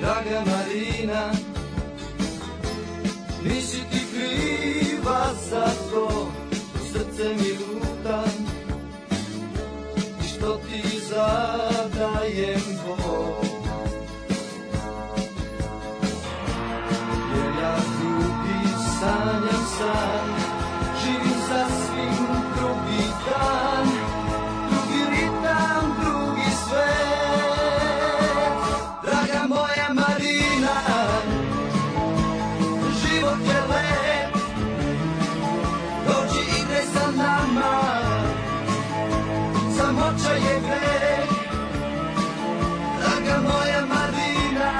draga Marina Nisi ti kriva za to Srce mi luta I što ti zadajem bol Jer ja ljubi sanjam san Živim sasvim drugi dan Drugi ritam, drugi svet Draga moja Marina Život je lep Dođi igraj sa nama Samoća je greh Draga moja Marina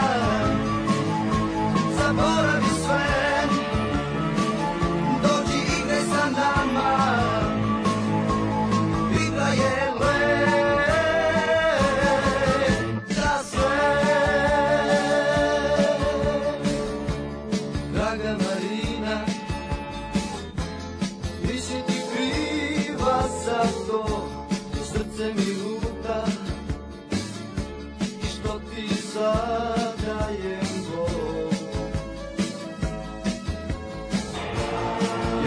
zaboravi sve Dođi igraj sa nama Igra je lep za sve Draga Marina Nisi ti kriva za to Srce mi luta I što ti zadajem bol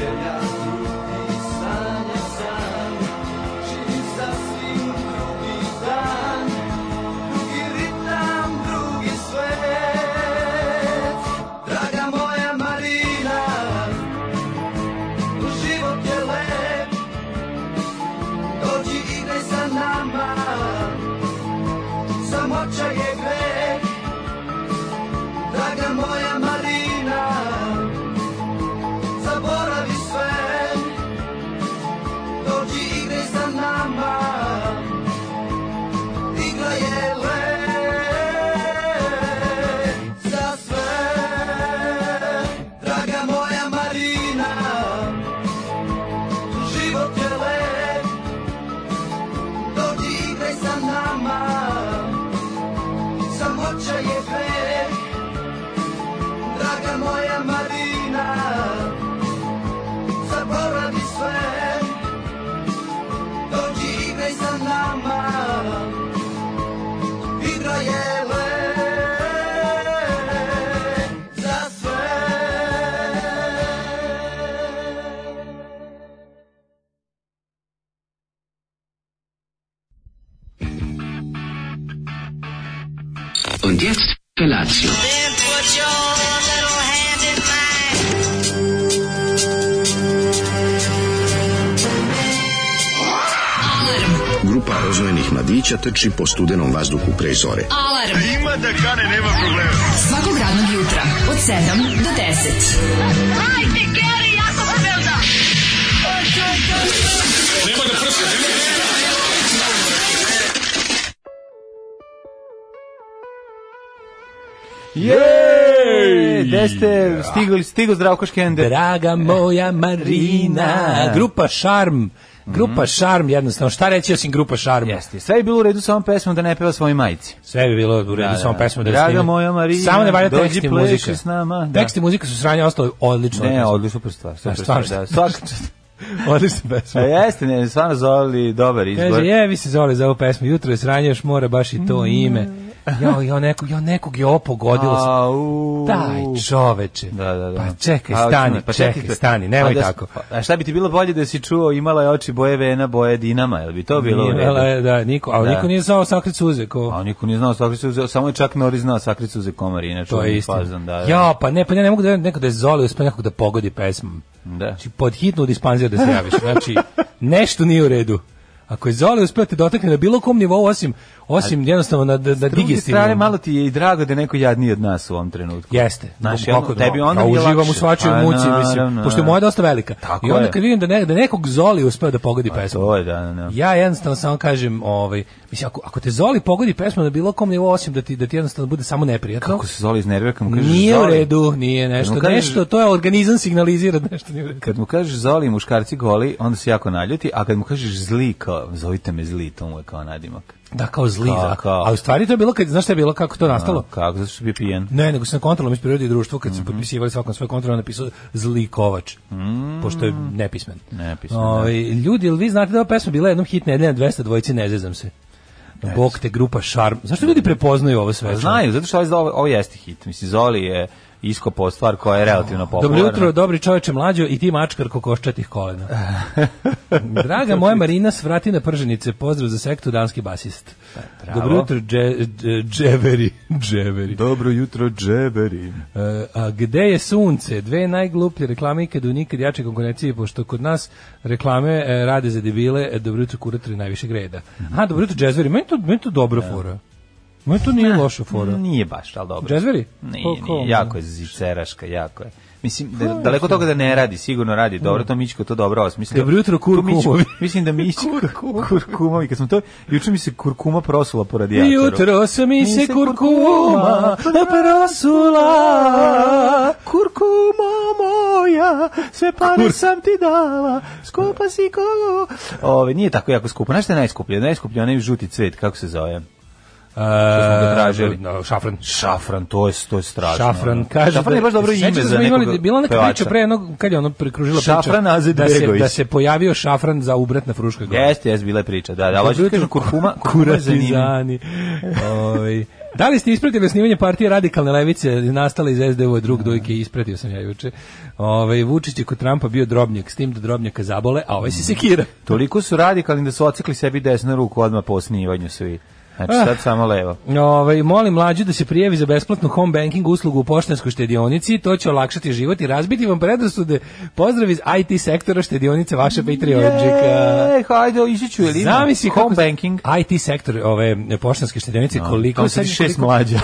Jer ja ti sanjam san, živim sasvim drugi dan, drugi ritam, drugi svet. Draga moja Marina, život je lep, dođi igraj sa nama, samoća je greh. Draga moja Marina, zaboravi sve Dođi igraj sa nama Igra je lep za sve Draga moja Marina Život je lep Dođi igraj sa nama Samoća je greh Draga moja Marina Zaboravi sve Dođi igraj sa nama Igra je lep Za sve Und jetzt Felatio. Then put your little hand in mine. Grupa rozvojenih mladića trči po studenom vazduhu pre zore. Alarm. Ima da kane, nema problema. Svakog radnog jutra, od 7 do 10. Hajde, Geri, jako se velda. Jej! Gde ste stigli, stigu Zdravko Škender? Draga moja Marina, grupa Šarm, grupa Šarm jednostavno, šta reći osim grupa Šarm? Mhm. Jeste, sve je bilo u redu sa ovom pesmom da ne peva svojoj majici. Sve bi bilo u redu, samo pesmu da Draga snime. moja Marina, Samo ne valja dođi tekst i pleši muzika. s nama, da. Tekst i muzika su sranje, ostalo je odlično. Ne, odlično, super stvar. Super A, stvar, stvarno da. šta? Svaka čast. odlično A pesma. jeste, ne, stvarno Zoli, dobar izbor. Mm. Kaže, je, vi se zove za ovu pesmu, jutro je sranje, još mora baš i to ime. Jo, jo, nekog, jo, nekog je opogodilo. se. Au. Daj čoveče. Da, da, da. Pa čekaj, A, stani, očima, pa čekaj, čekaj, stani, nemoj pa da- tako. A šta bi ti bilo bolje da si čuo imala je oči boje vena, boje dinama, jel bi to bilo u redu? Imala je, da, niko, ali Da. niko nije znao sakrit suze. Ko, A niko nije znao sakricu, uzeo, samo je čak Nori znao sakricu za komar, inače. to on je istina. fazon, da, da. Ja, pa ne, pa ja ne mogu da verujem neko da je Zoli uspeo nekog da pogodi pesmom. Da. Znači, pod hitnu u dispanziju da se javiš. Znači, nešto nije u redu. Ako je Zoli uspeo te dotakne na bilo kom nivou, osim, osim jednostavno na, na, na S druge digestivnom. strane, malo ti je i drago da je neko jadniji od nas u ovom trenutku. Jeste. Znaš, Duboko ono, da- tebi onda ja nije uživam lakše. u svačoj Pa, muci, mislim, naravno, pošto je moja dosta velika. Tako I onda je. Pa kad vidim da, ne, da nekog Zoli uspeo da pogodi pesmu. To je, da, da, da. Ja jednostavno samo kažem, ovaj, mislim, ako, ako te Zoli pogodi pesma na bilo kom nivou, osim da ti, da ti jednostavno bude samo neprijatno, Kako se Zoli iznervira kad mu kažeš nije u Zoli- redu, nije nešto, Kad mu kažeš- nešto, to je organizam signalizira da nešto nije u redu. Kad mu kažeš Zoli muškarci goli, onda se jako naljuti, a kad mu kažeš zli, kao, zovite me zli, to mu je kao nadimak. Da, kao zli, Kao, da. kao. A u stvari to je bilo, kad, znaš šta je bilo, kako to nastalo? A, Kako, zato što bi pijen. Ne, nego se na kontrolom iz prirode i društvu, Mhm. kad su potpisivali svakom svoj kontrol, napisao zli kovač, pošto je nepismen. Mm. Nepismen, Ovaj, ljudi, jel vi znate da je ova pesma bila jednom hit nedelja 200 dvojici, ne zezam se. Bog te grupa Šarm. Zašto ljudi prepoznaju ovo sve? Pa Znaju, zato što ovo, ovo- ovo jeste hit. Mislim, Zoli je iskopao stvar koja je relativno popularna. Dobro jutro, dobri čoveče mlađo i ti mačkar kokoščatih kolena. Draga moja Marina, svrati na prženice. Pozdrav za sektu, danski basist. bravo. Dobro jutro, dže, dže- dževeri. dževeri. Dobro jutro, džeberi. E, a gde je sunce? Dve najgluplje reklame ikad u nikad jače konkurenciji, pošto kod nas reklame e, rade za debile, e, dobro jutro kuratori najvišeg reda. Aha, dobro jutro, džezveri. Meni to, meni to dobra fora. Meni to nije loša fora. Mm, Nije baš, ali dobro. Džezveri? Nije, Ko- ko? nije, jako je ziceraška, jako je. Mislim, da, daleko od toga da ne radi, sigurno radi dobro, to Mićko to dobro osmislio. Dobro jutro, To Mićko- kurkumovi. Mislim da Mićko, kurkumovi, kad smo to, juče mi se kurkuma prosula po radijatoru. Jutro se mi se kurkuma prosula. kurkuma moja, sve pare sam ti dala, skupa si kolo. Ove, nije tako jako skupo, znaš šta je najskuplje? Najskuplje je onaj žuti cvet, kako se zove? smo ga tražili. No, E, šafran. Šafran, to je, to je strašno. ono. Šafran kaže Šafran je baš dobro Sećaš ime da za smo nekog imali- bila neka pevača. priča pre jednog kad je ono prekružila priča Šafran da se Azedbegović. da se pojavio šafran za ubrat na Fruškoj gori. Jeste, jeste, bila je priča, da, da, Dobro ali ću ti kažem, jutro, kurkuma, kurkuma je zanimljiv. kuratizani. Ovaj Da li ste ispratili osnivanje partije radikalne levice nastale iz SDU drug dojke ispratio sam ja juče. Ovaj Vučić je kod Trumpa bio drobnjak, s tim da drobnjaka zabole, a ovaj se sekira. Toliko su radikalni da su ocikli sebi desnu ruku odmah po osnivanju svi. Znači, Ah. sad samo levo. Ovaj molim mlađu da se prijavi za besplatnu home banking uslugu u Poštanskoj štedionici, to će olakšati život i razbiti vam predrasude. Pozdrav iz IT sektora štedionice vaše Patreonđika. Ej, hajde, ići ću, jel ima? Zamisli Home kako- banking. IT sektor ove poštanske štedionice koliko Tamo sedi sad- šest koliko- mlađa.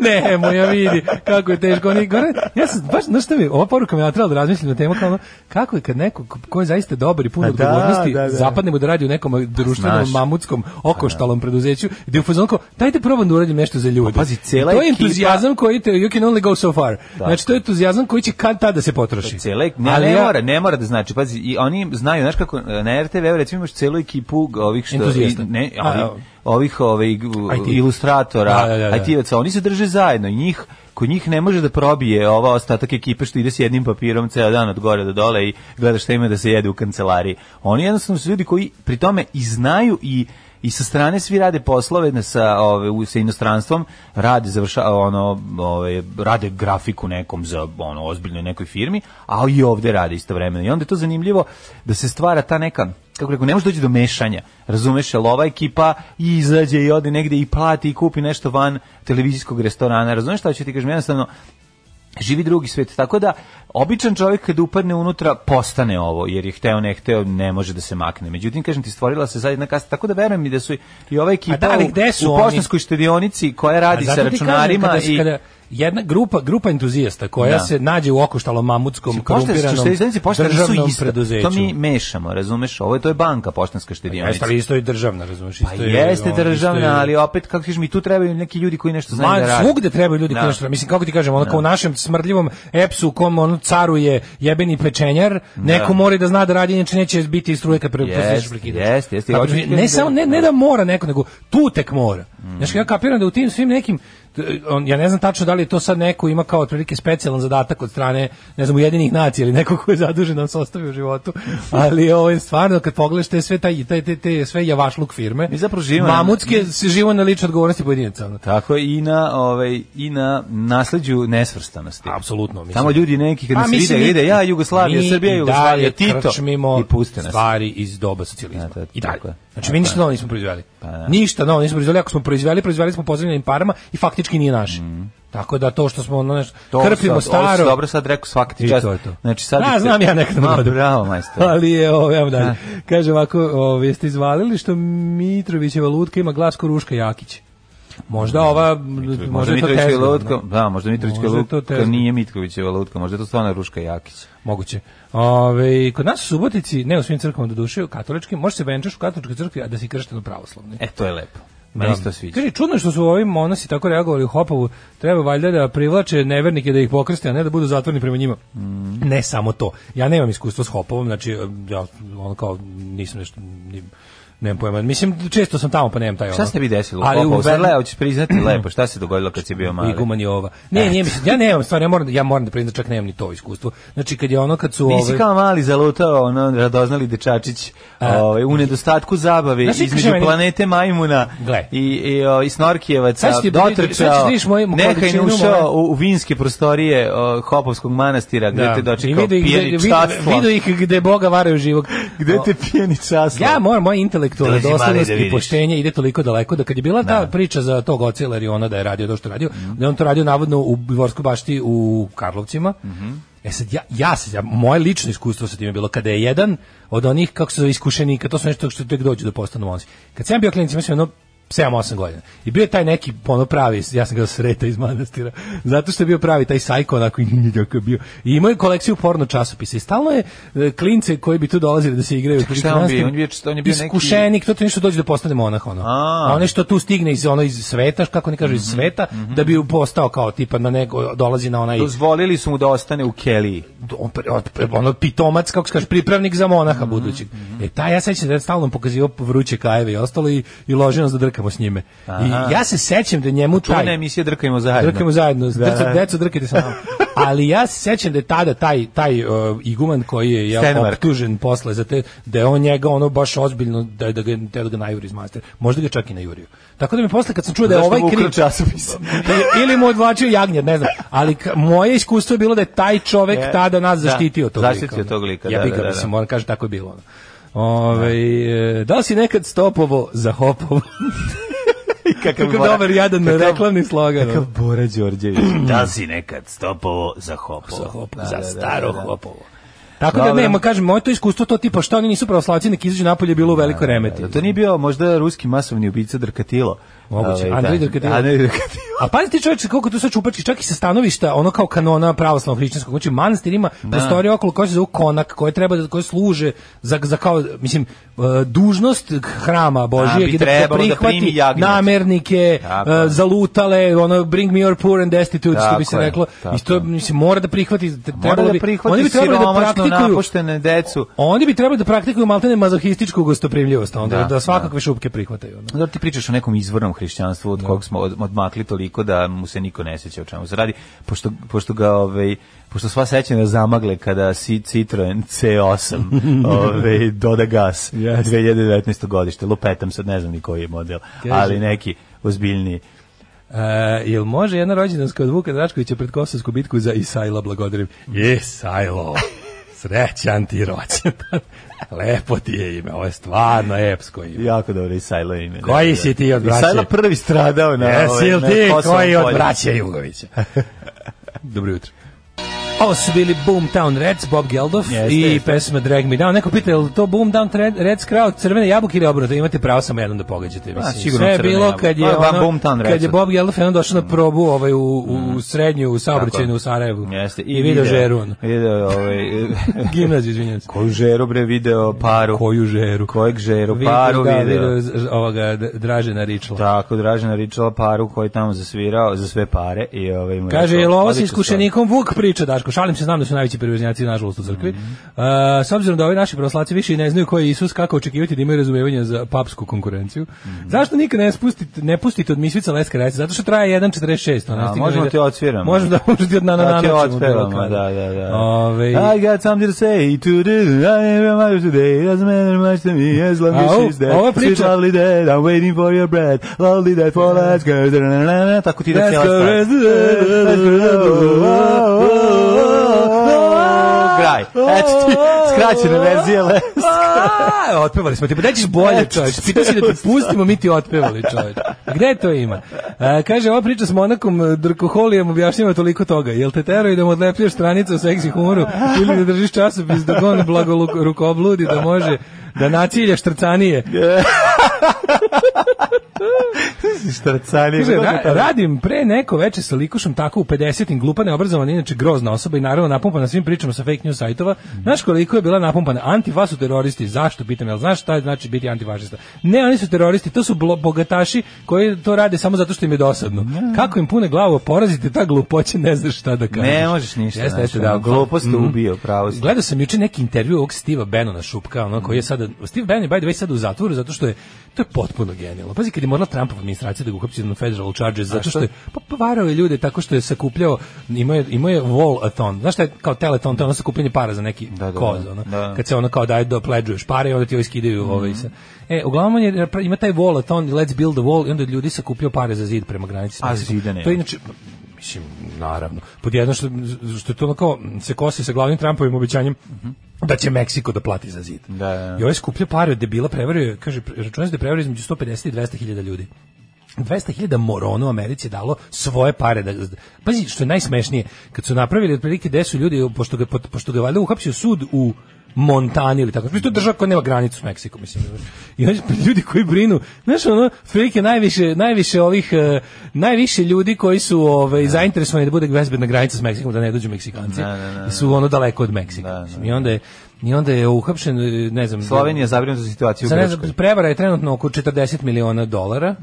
ne, moja vidi, kako je teško. Oni, gore, ja sam, baš, znaš šta mi, je, ova poruka me natrala da razmislim na temu, kao ono, kako je kad neko ko- ko je zaista dobar i pun Pa da, odgovornosti, da, da. zapadne mu da radi u nekom društvenom, znaš. mamutskom, okoštalom preduzeću, gde je u fazonu kao, dajte probam da uradim nešto za ljude. Pa pazi, cela to je ekipa- entuzijazam koji te, you can only go so far. Znači, to je entuzijazam koji će kad tada se potroši. Cele, Pa ne, Ali ne ja- mora, ne mora da znači. Pazi, i oni znaju, znaš kako, na RTV-u recimo imaš celu ekipu ovih što... Entuzijasta. i- Ne, A, ali, evo. ovih ovaj, IT. ilustratora, Da, da, da, da. IT-evaca, oni se drže zajedno, njih kod njih ne može da probije ova ostatak ekipe što ide s jednim papirom ceo dan od gore do dole i gleda šta ima da se jede u kancelariji. Oni jednostavno su ljudi koji pri tome i znaju i i sa strane svi rade poslove na sa ove u- sa inostranstvom rade završa ono ove rade grafiku nekom za ono ozbiljnoj nekoj firmi a i ovde rade istovremeno i onda je to zanimljivo da se stvara ta neka kako rekao, ne može doći do mešanja, razumeš, jel ova ekipa i izađe i ode negde i plati i kupi nešto van televizijskog restorana, razumeš šta ću ti kažem, jednostavno živi drugi svet, tako da običan čovjek kad upadne unutra postane ovo, jer je hteo, ne hteo, ne može da se makne. Međutim, kažem ti, stvorila se sad jedna kasta, tako da verujem mi da su i ova ekipa A da, ali u- gde su u, oni? poštanskoj štedionici koja radi A zato sa ti kažem, računarima kada, se- i... kada jedna grupa grupa entuzijasta koja Da. se nađe u okoštalom mamutskom Poštanske korumpiranom štedionice i pošte nisu državnom iste. preduzeću. To mi mešamo, razumeš? Ovo je, to je banka poštanska štedionica. Jeste, ali isto je državna, razumiješ? Pa jeste državna, ali opet, kako kažeš mi, tu trebaju neki ljudi koji nešto znaju da ono, Ma, rade. svugde trebaju ljudi koji Da. nešto, mislim, kako ti kažem, ono kao u našem smrdljivom epsu u kom ono caruje jebeni pečenjar, neko mora i da zna da radi, inače neće biti iz struje kad pre, Jest, presečeš prekidač. jest, jest, i Kako hoćeš ti- ti ne, da- Mm. samo, ne, ne da mora neko, nego tu tek mora. Znaš, ja kapiram da u tim svim nekim, t- on, ja ne znam tačno da li je to sad neko ima kao otprilike specijalan zadatak od strane, ne znam, ujedinih nacija ili neko ko je zadužen da nas ostavi u životu, ali ovo je stvarno, kad pogledaš te sve, taj, taj, te, te, sve javašluk firme, Mi zapravo živimo na- mamutske se živo na lične odgovornosti pojedinaca. ono. Tako je, i na, ovaj, i na nasleđu nesvrstanosti. Apsolutno, mislim. Tamo ljudi neki kad Pa, nas mislim, vide, mi- vide ja Jugoslavija, mi Srbija, i Jugoslavija, dalje Tito krčmimo i puste nas. stvari iz doba socijalizma. Ja, to je I dalje. tako je. Pa Znači, mi ništa novo nismo proizveli. Ništa novo nismo proizveli. Ako smo proizveli, proizveli smo pozivljenim parama i faktički nije naše. Tako da to što smo ono nešto, Mhm. To krpimo sad- ovo si staro, Dobro sad rekao svaki ti I čast. to je to. Znači sad Da, bi znam ja nekad da Ma, budem. bravo majstor. ali je, ovo, evo dalje. Da. Kaže ovako, ovo, jeste izvalili što Mitrovićeva lutka ima glas ko Ruška Jakić. Možda ova, možda Možda je to Mitrovićka tezga, lutka, ono. da, možda Mitrovićka Možda je to lutka tezga. nije Mitrovićeva lutka, možda je to stvarno Ruška Jakić. Moguće. Ove, kod nas u Subotici, ne u svim crkvama do duše, u katoličkim, može se venčaš u katoličkoj crkvi, a da si kršten u pravoslavnoj. E, to je lepo. Meni se to sviđa. Kaže, čudno je što su ovi monasi tako reagovali u Hopovu, treba valjda da privlače nevernike da ih pokrste, a ne da budu zatvorni prema njima. Mm. Ne samo to. Ja nemam iskustva s Hopovom, znači, ja ono kao nisam nešto... ni- nemam pojma. Mislim, često sam tamo, pa nemam taj ono. Šta se tebi desilo? Ali Ali u u Berle, Berlin- hoćeš priznati lepo, šta se dogodilo kad si bio mali? E. Iguman je ova. Ne, nije mi se, ja nemam, stvarno, ja moram, da- ja moram da priznam, čak nemam ni to iskustvo. Znači, kad je ono, kad su... Nisi ovaj- kao mali zalutao, ono, radoznali dečačić, ovaj, u nedostatku zabave Znaš, između kaže majmuna meni- Majmuna Gle. i, i, o, i Snorkijevaca, Sad ću ti- sad ću dotrčao, ti vidiš moju nekaj količinu ušao moje- u, u vinske prostorije o, Hopovskog manastira, gde te I dočekao vidu ih, pijeni gde, vidu, časlav. vidu ih gde Boga varaju živog. Gde te pijeni časlav? Ja moram, moja intelektualna Dolazi mali doslednost da i vidiš. poštenje ide toliko daleko da kad je bila ta priča za tog oca Ilariona da je radio to što je radio, Mhm. da je on to radio navodno u Bivorskoj bašti u Karlovcima, Mhm. E sad, ja, ja, se- ja, moje lično iskustvo sa tim je bilo kada je jedan od onih, kako se zove, iskušenika, to su nešto što tek dođu da postanu monsi. Kad sam ja bio klinic, imao sam jedno 7-8 godina. I bio je taj neki ono pravi, ja sam ga sreta iz manastira, zato što je bio pravi taj sajko, onako kako je bio. I imao je kolekciju porno časopisa i stalno je e, klince koji bi tu dolazili da se igraju. Čekaj, otprilike šta je on bio? manastir, On je bio- on je bio neki- iskušenik, to ti nešto dođe da postane monah, ono. A. Mhm, A, onaj što tu stigne iz, ono, iz sveta, kako ne kažu, iz sveta, da bi postao kao tipa na nego, dolazi na onaj Dozvolili su mu da ostane u keliji. on, pre- od- pre- ono pitomac, kako se kaže, pripravnik za Mhm, monaha budućeg. E, ta ja sećam da je stalno pokazivao vruće kajeve i ostalo i, i ložio nas da drkamo s njime. I ja se sećam da je njemu Čuvena taj... emisija Drkajmo zajedno. Drkajmo zajedno, s Da, deco, da. deco drkajte sa nama. Ali ja se sećam da je tada taj, taj uh, iguman koji je jel, Stenmark. optužen posle za te, da je on njega ono baš ozbiljno, da, da ga, da ga najuri iz master. Možda ga čak i najurio. Tako da mi posle kad sam čuo da je Zašto ovaj mu ukrao kriv... časopis? I- ili mu odvlačio jagnjad, ne znam. Ali ka- moje iskustvo je bilo da je taj čovek Je. tada nas Da, zaštitio tog zaštitio lika. ono. tog lika, Ja da, bi da, ga, da, mislim, da. moram kažem, tako je bilo. ono. Ove, e, da li si nekad stopovo za hopovo? Kakav Kako Bora- dobar jadan kakav- reklamni slogan. Kakav ono. Bora Đorđević. da si nekad stopovo za hopovo? za hopovo, Da, za da, da, staro da, da. hopovo. Tako da Dobro. ne, ma kažem, moje to iskustvo to tipa što oni nisu pravoslavci, nek izađu napolje je bilo u veliko remeti. Da, to nije bio možda ruski masovni ubica Drkatilo. Moguće, Ovaj, Andrej da. Drkatilo. Andrej Drkatilo. A pazi ti čovječe koliko je tu sve čupački, čak i sa stanovišta ono kao kanona pravoslavnog hrišćanskog. Znači manastir ima prostorije okolo koje se zove konak, koje treba da koje služe za, za kao mislim e, dužnost hrama Da, bi Božijeg i trebalo da primi prihvati jagnjad. namernike, Tako e, je. zalutale, ono bring me your poor and destitute što Tako bi se je, reklo. tako I to je. mislim mora da prihvati Mora trebalo da bi prihvati oni bi trebali da siromašno praktikuju napuštene decu. Oni bi trebali da praktikuju maltene mazohističku gostoprimljivost, onda da, Da, svakakve šupke prihvataju. ono. Zato ti pričaš o nekom izvornom hrišćanstvu od kog smo od- odmakli toliko da mu se niko ne seća o čemu se radi, pošto, pošto ga ovaj, pošto sva sećanja zamagle kada si Citroen C8 ovaj, doda gas 2019. godište, lupetam sad, ne znam ni koji je model, ali neki ozbiljniji. E, jel može jedna rođendanska od Vuka Draškovića pred Kosovsku bitku za Isajla blagodarim? Isajlo, srećan ti rođendan. Lepo ti je ime, ovo je stvarno epsko ime. Jako dobro i Sajlo ime. da, Koji da. si ti od braće? I Sajlo prvi stradao na Jesi ovaj, li na E, ti Kosovom koji od polju. braća Jugovića? Dobro jutro. Ovo su bili Boomtown Reds, Bob Geldof Jeste, i jeste. pesma Drag Me Down. Neko pita, je li to Boomtown Red- Reds krao crvene jabuke ili obrnuto? Imate pravo samo jednom da pogađate. Mislim. Pa, sigurno Sve je crvene bilo jabuke. kad Pa, je, ba- ono, Boomtown kad je Redsa. Bob Geldof jednom došao na probu ovaj, u, u, u srednju, u saobraćajnu Tako. u Sarajevu. Jeste, I, video žeru. Ono. Video ovaj Gimnaziju, izvinjam se. koju žeru bre video paru. Koju žeru? Kojeg žeru Video- paru da, video. z- ovoga d- Dražena Ričla. Tako, Dražena Ričala paru koji je tamo zasvirao za sve pare i ovaj mu je Kaže, rekao, jel ovo sa odlična iskušenikom Vuk priča, Daško? Šalim se, znam da su najveći prevoznjaci, nažalost, u crkvi. Mhm. E, s obzirom da ovi naši pravoslavci više i ne znaju ko je Isus, kako očekivati da imaju razumevanja za papsku konkurenciju. Mhm. Zašto nikad ne, spustite, ne pustite od misvica Leska Rajca? Zato što traje 1.46. ona A, stigne možemo da- ti odsviramo. Možemo da možemo ti od na na Da na ti ćemo otpevamo, bilo da, kada. da, da. Ovaj, I got something to say to this, I never mind today, doesn't matter much to me, as long as A, ovo- she's dead. ova Sweet priča- lovely dead, I'm waiting for your breath, lovely dead for let's go, da, da, da, da, da. tako ti ide Let's cijela go, stvar. let's go, let's go. Graj, eto ti, skraćene verzije, le. A, otpevali smo ti, pa daj ćeš E, bolje čovječ, pitao si da ti pustimo, mi ti otpevali čovječ. Gde to ima? E, kaže, ova priča s monakom e, Drkoholijem objašnjava toliko toga. Jel te teraju da mu odlepljuješ stranicu o seksi humoru ili da držiš časopis dok on blago rukobludi da može da nacilja štrcanije? Štracanje. Kaže, ra- radim pre neko veče sa likušom tako u 50-im, glupa, neobrazovana, inače grozna osoba i naravno napumpana svim pričama sa fake news sajtova. Znaš koliko je bila napumpana? Antifa su teroristi. Zašto? Pitam, jel znaš šta znači biti antifašista? Ne, oni su teroristi, to su blo- bogataši koji to rade samo zato što im je dosadno. Kako im pune glavu porazite ta glupoće, ne znači, znaš šta da kažeš. Ne možeš ništa. Jeste, jeste, znaš, da. ono, Glupo pa, ste mm-hmm. ubio, pravo ste. Gledao sam juče neki intervju ovog Steve'a Bannona šupka, ono Mm. koji je sada Steve Bannon je by the way sad u zatvoru zato što je to je potpuno genijalno. Pazi kad je morala Trumpova administracija da ga uhapsi na federal charges zato što je pa pa varao je ljude tako što je sakupljao imao je imao je wall-a-thon. Znaš šta je kao teleton, to je ono sakupljanje para za neki Da, da, da. koz, ono. Da. Mhm. Kad se ono kao daje da pledžuješ pare i onda ti ovi skidaju ovaj se. E, uglavnom on je, napra- ima taj wall-a-thon, let's build the wall i onda ljudi sakupljaju pare za zid prema granici. sa A Meksikom. zida nema. To je inače mislim naravno pod jedno što što je to ono kao se kosi sa glavnim Trumpovim obećanjem da će Meksiko da plati za zid. Mhm. Da, da. I ovaj skuplja pare od debila prevario, je, kaže računa se da je prevario između 150 i 200 hiljada ljudi. 200.000 morona u Americi je dalo svoje pare da Pazi što je najsmešnije, kad su napravili otprilike 10 ljudi pošto ga pošto ga valjda uhapsio sud u Montani ili tako. Mislim, To je država koja nema granicu s Meksikom, mislim. I onda ljudi koji brinu, znaš, ono, otprilike najviše, najviše ovih, eh, najviše ljudi koji su ovaj, zainteresovani da bude bezbedna granica s Meksikom, da ne dođu Meksikanci, su ono daleko od Meksika. mislim. I onda je, i onda je uhapšen, eh, ne znam... Slovenija je zabrinuta za situaciju u Za ne znam, Grčkoj. Mhm. prevara je trenutno oko 40 miliona dolara.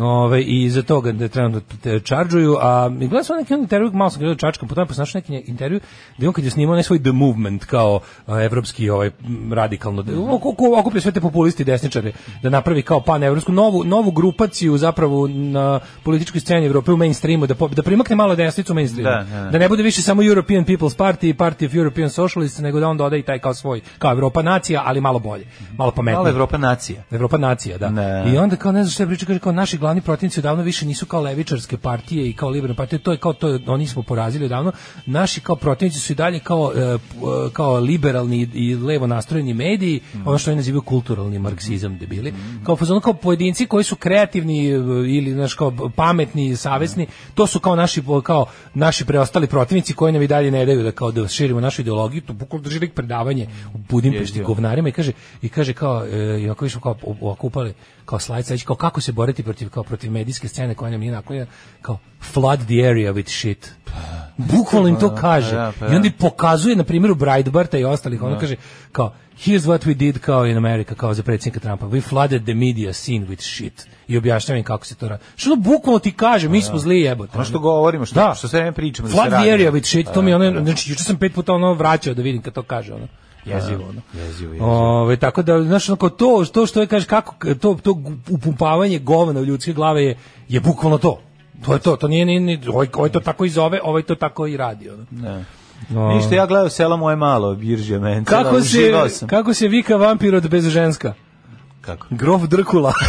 Ove, i za to ga da trenutno te čarđuju, a i gledam sam neki on intervju, malo sam gledao čačkam, potom pa sam našao neki nje- intervju, gde on kad je snimao onaj svoj The Movement, kao a, evropski ovaj, m, radikalno, de- Mhm. oko- oko- okuplja sve te populisti i desničare, da napravi kao panevropsku, novu, novu grupaciju zapravo na političkoj sceni Evrope u mainstreamu, da, po- da primakne malo desnicu u mainstreamu, Da, da, da. da ne bude više samo European People's Party i Party of European Socialists, nego da on doda i taj kao svoj, kao Evropa nacija, ali malo bolje, malo pametnije. Mala Evropa nacija. Evropa nacija, da. Ne. I onda kao ne znam šta priča, kaže kao naši glavni protivnici odavno više nisu kao levičarske partije i kao liberalne partije, to je kao to je- oni smo porazili odavno. Naši kao protivnici su i dalje kao e, p- e, kao liberalni i- i levo nastrojeni mediji, ono što oni nazivaju kulturalni marksizam debili. Kao fazon kao pojedinci koji su kreativni e, ili znaš kao b- pametni i savesni, to su kao naši po- kao naši preostali protivnici koji nam i dalje ne daju da kao da širimo našu ideologiju, to bukvalno drži lik predavanje u Budimpešti govnarima i kaže i kaže kao e, i ako išao kao o- ovako upali kao slajd sledeći, kao kako se boriti protiv kao protiv medijske scene koja nam nije naklonjena kao flood the area with shit bukvalno im to kaže da, pa i onda da. i pokazuje na primjeru Breitbarta i ostalih ono kaže kao here's what we did kao in America kao za predsjednika Trumpa we flooded the media scene with shit i objašnjavam im kako se to radi što ono bukvalno ti kaže mi smo zli jebote Ono što govorimo, što, Da. što sve vreme pričamo. da se Flood the radi. Pa, area with shit, to mi je ono, znači juče sam pet puta ono vraćao da vidim kad to kaže ono. Jezivo ono. Jezivo, jezivo. Ove, tako da znaš onako to što što je kaže kako to to upumpavanje govna u ljudske glave je je bukvalno to. To je to, to nije ni ni ovaj ovaj to tako i zove, ovaj to tako i radi ono. Ne. O. Ništa, ja gledao selo moje malo, Biržija Mencela, Kako se uživao sam. kako se vika vampir od bezženska? Kako? Grof Drkula.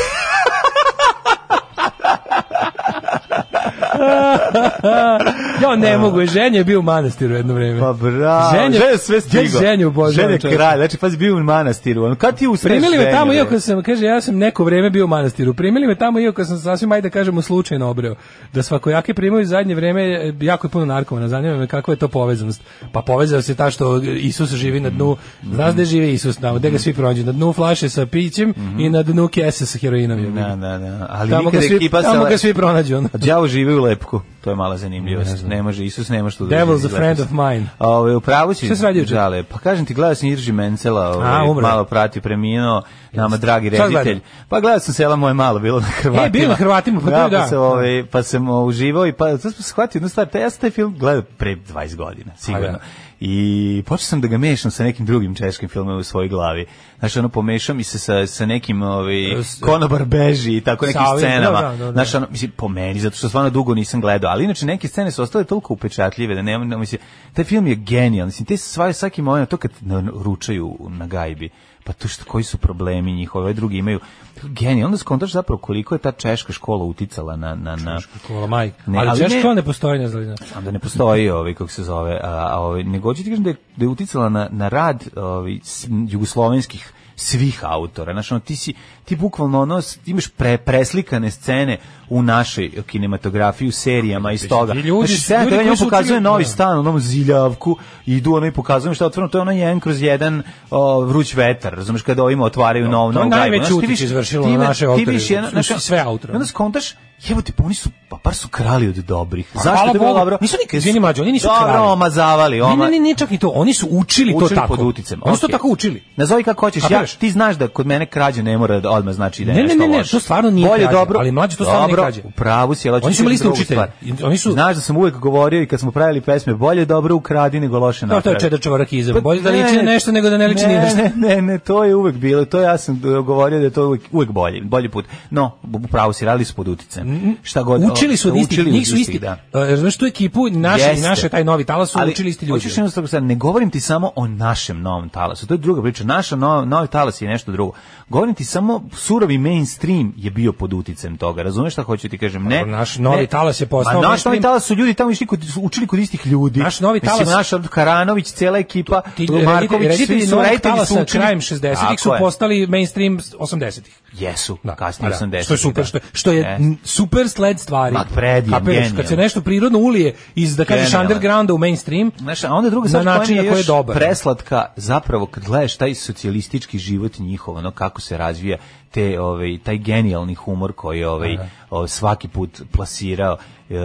ja ne mogu, ženje je bio u manastiru jedno vreme. Pa bravo, Ženje- ženje, sve stigo. Ja ženju obožavam, Ženje čoveče. kralj, znači pazi bio u manastiru. On kad ti usreš Primili me ženju, tamo, bre? iako sam, kaže, ja sam neko vreme bio u manastiru. Primili me tamo, iako sam sasvim, ajde da kažemo, slučajno obreo. Da svakojake primaju u zadnje vreme, e, jako je puno narkomana. Zanima me kakva je to povezanost. Pa povezao se ta što Isus živi na dnu, znaš gde živi Isus, tamo, gde ga svi pronađu, na dnu flaše sa pićem i na dnu kese sa heroinom. Da, da, da. Ali Tamo ga nikad svi, ekipa tamo sa... ga svi pronađu. ono. A đavo živi u lepku. To je mala zanimljivost. Ne može, Isus ne može tu da Devil's živi a iz friend of leposti. mine. Ove, Ovaj, u pravu si. Šta si radio juče? Đale, Pa kažem ti, gledao sam Irži Mencela, A, ovaj, umro je. malo prati preminuo, nama dragi Šta gledao? reditelj. Pa gledao sam sela moje malo, bilo na Hrvatima. E, bilo na Hrvatima, pa to je da. Pa, sam, ovaj, pa sam o, uživao i pa sad sam shvatio jednu stvar, pa ja sam taj film gledao pre 20 godina, A, sigurno. da. I počeo sam da ga mešam sa nekim drugim češkim filmom u svojoj glavi. Znači, ono, pomešao mi se sa, sa nekim ovaj, S- konobar beži i tako nekim Sa ovim, da, scenama. da, da, da. Znaš, ono, mislim, po meni, zato što stvarno dugo nisam gledao, ali inače neke scene su ostale toliko upečatljive da nema, mislim, taj film je genijalan, mislim, te sva, svaki moment, to kad na- na- ručaju na gajbi, pa to što, koji su problemi njihovi, ovaj drugi imaju, genijalno, onda skontaš zapravo koliko je ta češka škola uticala na, na, na, Kola majka. Ne, ali, ali češko ne- ne, postoji, ne znam. znam da ne postoji ovaj kako se zove, a, a ovaj nego hoću ti kažem da je, da je uticala na na rad ovaj s- jugoslovenskih svih autora. Znači, ono, ti si, ti bukvalno ono, s- imaš pre, preslikane scene u našoj kinematografiji, u serijama iz toga. i ljudi znači, su- scena ljudi kada koji njemu su pokazuje učili- novi da. stan, onom ziljavku, i idu ono i pokazuju što je otvoreno, to je ono jedan kroz jedan o, vruć vetar, razumiješ, kada ovima otvaraju novu novu to je gajbu. najveći Znaš, ti utjecaj više- izvršilo ti na ima- naše ti autore, više jedna- su- znaš, su sve autore. Onda skontaš, jebote, pa oni su, pa par su krali od dobrih. Zašto Pa hvala je bilo Bogu, dobro? nisu nikad- izvini, mlađe, oni nisu dobro, krali. omazavali, Ne, oma, ne, ne, ne, čak i to. Oni su učili, to ono učili tako. pod uticem. Oni su to okej. tako učili. Nazovi kako hoćeš, ja, Kapiraš? ti znaš da kod mene krađa ne mora da odmah znači da je Ne, ne, nešto ne, ne, loše. to stvarno nije Bolje krađa, dobro, ali mlađe, to stvarno nije dobro, krađa. U pravu si, ali hoću Oni su ti imali reći isti drugu učitelj. stvar. I Oni su Znaš da sam uvek govorio i kad smo pravili pesme, bolje dobro ukradi nego loše to je napravi. čedar čovarak izjava. Pa Bolje da liči ne, na nešto nego da ne liči ni na šta. Ne, ne, ne, to je uvek bilo, to ja sam e, govorio da je to uvek, uvek bolje, bolji put. No, u pravu si, radili su pod uticajem. Šta god. Učili su od o, istih, učili njih su od istih, isti. da. E, Znaš tu ekipu, naše, i Jeste. naše, taj novi talas su Ali, učili isti ljudi. Hoćeš jednu stvar, sad, ne govorim ti samo o našem novom talasu, to je druga priča. Naša no, novi talas je nešto drugo. Govorim ti samo, surovi mainstream je bio pod uticem toga. Razumeš šta hoću ti kažem? Ne, Dobro, naš novi ne. talas je postao Ma, naš mainstream. novi talas su ljudi tamo išli kod, su učili kod istih ljudi. Naš novi talas- Mislim, naš Karanović, cela ekipa, Ti Marković, reditelji, reditelji svi su novog reditelji su talasa učili. krajem 60-ih su Tako je. postali mainstream 80-ih. Jesu, Da, pa kasnije da, 80-ih. Što je super, da. što, je- što je Jeste. m, super sled stvari. Ma, predivan, Kapiraš, Kad genijalan. se nešto prirodno ulije iz, da kažeš, Genijalan. undergrounda u mainstream, Znaš, a onda druga stvar na koja način mi na je koji je još dobar. preslatka, zapravo kad gledaš taj socijalistički život njihov, ono kako se razvija te ovaj taj genijalni humor koji je ovaj, ovaj, svaki put plasirao e,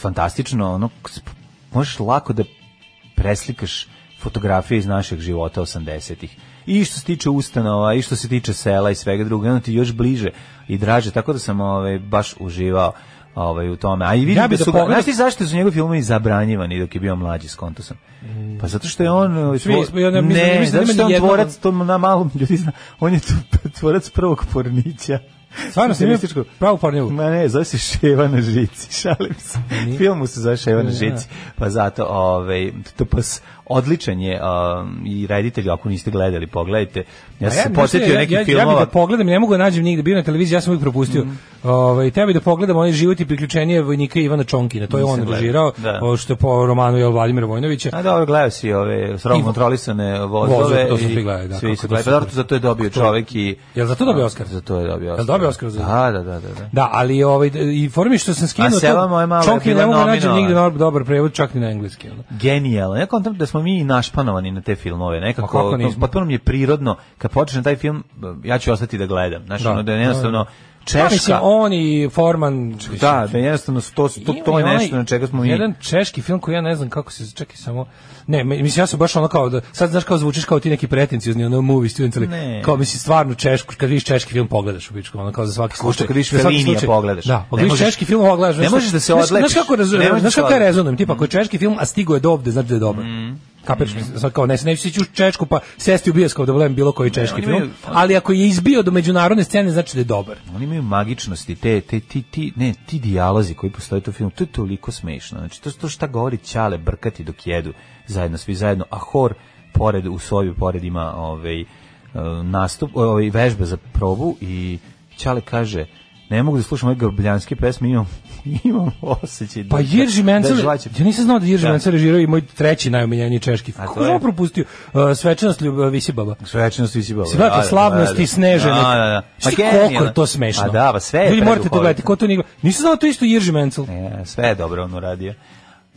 fantastično, ono k- možeš lako da preslikaš fotografije iz našeg života 80-ih. I što se tiče ustanova, i što se tiče sela i svega drugog, onda ti još bliže i draže, tako da sam ovaj, baš uživao ovaj, u tome. A i vidim Ja bi da da su ga, pogledam- znaš ti zašto su njegovi filmovi zabranjivani dok je bio mlađi, skonto sam. Pa zato što je on... ovaj, Svi tvor- smo, ja ne- mislim- mislim da zato nema što je on nijednog- tvorac, to na malom ljudi zna, on je tu- tvorac prvog pornića. stvarno sam imao Socijalističkog. pravu pornjevu. Ma ne, zove se Ševa na žici, šalim se. Film mu se zove Ševa na žici, pa zato, ovaj, to pa s- odličan je um, i reditelj, ako niste gledali, pogledajte. Ja A sam se bi- posjetio Pa ja- nekih ja, Ja filmova. Mhm. bih da pogledam, ne mogu da nađem nigde, bio na televiziji, ja sam uvijek propustio. Ovaj te bih da pogledam onaj život i priključenje vojnika Ivana Čonkina, to je Nisam on gledao. režirao, Da. ovo što je po romanu je Vladimira Vojnovića. A dobro, gledao si ove I- srom kontrolisane Vozove, vozove. to su i svi gledali, da, Svi kako su to gledali. Pa super. dobro, zato je dobio čovek i... Jel za to dobio Oskar? Za to je dobio Oskar. dobio Oskar za to? Da, da, da, da. da. Da, ali ovaj i formi što sam skinuo A Sela moje malo je Čonkin bila ne mogu da nađem nominovan. nigde dobar, dobar prevod, čak ni na engleski. ono. Genijalno. Ja kontam da smo mi i našpanovani na te filmove. Nekako, Pa kako nismo? potpuno mi je prirodno. Kad počne taj film, ja ću ostati da gledam. Znaš, Da. da, ono, da je jednostavno... Pa mislim, Češka, on i Forman... Da, da jednostavno to, to, to je Ima i nešto na čega smo mi... Jedan češki film koji ja ne znam kako se čekaj samo. Ne, mi- mislim ja sam baš ono kao da sad znaš kao zvučiš kao ti neki pretenciozni ono movie student ali Ne. kao mislim stvarno češku kad vidiš češki film pogledaš u bičku ono kao za svaki Kao što slučaj. kad vidiš Za svaki Fellinija slučaj. pogledaš. Da, Ne pogledaš možeš- češki film pogledaš. ne znaš- možeš da se znaš- odlepiš. Znaš kako Ne raz- možeš da znaš se Mm. kako ja odlepiš. rezonujem tipa ako je češki film a stigo je do ovde znači da je dobar. Mm. Kapiraš, mislim, sad kao ne, neću sići u Češku pa sesti u bioskop da gledam bilo koji češki oni film, imaju- ali ako je izbio do međunarodne scene znači da je dobar. Oni imaju magičnosti, te, te, ti, ti, ne, ti dijalozi koji postoje u tom filmu, to je toliko smešno. Znači, to, je to šta govori Ćale brkati dok jedu zajedno, svi zajedno, a hor pored, u sobi pored ima ovaj, e, nastup, ovaj, vežbe za probu i Ćale kaže, ne mogu da slušam ove grbljanske pesme, imam, imam osjećaj da, Pa Jirži Mencer, da žvaćem. ja nisam znao da Jirži Da. Mencer režirao i moj treći najomiljeniji češki film. A to Kako je je? on propustio? Uh, svečanost ljubav Visibaba. Svečanost i sibala. Svaka slavnost i snežene. Da, da, da. Šti koliko je to smešno. A da, pa sve je Ljudi, morate to preduhovito. gledati, ko to nije gledao. Nisam znao da to isto Jirži Mencer. E, sve je dobro on uradio.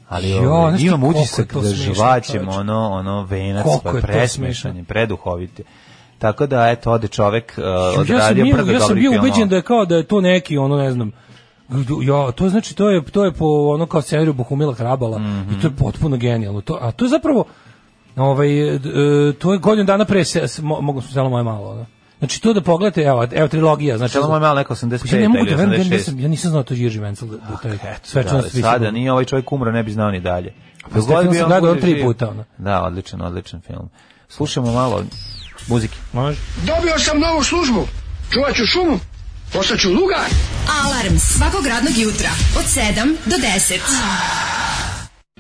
Ali Jo, ovaj, znaš ti imam koliko je utisak to da smešno, žvaćem čoveče. ono, ono venac, Koliko pa je to presmešan, smešno. je, preduhovit je. Tako da, eto, ode čovek uh, odradio ja sam, bio, brdo ja sam dobrih bio filmova. ubeđen da je kao da je to neki, ono ne znam, Ja, to znači to je to je po ono kao scenariju Bohumila Hrabala i to je Mhm. potpuno genijalno. To, a to je zapravo ovaj d- e, to je godinu dana pre se, s- mo, mogu sam selo moje malo, ono. Znači to da pogledate, evo, evo trilogija, znači Čelo Pa moj malo neko Ja 85 ne mogu da ili verujem, ja 86. nisam, ja nisam znao da to je Jirži Menzel, da, da to je svečanost Da, da, sada nije ovaj čovjek umro, ne bi znao ni dalje. Pa Dok god Stefan bi sam on gledao bude tri živ. puta, ono. Da, odličan, odličan film. Slušamo malo muzike. Može? Dobio sam novu službu. Čuvat ću šumu. Ostaću lugar. Alarm svakog radnog jutra od 7 do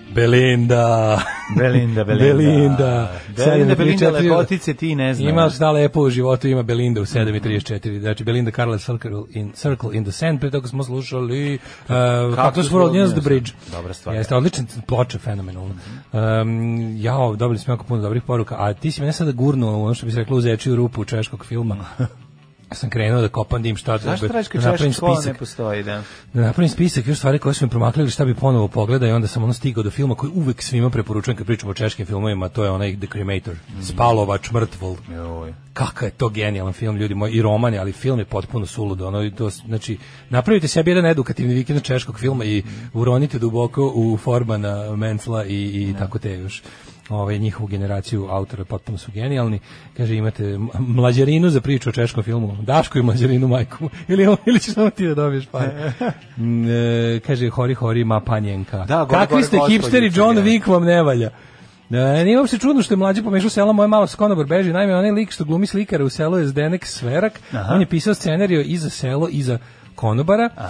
10. Belinda. Belinda, Belinda. Belinda. Belinda, Belinda, 7,34. lepotice ti ne znaš. Mm-hmm. Ima šta lepo u životu, ima Belinda u 7.34. Znači, Belinda Carla Circle in, Circle in the Sand, pre toga smo slušali uh, Cactus World, News the Bridge. Dobra stvar. Jeste, odlična ploča, fenomenalna. Um, jao, dobili smo jako puno dobrih poruka, a ti si mene sada gurnuo, ono što bi se reklo, u zečiju rupu češkog filma. Ja sam krenuo da kopam dim šta da Zašto tražiš kad da napravim češka škola ne spisak. postoji, da? Da napravim spisak još stvari koje su mi promakljali šta bi ponovo pogledao i onda sam ono stigao do filma koji uvek svima preporučujem kad pričamo o češkim filmovima, to je onaj The Cremator, Spalovač mrtvol. Joj. Kakav je to genijalan film, ljudi moji, i roman je, ali film je potpuno sulud. Ono, i to, znači, napravite sebi jedan edukativni vikend češkog filma i uronite duboko u Forbana, Mencla i, i tako te još ovaj, njihovu generaciju autora potpuno su genijalni. Kaže, imate m- mlađarinu za priču o češkom filmu. Dašku i mlađarinu majku. Ili, ili ćeš samo ti da dobiješ pare. Mm, e, kaže, hori, hori, ma panjenka. Da, gore, Kakvi gore, ste gospodje, hipsteri, John čekaj. Wick vam ne valja. Da, nije uopšte čudno što je mlađi pomešao selo moje malo s konobar beži. Naime, onaj lik što glumi slikara u selu je Zdenek Sverak. On je pisao scenariju i za selo i za konobara, a,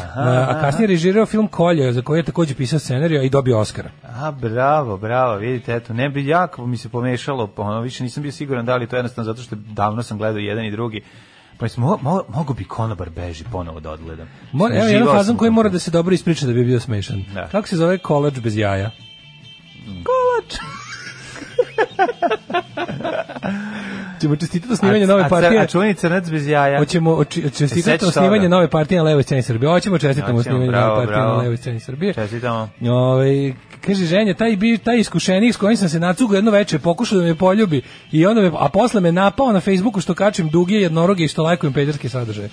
a kasnije režirao film Kolje, za koji je takođe pisao scenariju a i dobio Oscara. A, bravo, bravo, vidite, eto, ne bi jako mi se pomešalo, pa ono, više nisam bio siguran da li je to jednostavno zato što davno sam gledao jedan i drugi, pa sam, mo, mo, mogu bi konobar beži ponovo da odgledam. Mora, evo jedan Uživao fazon sam koji u mora tome. da se dobro ispriča da bi bio smešan. Da. Mm. Kako se zove kolač bez jaja? Kolač! Ćemo čestitati do snimanja A- a nove car- partije. A čuveni crnac bez jaja. Hoćemo oči- sećaš čestitati toga? osnivanje nove partije na levoj sceni Srbije. Hoćemo čestitati Hoćemo, osnivanje nove bravo, partije na bravo. levoj sceni Srbije. Čestitamo. Ovaj kaže ženja taj bi taj iskušenik s kojim sam se nacugao jedno veče pokušao da me poljubi i onda me a posle me napao na Facebooku što kačim duge jednoroge i što lajkujem pederski sadržaje.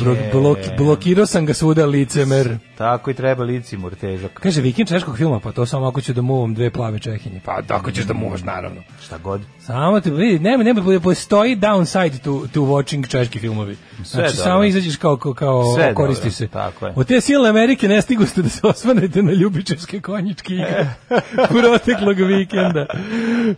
Bro, blok- blokirao sam ga svuda licemer. Tako i treba licimur težak. Kaže vikend češkog filma, pa to samo ako ću da muvam dve plave čehinje. Pa tako ćeš da muvaš naravno. Šta god. Samo te vidi, nema nema postoji downside to to watching češki filmovi. znači dobro. samo izađeš kao kao, kao Sve koristi dobro, se. tako je. Od te silne Amerike ne stigu ste da se osvanete na ljubičarske konjičke igre proteklog vikenda.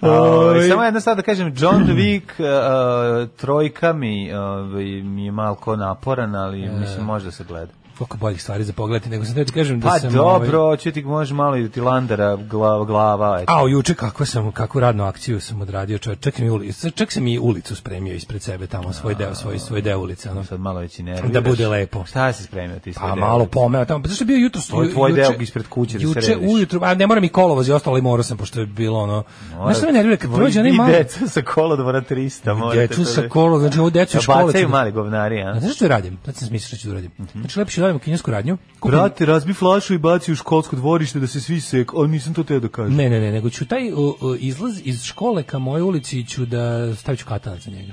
Ovaj Ovaj, samo jedna stvar da kažem, John Wick uh, trojka mi, ovaj, mi je malko naporan, E. ali mislim može da se gleda. koliko boljih stvari za pogledati, nego sam teo ti kažem da Pa sam... dobro, ovaj, hoće ti može malo i da ti landara glava, glava eto. A, juče kako sam, kakvu radnu akciju sam odradio, čovječ, čak, mi uli, čak sam i ulicu spremio ispred sebe tamo, svoj deo, svoj, svoj deo ulice, ono. sad malo već i ne Da bude lepo. Šta si spremio ti? sve Pa deo? malo pomeo tamo, pa zašto je bio jutro To je tvoj deo ispred kuće da se juče rediš. ujutru, a ne moram i kolovoz i ostalo, ali morao sam, pošto je bilo ono... Mora- Znaš što me nervira, kad prođe onaj I mali... deca sa kolodvora 300, morate. Djecu to sa da- kolo, znači ovo decu Da u škole... Bacaju Mhm. ću da- mali govnari, a? A znaš što radim? Sad sam smislio što ću da uradim. Znači, lepo ću da radim u kinesku radnju. kupim- Brate, razbi flašu i baci u školsko dvorište da se svi sek, ali nisam to teo da kažem. Ne, ne, ne, nego ću taj o, o, izlaz iz škole ka mojoj ulici ću da stavit ću katanac za njega.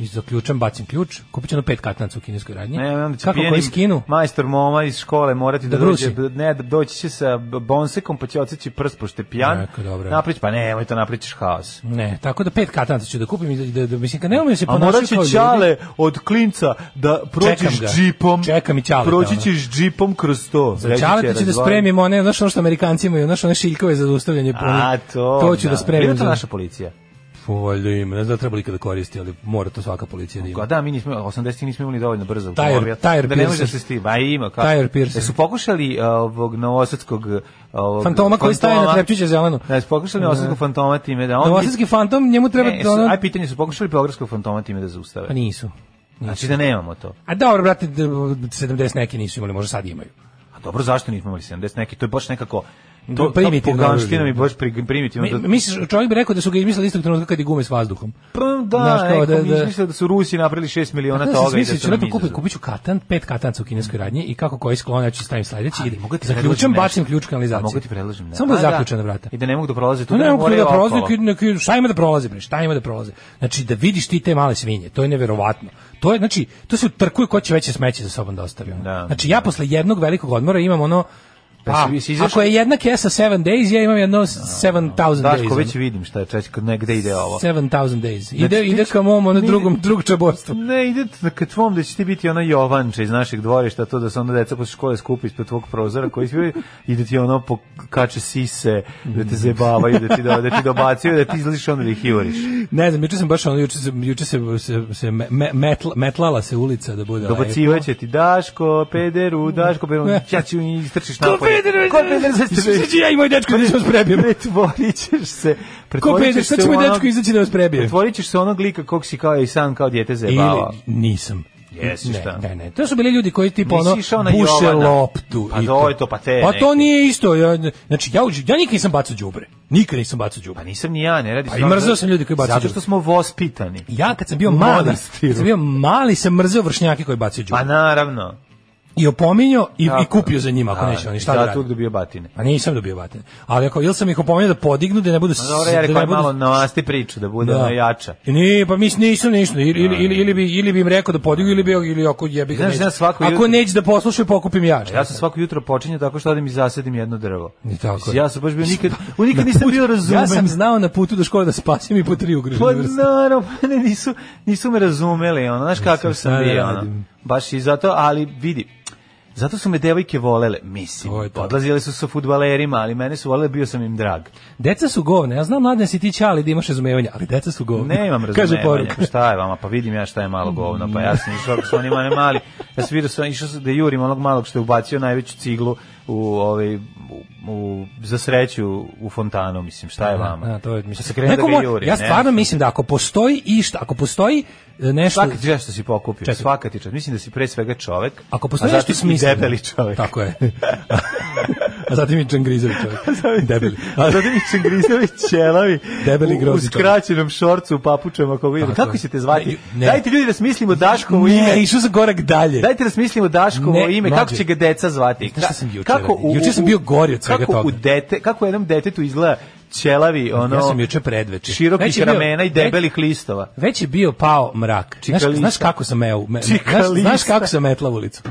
I zaključam, bacim ključ, kupit ću ono pet katanaca u kineskoj radnji. Ne, onda će Kako koji pijeni skinu? majstor moma iz škole morati da, Da dođe, brusi. ne, da doći će sa b- bonsekom pa će odseći prst pošto je pijan. Eko, dobro. Naprić, pa nemoj to naprićeš haos. Ne, tako da pet katanaca ću da kupim i da, da, da mislim, kad ne umijem se A ponašati morat će Pa kao Ćale ljudi- od klinca da prođeš Čekam ga. džipom. Čekam i Ćale, Proći da, ćeš džipom kroz to. Reći će, Čaleta ću da razvali. spremim one, znaš ono što Amerikanci imaju, znaš one šiljkove za zaustavljanje. A, oni- to, to ću da, Ima spremim. to za- naša policija. Po, Pa, valjda ima, ne znam da li treba ikada koristi, ali mora to svaka policija da A ima. da, mi nismo, 80-ih nismo imali dovoljno brzo. Tire- automobila, tire da ne može da piercer. se stima. A ima, kako? Tire piercer. E su pokušali uh, ovog novosadskog... uh, Ovog, Fantoma koji staje fantoma- na trepčiće zeleno. Da, su pokušali novosadskog fantoma time da on... Novosadski fantom, njemu treba... Ne, E, su, ono- aj pitanje su pokušali beogradskog fantoma time da zaustave. Pa nisu. Znači da nemamo to. A dobro, brate, d- 70 neki nisu imali, možda sad imaju. A dobro, zašto nismo imali 70 neki? To je baš nekako... To, To je primitivno To poganština oružje. mi baš pri- primitivno. Mi, da- misliš, čovjek bi rekao da su ga izmislili istog trenutka kad je gume s vazduhom. Pa da, Znaš kao neko da- mi da- Pa izmislio da su Rusi napravili 6 miliona Da, toga. i se smisli, da ću su nam lepo kupit, izazov. kupit ću katan, pet katanca u kineskoj radnji i kako koji sklon, ja ću stavim sledeći i Mm. mogu ti predložim zaključam, nešto? bacim ključ A kanalizacije. Mogu ti predložim nešto? Samo da je A, zaključena vrata. I da ne mogu da prolaze tu. To ne mogu moraju da prolaze, okolo. neki- neki- šta ima da prolaze, bre, šta ima da prolaze. Znači, da vidiš ti te male svinje, to je neverovatno. To je, znači, to se utrkuje ko će veće smeće za sobom da ostavi. ono. Da, znači, ja posle jednog velikog odmora imam ono, pa, si- si izašao- ako je jedna kesa 7 days, ja imam jedno 7000 days. Daško, ono. već vidim šta je češ, kad negde ide ovo. 7000 days. Ide, Znači, ti ide ćeš- ka mom, ono ne- drugom, drug čaborstvu. Ne, ide t- ka tvom da će ti biti ona Jovanča iz našeg dvorišta, to da se onda deca posle škole skupi ispod tvog prozora koji svi i da ti ono pokače sise, da te zebavaju, da ti, do, da ti dobacuju, da ti izliš onda da ih juriš. Ne znam, juče sam baš ono, juče se, juče se, se, se me- me- metla- metlala se ulica da bude lepo. Dobacivaće ti Daško, pederu, Daško, pederu, ja ću i istrčiš napolje. peder? Ko je peder? Zašto Sad ću ja i moj dečko da se vas prebijem. Pretvorit ćeš se. Ko pretvorit peder? ćeš Sad se će u ono- moj onog- dečko izaći da vas prebije. Pretvorit ćeš se onog lika kog si kao i sam kao djete zajebao. Ili nisam. Jesi, šta? Ne, ne, ne. To su bili ljudi koji tipa Nisi ono išao na buše Jovana. loptu. Pa i to je to, pa te Pa to neki. nije isto. Ja, znači, ja, uđi- ja nikad nisam bacao đubre. Nikad nisam bacao đubre. Pa nisam ni ja, ne radi Pa se o i tome. mrzeo sam ljudi koji bacaju Zato što smo vospitani. Ja kad sam bio U mali, manastiru. kad sam bio mali sam mrzeo vršnjake koji bacaju đubre. Pa naravno. I opominjao i, i Tako. kupio za njima ako Da, neće oni šta da Zato rade. uvijek dobio batine. Pa nisam dobio batine. Ali ako ili sam ih opominjao da podignu da ne budu No, Pa Dobro, ja da rekao ne je budu malo nasti priču, da bude ono jača. Ne, pa mislim nisam ništa. Ili, ili, ili, ili, bi, ili bi im rekao da podignu ili bi ili ako jebi ga Znaš, neće. ja svako ako jutro- neće da poslušaju, pokupim ja. Ja sam svako jutro počinjao tako što odem i zasadim jedno drvo. I tako Mislim, je. Ja sam baš bio nikad, u nikad Pa nisam bio razumen. Ja sam znao na putu do škole da spasim i po tri Pa ugrožene vrste. naravno, mene nisu, nisu me razumeli, ono, znaš kakav šta sam da bio, ono. radim? Baš i zato, ali vidi, zato su me devojke volele, mislim, To je to. odlazile su sa futbalerima, ali mene su volele, bio sam im drag. Deca su govne. Ja znam mladen si ti čali da imaš razumevanja, ali deca su govne. Nemam Kaže razumevanja, poruka. šta je vama, pa vidim ja šta je malo govno, pa ja sam išao sa onima ne mali, ja sam vidio sam, išao sam da jurim onog malog što je ubacio najveću ciglu u, ovaj, u, u- za sreću u fontanu, mislim, šta je vama? A, to je, Pa se mislim, krenuo neko da ga mora- juri, ja ne stvarno znam. mislim da ako postoji išta, ako postoji e, nešto... Svaka ti čast što si pokupio, Čekaj. svaka ti čast. Mislim da si pre svega čovek, Ako a postoji zato si nešto i smisleno. debeli čovek. Tako je. a zatim i čangrizevi čovjek. Debeli. A zato mi se grizevi ćelavi Debeli u- grozni u skraćenom šorcu, u papučama, kako vidim. Tako Kako je. ćete zvati? Ne, ne. Dajte ljudi da smislimo Daškovo Ne, ime. išao sam korak dalje. Dajte da smislimo Daškovo Ne, ime, kako mlađe. će ga deca zvati? Znaš šta Ka- sam juče radio? Juče sam u- bio gori od svega kako toga. U dete, kako jednom detetu izgleda ćelavi, ono, ja sam juče predveče. Već širokih je bio- ramena i već- debelih listova. Već je bio pao mrak. Znaš, Čikalista. znaš kako sam me, me znaš, Čikalista. znaš kako sam metla ulicu.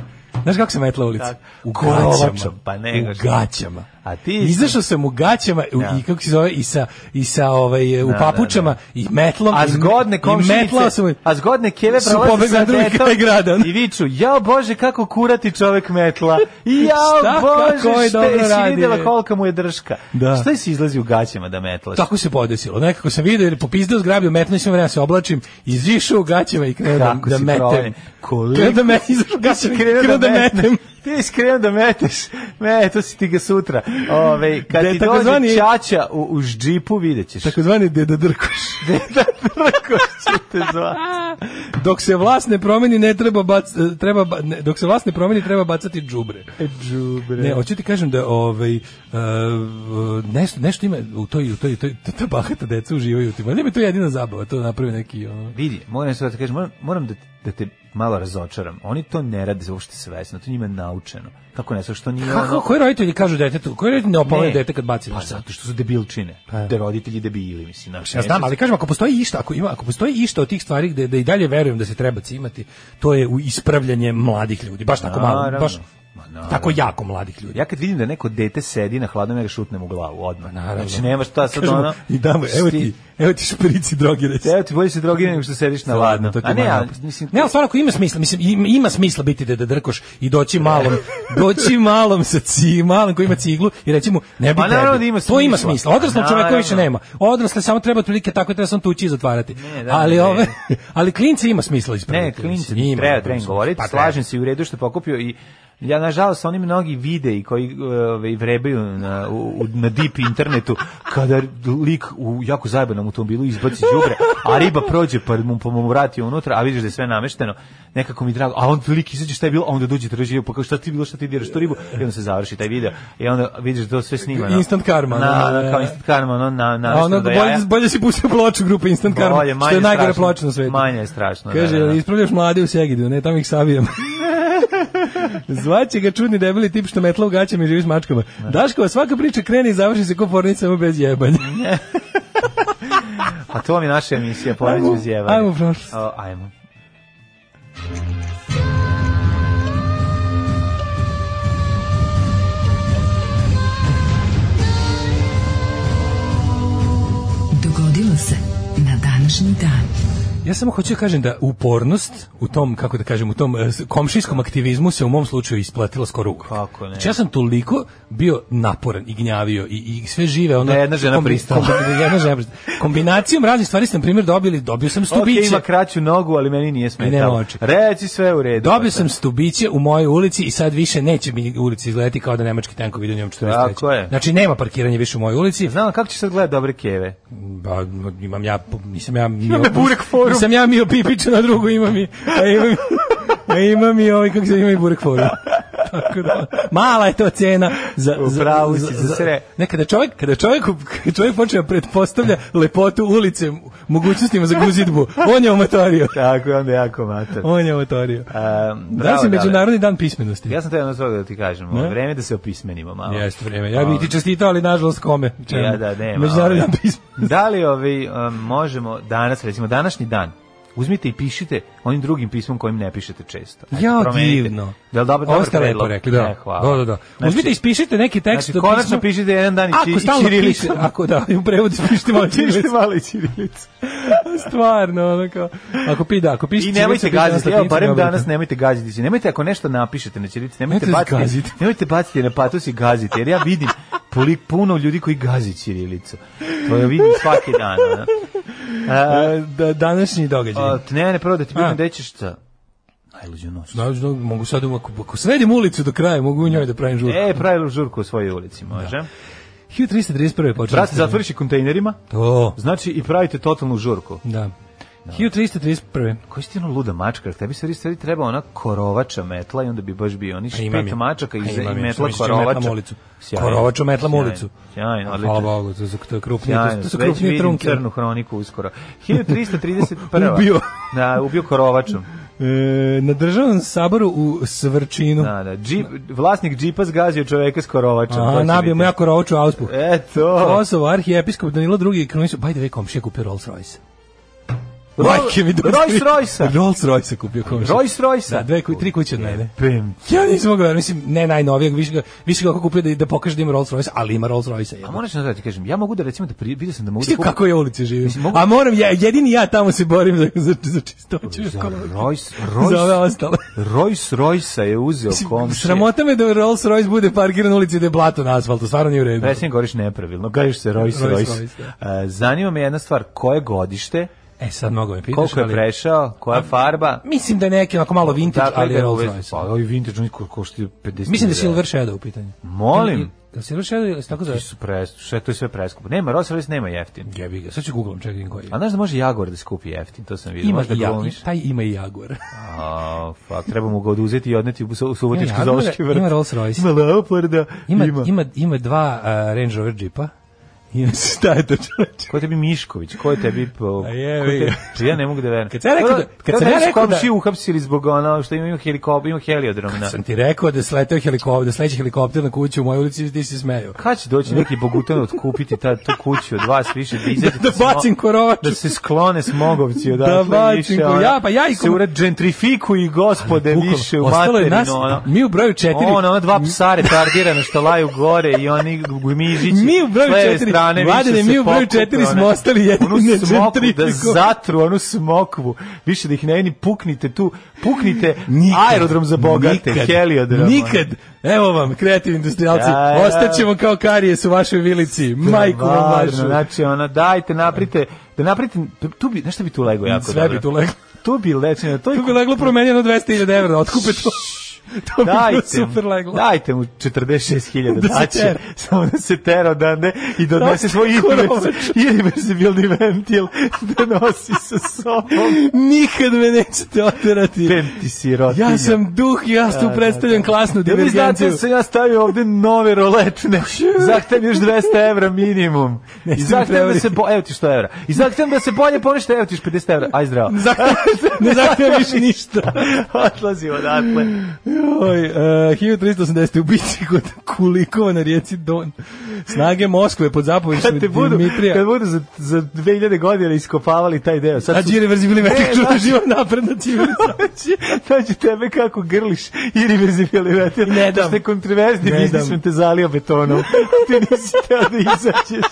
Znaš kako sam metla ulicu? Tako. U Kolovačom, gaćama. pa nego u šta. gaćama. A ti si- Izašao sam u gaćama u- Ja. i kako se zove i sa i sa ovaj e, u Da, da, papučama i metlom A i- zgodne i metlao sam komšinice, u- a zgodne keve su prolaze pobegle sa na drugi detom kraj grada. ono. i viču, jao bože kako kurati čovek metla, Šta, jao kako bože je šta dobro jesi radi, vidjela je. kolika mu je drška. Da. Šta si izlazi u gaćama da metlaš? Tako se podesilo. Nekako sam video ili popizdeo zgrabio, metnuo sam vremena se oblačim, izišao u gaćama i krenuo da, Kako da si metem. provaljen. Koliko Krenuo da me izašao u gaćama, i krenuo da metem. Ti si krenuo da meteš. Me, to si ti ga sutra. Ove, kad Da je ti dođe takozvani- čača u, u ždžipu, vidjet ćeš. Takozvani deda Drkoš. Deda Drkoš će te zvati. Dok se vlast ne promeni, ne treba bac, e, treba, ba- ne, dok se vlast ne promeni, treba bacati džubre. Džubre. Ne, hoću ti kažem da ovaj, e, nešto, nešto ima u toj, u toj, u toj, ta bahata deca uživaju u tim. Ali mi to jedina zabava, to napravi neki, ono, Vidi, moram sve da ti kažem, moram, moram da, da te malo razočaram. Oni to ne rade uopšte svesno, to njima je naučeno. Kako ne, sve što nije Kako, ono... koji roditelji kažu detetu, koji roditelji ne opomenu dete kad baci Pa nešto? zato što su debilčine. Pa. Da roditelji debili, mislim. Naš, Ja znam, ali kažem ako postoji išta, ako ima, ako postoji išta od tih stvari gde da i dalje verujem da se treba cimati, to je u ispravljanje mladih ljudi, baš tako malo, Naravno. baš Ma, naravno. tako jako mladih ljudi. Ja kad vidim da neko dete sedi na hladnom, ja ga šutnem u glavu odmah. Pa naravno. Znači, nema šta sad Kažemo, ono... I damo, evo Sti- ti, evo ti šprici drogi reći. Evo ti bolje se drogi nego što sediš na ladno. To ti A ne, je a, moj napad. mislim, ne, ali stvarno ako ima smisla, mislim im- ima smisla biti da drkoš i doći malom, doći malom sa ci, malom koji ima ciglu i reći mu ne bi Pa naravno tebi. da ima To ima smisla. smisla. Odraslom Pa čoveku više naravno. nema. Odrasle samo treba otprilike tako treba sam tući i zatvarati. Ne, da, ali ne. ove ali klinci ima smisla Ne, ispraviti. klinci mislim, ima, treba dobro, treba mislim, govoriti. pa treba. Slažem se i u redu što je pokupio i Ja, nažalost, oni mnogi videi koji ove, vrebaju na, u, u- na deep internetu, kada lik u jako zajebanom automobilu izbaci đubre, a riba prođe pa mu, pa mu vrati unutra, a vidiš da je sve namešteno, nekako mi je drago, a on lik izađe šta je bilo, a onda dođe i traži ribu, pa kao šta ti je bilo, šta ti diraš tu ribu, i onda se završi taj video, i onda vidiš da to sve snimano. Instant karma, Na, da, na, da, kao da. instant karma, ono, na, na, A ono, da bolje, bolje si pustio ploču grupe Instant Karma, Bolje, manje što je najgore strašno. ploča na svetu. Manje je strašno, da, Kaže, da, da. ispravljaš mlade u Segidu, ne, tamo ih savijam. Zvaće ga čudni debeli tip što metla u gaćama i živi s mačkama. Daškova svaka priča krene i završi se ko pornica samo bez jebanja. A to mi je naša emisija, poređu Ajmo, uz jevanje. ajmo u prošlost. O, Ajmo. Dogodilo se na današnji dan. Ja samo hoću da kažem da upornost u tom, kako da kažem, u tom eh, komšijskom aktivizmu se u mom slučaju isplatila skoro uvek. Kako ne? Znači, ja sam toliko bio naporan i gnjavio i, i sve žive. Ono, Da je jedna žena pristala. kombi- jedna žena pristala. Kombinacijom raznih stvari sam, na primjer, dobili, dobio sam stubiće. Ok, ima kraću nogu, ali meni nije Nema smetalo. oči. Reci sve u redu. Dobio sam stubiće u mojoj ulici i sad više neće mi ulici izgledati kao da nemački tenkovi idu njom 43. Tako je. Znači nema parkiranja više u mojoj ulici. Znam, kako ćeš sad gledati dobre keve? Ba, imam ja, nisam ja... Mio, me Burek forum. Nisam ja Mio Pipić, na drugu imam i... A imam, a imam i ovaj, kako se ima i Burek forum. Tako da, mala je to cena za, U pravu si, za sve. Ne, kada čovjek, kada čovjek, kada čovjek počne da pretpostavlja lepotu ulice mogućnostima za guzidbu, on je omatorio. Tako je onda jako mater. On je omatorio. Um, Da se međunarodni dan pismenosti. Ja sam te jedno svoga da ti kažem, Ne? vreme vreme je da se opismenimo malo. Jeste vreme. Ja bih ti čestitao, ali nažalost kome? Čemu? Ja da, nema. Međunarodni ovaj. dan pismenosti. Da li ovi, um, možemo danas, recimo današnji dan, uzmite i pišite onim drugim pismom kojim ne pišete često. Ajde, Ja, promenite. divno. Da li dobro, Ovo dobro ste lepo rekli, da. Ne, hvala. Da, da, da. Uzmite i ispišite neki tekst. Znači, do konačno pisma. pišite jedan dan i Ako ćir- i stalno ćirilicu. pišete, ako da, i u prevodu pišite malo Pišite ćirilicu. malo i ćirilicu. Stvarno, ono kao. Ako pi, da, ako pišete I nemojte ćirilicu, gaziti, pišite na evo, barem latinici, danas nemojte gaziti. se. Nemojte ako nešto napišete na ćirilici, nemojte Nemojte baciti, gaziti. nemojte baciti na patos i gaziti, jer ja vidim poli, puno ljudi koji gazi ćirilicu. To ja vidim svaki dan. ono. A, E, Da, današnji događaj. a, ne, ne, prvo da ti A. pitam da ćeš šta? Najluđu noć. Da, da, Znači, mogu sad, ako, ako sredim ulicu do kraja, mogu u njoj da pravim žurku. E, pravi žurku u svojoj ulici, može. 1331. počeli. Brate, zatvoriš i kontejnerima, To, znači i pravite totalnu žurku. da. 1331. Koji si ti ono luda mačka? jer Tebi stvari stvari treba ona korovača metla i onda bi baš bio oni Pa imam špet je. Znači, mačaka i, Pa imam i je. metla Mislim, mislim, korovača. metlam ulicu. Korovaču metlam sjajno, ulicu. Sjajno, Hvala odlično. Bogu, to su, to je krupnije, Sjajno, to su već krupnije vidim trunke. crnu hroniku uskoro. 1331. Ubio. da, ubio korovačom. E, na državnom saboru u Svrčinu. Da, da. Džip, vlasnik džipa zgazio čoveka s korovačom. to A, će nabio biti. E, mu jako rovaču auspuh. Eto. Kosovo, arhijepiskop Danilo II. i Krunić, by the way, komšija kupio Rolls Royce. Ro- Majke mi dođe. Rolls Royce-a. Rolls Royce kupio komšija. Rolls Royce-a. Da, dve, ku- tri kuće od mene. Pim. Ja nisam mogao, verovati, mislim, ne najnovijeg, više ga, više ga kako kupio da, da pokaže da ima Rolls Royce, ali ima Rolls Royce. A Pa moraš nešto da ti kažem, ja mogu da recimo da pri, vidio sam da mogu da Mislim, kako ja ulici živim. Mislim, mogu- A moram, ja, jedini ja tamo se borim za, za, za čistoću. Za ekološku. Rolls, Za ove Rolls, ostale. Rolls Royce je uzeo komšija. Sramota me da Rolls Royce bude parkiran na ulici i da je blato na asfaltu, stvarno nije u redu. Presim govoriš nepravilno, kažeš se Rolls Rolls Royce. Royce, E, zanima me jedna stvar, koje godište, E sad mnogo me pitaš, koliko je ali- prešao, koja farba? Mislim da je neki onako malo vintage, Dakle, ali ga je Rolls uvez- Royce. Pa ovi vintage oni ko koštaju 50. Mislim da je hiljada. Silver Shadow u pitanju. Molim. Da Silver Shadow ili se tako zove? Ti su pre, sve to je sve preskupo. Nema Rolls Royce nema jeftin. Jebi ga, sad ću googlam, čekaj vidim koji je. A znaš da može Jaguar da skupi jeftin, to sam vidio. Ima Možeš da i Jaguar, glumiš. taj ima i Jaguar. A, fuck, treba mu ga oduzeti i odneti u, so- u Subotički Ne, Jaguar zoološki vrt. ima Rolls Royce. Ima Leoparda, Ima, ima. ima, ima dva uh, Range Rover džipa. I šta je to čoveče? Ko je tebi Mišković? Ko je tebi... Po, A je, ko vi. tebi, ja ne mogu da verujem. Kad sam ja rekao da- kad sam ja rekao da- Komši uhapsili zbog ono što ima, ima, helikop, ima heliodrom. Na. Sam ti rekao da je sleteo helikopter, da sleće helikopter na kuću u mojoj ulici i ti si smejao. Kad će doći neki bogutan otkupiti ta, tu kuću od vas više? Da, izađete Da s mo- bacim korovač. Da se sklone smogovci odatle. Da bacim više, ko- ono, ja, pa ja i Se kom- urad gentrifikuju gospode Bukvalno, više u ostalo je materinu. nas, ono. mi u broju četiri, Ono, ono, dva psa retardirana što laju gore i oni gumižići. Mi u broju s leve četiri, strane više se Vladane, mi u broju pokupe, četiri smo ono. ostali jedini Onu na smoku da gentrifiku. zatru, onu smokvu. Više da ih ne ni puknite tu, puknite Nikad, aerodrom za bogate, nikad, heliodrom. ono. Nikad, evo vam, kreativni industrijalci, Da, da. ostaćemo kao karijes u vašoj vilici, majku vam Stvarno, vašu. Znači, ono, dajte, naprite, da naprite, tu bi, znaš šta bi tu legao jako Sve dobro? bi tu leglo. Tu bi legao, na toj Tu bi leglo promenjeno 200.000 evra, otkupe to. To bi bilo Dajte, mu- super leglo. dajte mu 46.000 Da se da će, tera. samo da se tera odande i da odnese Nosi svoj korovač. irreversi- irreversibilni ventil da nosi sa sobom. Nikad me nećete oterati. Pem ti sirotinja. Ja sam duh i ja tu predstavljam klasnu Ja vi znate divergenciju. da sam ja stavio ovde nove roletne. Zahtevam još 200 evra minimum. I Nisi mi zahtevam da prevario. se bo... Evo ti 100 evra. I zahtevam da se bolje ponešte. Evo ti još 50 evra. Aj zdravo. Ne zahteva- ne zahteva više ništa. Odlazi odatle. Joj, uh, 1380. u bici kod Kulikova na rijeci Don. Snage Moskve pod zapovištom Kad te budu, Dimitrija. kad budu za, za 2000 godina iskopavali taj deo. Sad A su- Điri Verzi bili E, Znači, vetik znaš- živa napredna civilizacija. Nađu tebe kako grliš irreverzibilni ventil. Ne dam. Što je kontroverzni Ne biznis dam. sam te zalio betonom. Ti nisi teo da izađeš.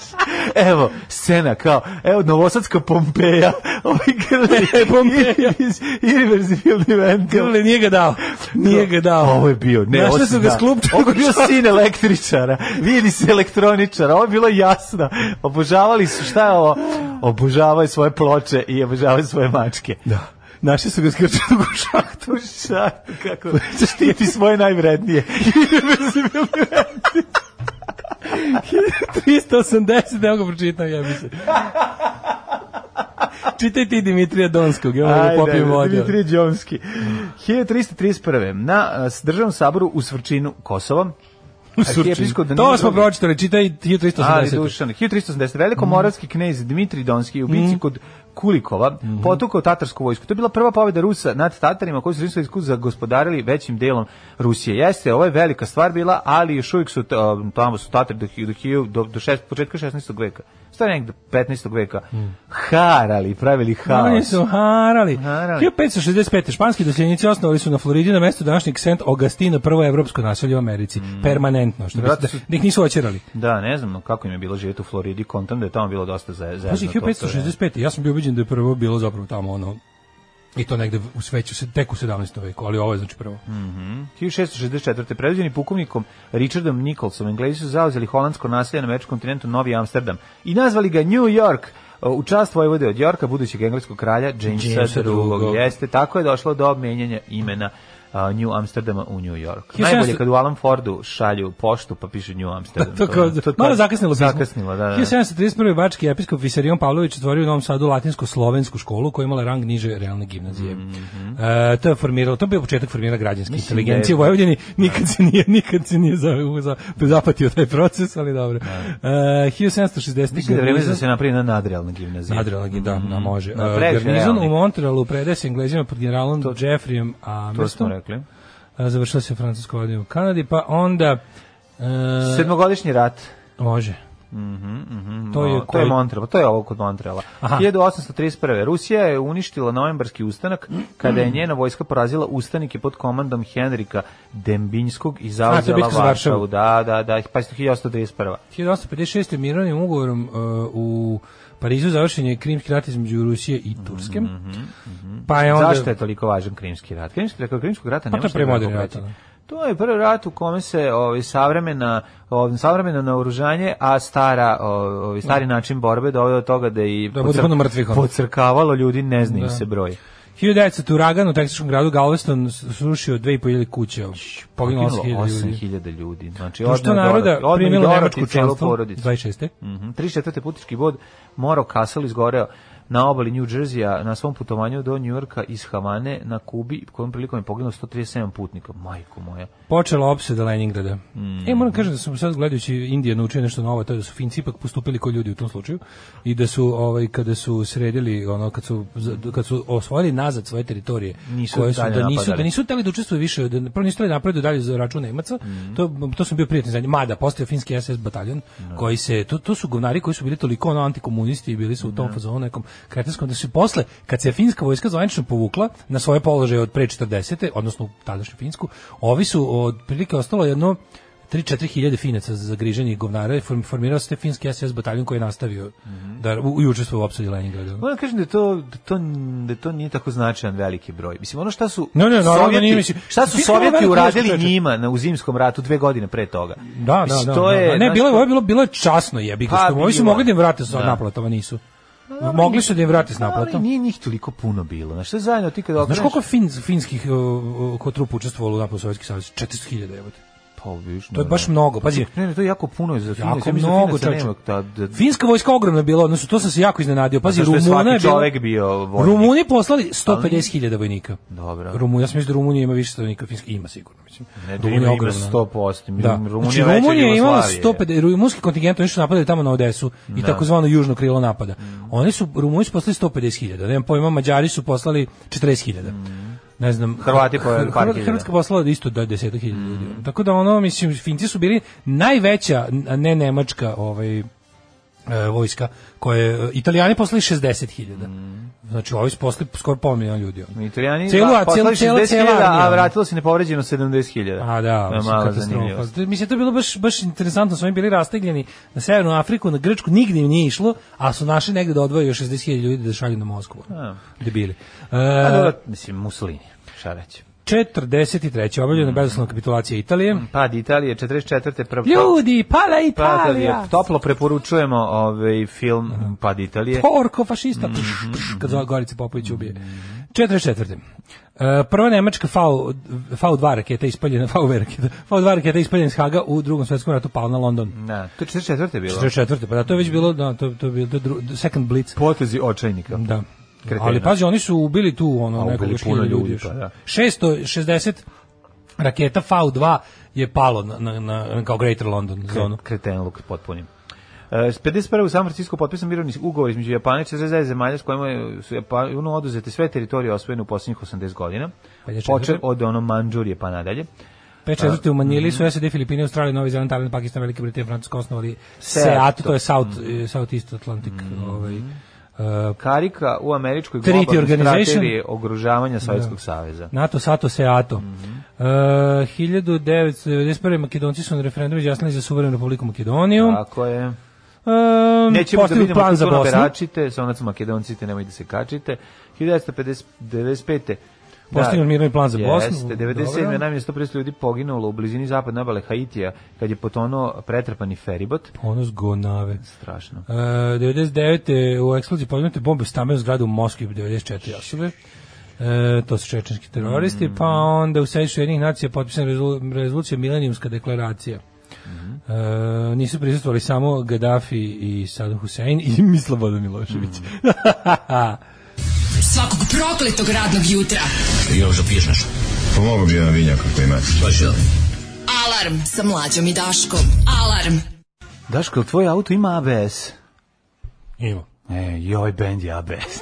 evo, scena kao, evo, Novosadska Pompeja, ovaj grli, E, Pompeja. iz Irreversibilni ventil. Grle nije ga dao. Nije ga dao. Ovo je bio, ne, Našli su osim ga da. sklupču. Ovo je bio sin električara, vidi se elektroničara, ovo je bilo jasno. Obožavali su, šta je ovo? Obožavaju svoje ploče i obožavaju svoje mačke. Da. Našli su ga skrčenog u šahtu. Tu šta, kako, štiti svoje najvrednije. 380, evo ga pročitam, jebi se. Čitaj ti Dimitrija Donskog, ja mogu popijem vodu. Dimitrije Đomski. 1331. Na uh, državnom saboru u Svrčinu, Kosovo, U Surčinu. Arhijepiskop Danilo- To smo pročitali, čitaj Ali 1380. Dušan, 1380. Velikomoravski knez Dmitrij Donski je u bici kod Kulikova potukao tatarsku vojsku. To je bila prva pobjeda Rusa nad Tatarima koji su rimskom iskuzu zagospodarili većim delom Rusije. Jeste, ovo je velika stvar bila, ali još uvijek su, t- um, tamo su Tatari do, hi- do, hiju- do, do šest, početka 16. veka. Sto je negde 15. veka. Harali, pravili Oni haos. su harali. Harali. 1565. Španski doseljenici osnovali su na Floridi na mestu današnjeg St. Augustina prvo evropsko naselje u Americi. Permanentno. Što bi, da, Vjerojatno Mm. su- Pa da ih nisu očerali. Da, ne znam no, kako im je bilo živjeti u Floridi, kontam da je tamo bilo dosta za, zezno. Pazi, to sve. 1565. Ja sam bio ubeđen da je prvo bilo zapravo tamo ono i to negde u sveću, se- tek u 17. veku, ali ovo je znači prvo. 1664. predviđeni pukovnikom Richardom Nicholsom, Englezi su zauzeli holandsko naselje na američkom kontinentu Novi Amsterdam i nazvali ga New York e, u čast vojvode od Yorka, budućeg engleskog kralja Jamesa, Jamesa II. II.. Jeste, tako je došlo do menjanja imena a, New Amsterdama u New York. 1700 Najbolje kad u Alan Fordu šalju poštu pa piše New Amsterdam. to kao, to- malo zakasnilo pismo. Zakasnilo, da, da. 1731. Bački episkop Visarion Pavlović otvorio u Novom Sadu latinsku-slovensku školu koja je imala rang niže realne gimnazije. E, to je formiralo, to je bio početak formiranja građanske Mhm. Mislim da inteligencije je- u Vojvodini. Nikad se nije, nikad se nije za, za, zapatio taj proces, ali dobro. E, 1760. Mislim da je vreme Garnizon- da se napravi na nadrealna gimnazija. Nadrealna gi- da, da, može. Na E, previše Garnizon u realnih. Montrealu predaje se Englezima pod generalom Jeffreyem To smo Amestom. rekli. E, Završila se francusko vladanje u Kanadi, pa onda... e, Sedmogodišnji rat. Može. To je Mhm, to je koji- Montreal, to je ovo kod Montreala. Aha. 1831. Rusija je uništila novembarski ustanak kada je njena vojska porazila ustanike pod komandom Henrika Dembinskog i A, to je zauzela bitka za Varšavu. Varšavu. Da, da, da, pa 1831. 1856. mirovnim ugovorom e, u Parizu završen je krimski rat između Rusije i Turske. Pa je onda... Mhm, Zašto je toliko važan Krimski rat? Krimski rat, Krimskog rata Pa ne to je može da premoderni tako rat, reći. da. To je prvi rat u kome se ovaj savremena ovaj savremeno naoružanje, a stara ovaj stari način borbe doveo do toga da i Da bude puno mrtvih, ono. pocrkavalo ljudi ne znaju se broj. 1900. uragan u teksaškom gradu Galveston srušio 2.500 kuća. Poginulo Poginulo 8.000 ljudi. 8000 ljudi. Znači, Društvo odneo je naroda Dorothy- odneo je primilo Dorothy nemačku celu članstvo porodicu. 26. Mhm. 34. putnički bod Moro Castle izgoreo na obali New Jersey-a na svom putovanju do Njujorka iz Havane na Kubi, kojom prilikom je poginulo 137 putnika. Majko moja. Počela opseda Leningrada. Mm. E, moram kažem da sam sad gledajući Indije naučio nešto novo, to je da su Finci ipak postupili kao ljudi u tom slučaju i da su ovaj kada su sredili ono kad su kad su osvojili nazad svoje teritorije Nisu koje su dalje da nisu napadali. da nisu hteli da učestvuju više da prvo nisu hteli da napreduju dalje za račun Nemaca. To to sam bio prijatno zadnje. Mada postao je finski SS bataljon koji se to, to su govnari koji su bili toliko ono antikomunisti i bili su u tom fazonu nekom kretenskom da su posle kad se finska vojska zvanično povukla na svoje položaje od pre 40. odnosno u tadašnju finsku, ovi su otprilike ostalo jedno 3-4 hiljade finaca za griženje govnara i form- formirao se taj finski SS bataljon koji je nastavio da, u, i učestvovao u opsadi Leningrada. Moram da kažem da je to, da to, da to nije tako značajan veliki broj. Mislim, ono šta su Ne, ne, naravno da Sovjeti- nije, mislim, šta su Finska je Sovjeti velika uradili čoveče. njima na, u zimskom ratu dve godine pre toga. Da, da, Mislim, da. to da, je, da. Ne, znaš, bilo je, to- ovo je bilo, bilo je časno jebi ga. Pa, što mu- Ovi su bilo je. mogli da im vrate sa Da. Pa, naplatama, nisu. Mogli su da im vrate s Ali naplatom. nije njih toliko puno bilo. Znaš, sve zajedno ti kada Znaš okreneš- koliko je fin, finskih uh, uh, ko trupa učestvovalo u napadu Sovjetski savez? 400.000 jebote. Pa, viš, To je ne, baš ne. mnogo. Pazi, Ne, ne, to je jako puno za Fince. jako Ja mislim da mnogo Finaca čoveče. nema ta- da- Finska vojska ogromna bila, odnosno to sam se jako iznenadio. Pazi, Zato što je Rumuna je svaki bila- čovek bio vojnik. Rumuni poslali 150.000 vojnika. Dobro. Rumunija, ja sam mislim da Rumunija ima više stanovnika od Finske. Ima sigurno, mislim. Ne, da Rumunija ima- ima je ogromna. 100%. Da. Rumunija znači, je veća od Rumunija je imala Jugoslavije. 150, rumunski kontingent, oni su napadali tamo na Odesu i takozvano južno krilo napada. Mm. Oni su, Rumuni su poslali 150.000, nemam pojma, Mađari su poslali 40.000. Mm. Ne znam, Hrvati po Hr- par Hr- hiljada. Mm. Hrvatska poslala isto do 10.000 ljudi. Tako da ono, mislim, Finci su bili najveća, a ne Nemačka, ovaj, e, vojska koje e, Italijani poslali 60.000. Znači ovi su poslali skoro pola miliona ljudi. ono. Mm. Italijani Celu- celu, celu- poslali cela- 60.000, cela armija. a vratilo se nepovređeno 70.000. A da, to je mislim, mala katastrofa. zanimljivost. Znači, Mislim, to je bilo baš, baš interesantno, su oni bili rastegljeni na Severnu Afriku, na Grčku, nigdje im nije išlo, a su našli negdje da odvoje još 60.000 ljudi da šalju na Moskvu. A. Debili. E, A Pa dobro, mislim, Mussolini, šta reći. 43. obavljena mm. bezoslovna kapitulacija Italije. Pad Italije, 44. prvo... Ljudi, Pa- pala Pad Italije. Italija! Toplo preporučujemo ovaj film Pad Italije. Porko fašista! Mhm. Pš, pš, kad zove Gorica Popović ubije. 44. E, prva nemačka V, V2 raketa ispaljena, V2 raketa, V2 raketa ispaljena iz Haga u drugom svjetskom ratu pala na London. Da, to je 44. bilo. 44. Pa da, to je već bilo, da, to, to je bilo to je dru- second blitz. Potezi očajnika. Da. Kretena. Ali pazi, oni su ubili tu ono A, ubili nekoliko puno puno ljudi. ljudi, još. pa da. 660 raketa V2 je palo na, na, na kao Greater London zonu. Kretenluk potpunim. E, s 51. u San Francisco potpisan mirovni ugovor između Japana i 49 zemalja s kojima je- su Japanu oduzete sve teritorije osvojene u posljednjih 80 godina. 54. Počeo od ono Manđurije pa nadalje. Pa, 5 u Manili mhm. su SAD, Filipine, Australija, Novi Zeland, Tajland, Pakistan, Velika Britanija, Francuska osnovali Seat, Mhm. SEAT, to je South, eh, Southeast Atlantic. Ovaj, eh, Karika u američkoj Treaty globalnoj Organization. strategiji ogružavanja Sovjetskog saveza. NATO, Sato, Seato. Mhm. Eh, 1991. Makedonci su na referendumu izjasnili za suverenu republiku Makedoniju. Tako je. Um, Nećemo da vidimo plan za kako Bosnu. beračite, sa onac makedoncite, nemojte se kačite. 1995. Postignut mirni plan za Bosnu, Jeste, dobro. 97. najmanje 150 ljudi poginulo u blizini zapadne obale Haitija kad je potonuo pretrpani feribot. Ponos Gonave. Strašno. E, 99. u eksploziji pognute bombe u stambenu zgradu u Moskvi 94 osobe. E, to su čečenski teroristi, Mm. pa onda u Sejšu jednih nacija potpisana rezolu- rezolucija Milenijumska deklaracija. Mm-hmm. E, nisu prisustvovali samo Gaddafi i Saddam Hussein i mi Slobodan Milošević. Mm. Svakog prokletog radnog jutra. Pomogu bi jedan vinjak ako imate. Alarm sa mlađom i Daškom. Alarm. Daško, jel tvoj auto ima ABS? Ima. E, joj, bend je ABS.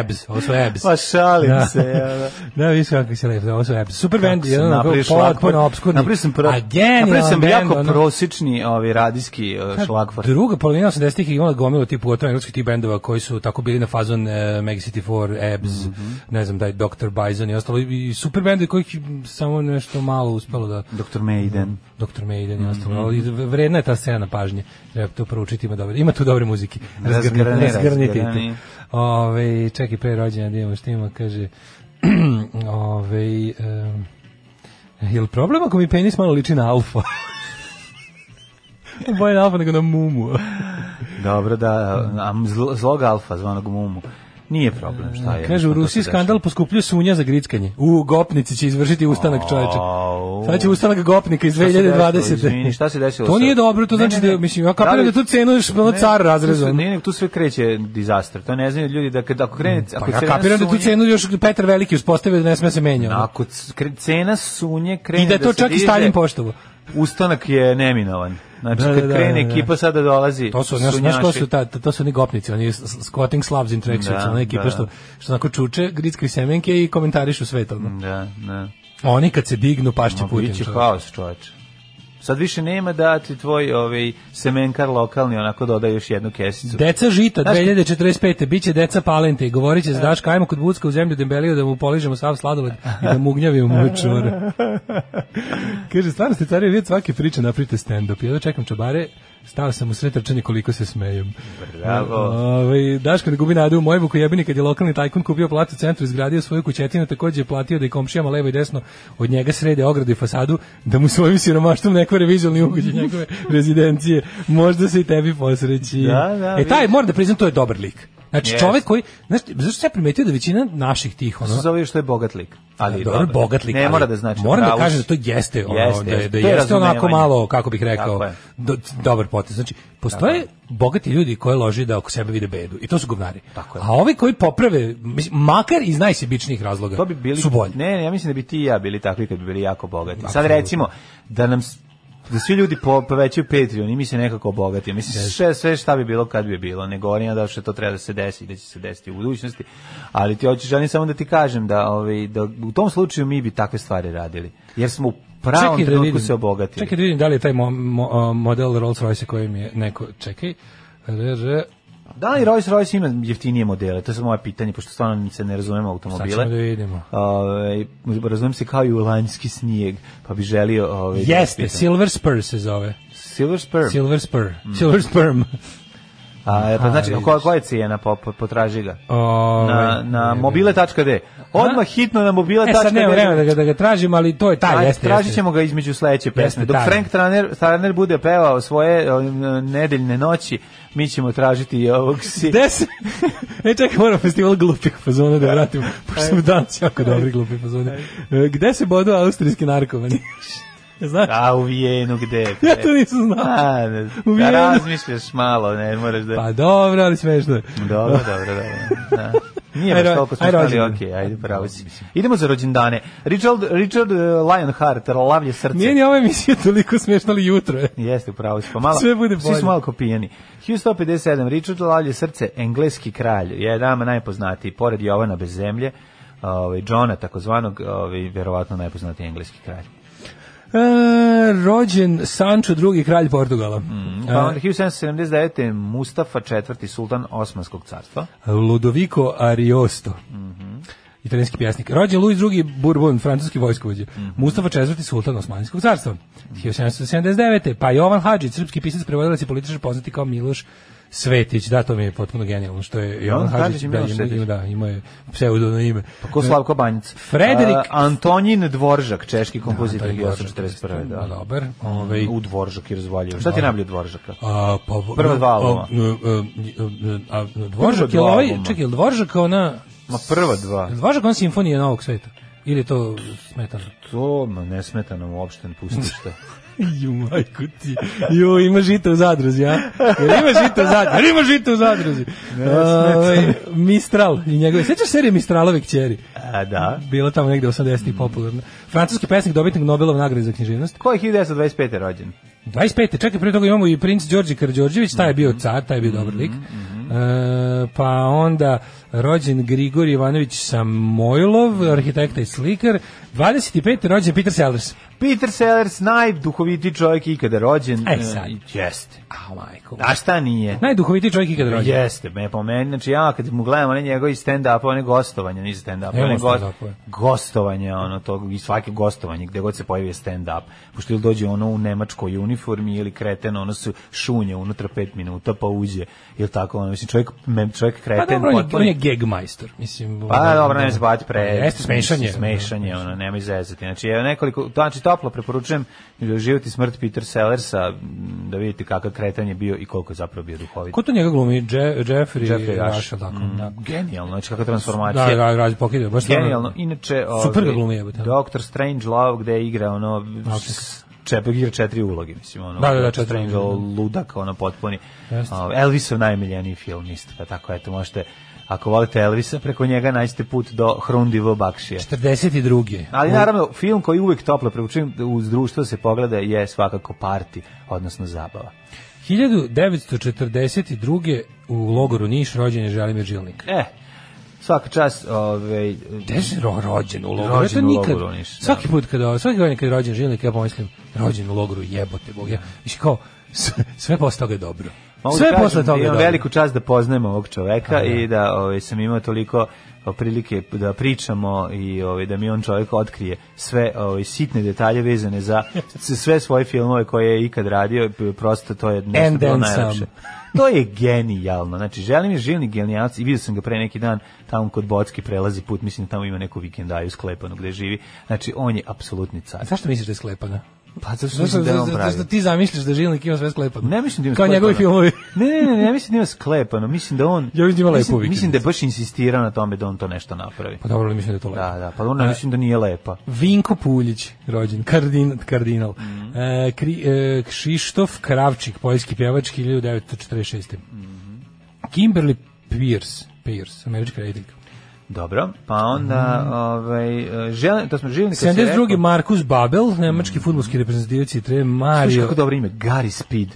Ebs, ovo su Ebs. Pa šalim Da. se. ono. ja, da. Da, vidiš kako se lepo, ovo su Ebs. Super band, Kako sam jedan onako napravio ono, potpuno šlagvort. obskurni. Napravio sam, pro, A genijalan napravio sam band, jako ono. prosječni ovaj, radijski uh, šlagvort. Druga polovina 80-ih je imala gomilu tipu gotovo engleskih tih bendova koji su tako bili na fazon e, Mega City 4, Ebs, Mhm. ne znam, taj Dr. Bison i ostalo. I, i super bendovi kojih samo nešto malo uspelo da Dr. Maiden. Dr. Maiden i ostalo. Mhm. Ali vredna je ta scena pažnje. Treba to proučiti, ima, dobre, ima tu dobre muzike. Razgrni, Razgrani, razgrniti. razgrani. Ove, čekaj, pre rođena, da imamo što ima, kaže... Ove, em, Jel problem ako mi penis malo liči na alfa? Bolje na alfa nego na mumu. Dobro da, am zlo, zlog alfa zvanog mumu. Nije problem, šta je. Kaže, u Rusiji skandal poskupljuje sunja za grickanje. U gopnici će izvršiti ustanak čoveče. Au. Sad će ustanak gopnika iz Šta se desilo, 2020. izvini, šta se desilo To sad? nije dobro, to Ne, znači ne, da, ne. mislim, ja Da kapiram da li- tu cenu još ono Ne, car tu sve- razrezan. Ne, ne, tu sve kreće dizaster. To ne znaju ljudi da kad ako krene, Pa ako ja cena kapiram da tu sunje- cenu još Petar Veliki uspostavio da ne sme se menja. ono. Ako c- kre- cena sunje krene I da je to se čak i diže, Stalin poštovo. Ustanak je neminovan. Znači, Da, da, kad da, krene da, da. ekipa sada dolazi To su, znaš, znaš ko sunjaši. su, ta, to su oni gopnici, oni s- s- squatting slabs in tracksuits, Da, ona ekipa da. što, što onako čuče, grickaju semenke i komentarišu sve to. Da, da. Oni kad se dignu pašće Ma, pa- Putin. Biće čoveče. haos, čoveče. Sad više nema da ti tvoj ovaj, semenkar lokalni onako doda još jednu kesicu. Deca žita Znaš- 2045. biće deca palente i govorit će se Daška, ajmo kod Bucka u zemlju Dembeliju da mu poližemo sav sladoled i da mu ugnjavimo mu čvore. Kaže, stvarno ste carije vidjeti svake priče naprite stand-up. Ja da čekam čabare, stao sam u sred trčanje koliko se smejem. Bravo. Ovaj, Daško ne gubi nadu u Mojbuku jebini kad je lokalni tajkun kupio platu u centru, izgradio svoju kućetinu, takođe je platio da je komšijama levo i desno od njega srede ogradu i fasadu, da mu svojim siromaštvom ne kvare vizualni ugođe njegove rezidencije. Možda se i tebi posreći. Da, da, e, taj, vidiš. moram da priznam, to je dobar lik. Znači, Jest. čovek koji, znaš, zašto sam ja primetio da većina naših tih, ono, se zove što je bogat lik. Ali dobro, dobro, bogat lik. Ne ali mora da znači. Moram da pravo kažem da si. to jeste, ono, Jeste, da, je- da jeste. To je jeste onako razumevanje. malo, kako bih rekao, Tako je. do, dobar potez. Znači, postoje bogati ljudi koji loži da oko sebe vide bedu i to su govnari. Tako je. A ovi koji poprave, mislim, makar iz najsebičnijih razloga, To bi bili, su bolji. Ne, ne, ja mislim da bi ti i ja bili takvi kad bi bili jako bogati. Sad Apsolutno. recimo da nam s- da svi ljudi po, povećaju Patreon i mi se nekako obogatimo. Mislim, sve, sve šta bi bilo kad bi bilo. Ne govorim ja da što to treba da se desi i da će se desiti u budućnosti. Ali ti hoćeš, želim samo da ti kažem da, ovaj, da u tom slučaju mi bi takve stvari radili. Jer smo u pravom trenutku se obogatili. Čekaj da vidim da li je taj mo, mo- a, model Rolls Royce koji mi je neko, čekaj, RR. Da li Rolls Royce ima jeftinije modele? To je sad moje pitanje, pošto stvarno se ne razumemo automobile. Sad ćemo da vidimo. Ovaj, razumem se kao i u lanjski snijeg, pa bi želio... Ovaj, da Jeste, pitam. Silver Spur se zove. Silver Spur. Mm. Silver Spur. Silver Sperm. A, pa Aha, znači, vidiš. koja, koja je cijena? Po, po, potraži ga. Ovaj, Na, na ne, mobile.d. Odmah hitno na mobile.d. E sad nema vremena da ga, da ga tražim, ali to je taj, Aj, jeste, tražit jeste. ćemo ga između sledeće pesme. Dok taj. Frank Traner, Traner bude pevao svoje e, nedeljne noći, mi ćemo tražiti i ovog si... Gde se? e, čekaj, moram festival glupih fazona da vratim, pošto smo danas jako dobri glupi fazoni. E, Gde se bodu austrijski narkomani? Znaš? A u Vijenu gde? Ja to nisam znao. A, ne, U da Vijenu. razmišljaš malo, ne moraš da... Pa dobro, ali smešno je. Dobro, dobro, dobro. Da. Nije Aj, baš ro- toliko aj, smešno, ali rođendan. okej, ajde, pravo si. Idemo za rođendane. Richard, Richard eh, Lionheart, lavlje srce. Nije ni ova emisija toliko smešna, ali jutro je. Jeste, upravo si pomalo. Sve bude Svi bolje. su malo kopijeni. 1157, Richard Lavlje srce, engleski kralj, je nama najpoznatiji, pored Jovana bez zemlje, ovaj, Johna, takozvanog, ovaj, verovatno najpoznatiji engleski kralj. E, rođen Sancho drugi kralj Portugala. Mm, Pa onda 1779. Mustafa IV. sultan Osmanskog carstva. Ludovico Ariosto. Italijanski pjesnik. Rođen Luis II Bourbon, francuski vojskovođa. Mustafa IV sultan Osmanskog carstva. 1779. Pa Jovan Hadžić, srpski pisac, prevodilac i političar poznati kao Miloš Svetić. Da, to mi je potpuno genijalno što je Jovan Hadžić Hadžić, i da, Miloš ima, Svetić. Pa ima, da, ima je pseudono ime. Ko Slavko Banjic. Frederik- A, Antonin Dvoržak, češki kompozitor Anton Dvoržak, 1841. Da. Pa dobar. Ovaj, U Dvoržak je razvaljivo. Šta ti je najbolje od Dvoržaka? A, pa, Prva dva albuma. A, a, a, a, Dvoržak je dva ovaj, albuma. čekaj, je li Dvoržak ona, Ma prva dva. je li Dvoržak ona simfonija Novog sveta? Ili je to smetano? To ma, nesmetano uopšte ne pustiš to. Ju, majku ti. Ju, ima žita u zadruzi, a? Jer ima žita u zadruzi. Jer ima žita u zadruzi. Ovaj, Mistral i njegove. Sjećaš serije Mistralove kćeri? A, da. Bila tamo negde 80-ih popularna. Francuski pesnik dobitnik Nobelove nagrade za književnost. Ko je 1925. rođen? 25. Čekaj, prije toga imamo i princ Đorđe Karđorđević, taj je bio car, taj je bio dobar lik. E, pa onda rođen Grigor Ivanović Samojlov, arhitekta i slikar. 25. rođen Peter Sellers. Peter Sellers, najduhovitiji čovjek ikada rođen. Ej, sad. E, Jeste. A, majko. A šta nije? Najduhovitiji čovjek ikad rođen. Jeste, me po meni, znači ja kad mu gledam one njegove stand-up, one gostovanja, nisu stand-up, Nema one go, stand-upa. gostovanja, ono to, i svake gostovanje, gde god se pojavi je stand-up, pošto ili dođe ono u nemačkoj uniformi ili kreten, ono su šunje unutra pet minuta, pa uđe, ili tako, ono, mislim, čovjek, mem, čovjek Pa kreten, dobro, on je, potpuno- on je geg majstor. Mislim, ono, pa Pa dobro, ne zbati pre. Jeste smešanje. Smešanje, ono, nema izvezati. Znači, evo nekoliko, znači toplo preporučujem e, život i smrt Peter Sellersa, m, da vidite kakav kretan je bio i koliko je zapravo bio duhovit. Ko to njega glumi? Je, Jeffrey, Jeffrey Rush. Rush, tako. Mm, Da. Genijalno, znači kakva Da, transformacija. da, da, razli pokidaju, baš stvarno. Genijalno. Inače, ovaj, Super ga glumi, jebote. Doctor Strange Love gde je igra ono Altis. čepek igra četiri uloge, mislim, ono. Da, da, da, Dr. četiri Strange uloge, ludak, ono, potpuni. Jeste. Ovaj, Elvisov najmiljeniji film, isto, pa tako, eto, možete, ako volite Elvisa, preko njega nađete put do Hrundivo Bakšije. 42. Ali naravno, film koji uvek toplo preučujem uz društvo da se pogleda je svakako parti, odnosno zabava. 1942. u logoru Niš rođen je Želimir Žilnik. E, svaka čast, ovaj, Gde se ro, rođen u logoru? Rođen Ja to u nikad, logoru Niš, da. Svaki put kada, svaki godin kada je rođen Žilnik, ja pomislim, rođen u logoru, jebote Bog. Ja, mislim, kao, sve, sve posle toga je dobro. Mogu sve da kažem posle da toga je imam dobro. veliku čast da poznajem ovog čoveka A, da. i da ovaj, sam imao toliko ovaj, prilike da pričamo i ovaj, da mi on čovjek otkrije sve ovaj, sitne detalje vezane za s- sve svoje filmove koje je ikad radio, p- prosto to je nešto And bilo then najlepše. some. To je genijalno. Znači, želim je žilni genijalac i vidio sam ga pre neki dan tamo kod Bocki prelazi put, mislim da tamo ima neku vikendaju sklepanu gde živi. Znači, on je apsolutni car. A Zašto misliš da je sklepana? Pa zato što Zašto, mislim da je on zašto, pravi. zašto ti zamisliš da Žilnik ima sve sklepano? Ne mislim da ima Kao sklepano. njegovi filmovi. Ne, ne, ne, ne mislim da ima sklepano, mislim da on... Ja mislim da ima lepo mislim, vikend. mislim da je baš insistirao na tome da on to nešto napravi. Pa dobro, ali mislim da je to lepo. Da, da, pa ona mislim da nije lepa. Vinko Puljić, rođen, kardin, kardinal. Mhm. E, Kri, e, Kšištof Kravčik, poljski pjevač, 1946. Mhm. Kimberly Pierce, Pierce, američka rejtinga. Dobro, pa onda, Mm. ovaj, žel, to smo živni... 72. Markus Babel, nemački futbolski reprezentativac i trener Mhm. Slušaj Mario. kako dobro ime, Gary Speed.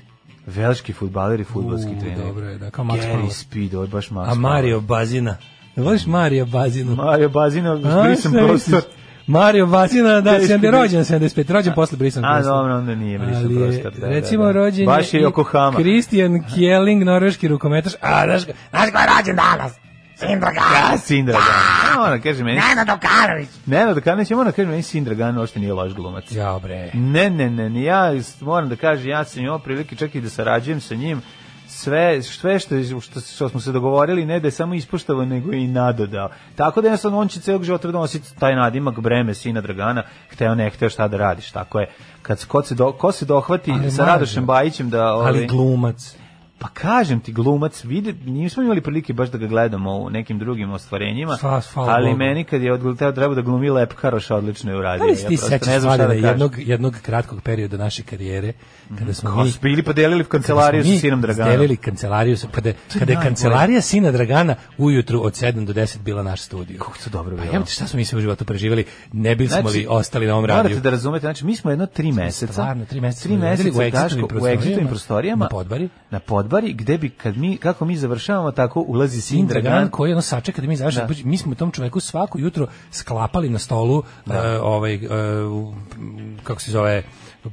Velški futbaler i futbolski U, trener. Dobro je, da, kao Max Gary Power. Speed, ovo je baš Max A Mario Bazina. Voliš Mario Power. Bazinu? Mario Bazino, A, brisam šta prostor. misliš? Mario Vazina, da, Teško 70, bi- rođen 75, rođen posle brisan A, dobro, onda nije brisan Ali je, prostor, da, da, recimo, da. rođen Baš je i Yokohama. Christian Kjelling, norveški rukometaš. A, znaš, ga- znaš ko je rođen danas? Sindraga. Ja, Sindra Gan. Ona kaže meni, Ana Dokanović. ne, da kada nećemo, ona kaže meni Sindra Gan, uopšte nije loš glumac. Ja, bre. Ne, ne, ne, ni ja s- moram da kažem, ja sam imao prilike čak i da sarađujem sa njim, sve sve što, je- što, što smo se dogovorili ne da je samo ispoštovao nego i nadodao. Tako da jednostavno on će celog života donositi taj nadimak breme sina Dragana, hteo ne hteo šta da radiš, tako je. Kad ko se, do, ko se dohvati Ali sa Mario, Radošem Bajićem da... Ali ovaj- glumac. pa kažem ti, glumac, vidi, nismo imali prilike baš da ga gledamo u nekim drugim ostvarenjima, Hvala- hvala ali Bogu. meni kad je odgledao treba da glumi Lep Karoša odlično je uradio. Da li se Ja ti prosto ne sećaš znam šta stvari da kažem. Mhm. jednog, jednog kratkog perioda naše karijere, kada smo Ko mi... Pa su bili podelili kancelariju kada smo sa mi sinom Draganom. Delili kancelariju, sa, kada, kada je najbolje. kancelarija sina Dragana ujutru od 7 do 10 bila naš studio. Kako to dobro Pa bilo. jebate, šta smo mi sve u životu preživjeli, ne bili smo li ostali na ovom radiju. Morate da razumete, znači mi smo jedno tri meseca, stvarno tri meseca tri smo meseca radili u exitovim Daško, u prostorijama, exitovim prostorijama, na Podbari. na podbari, gde bi, kad mi, kako mi završavamo, tako ulazi sin Sin Dragan Dragan, koji ono sačeka da mi završi, Da. mi smo tom čoveku svako jutro sklapali na stolu e, ovaj, e, kako se zove,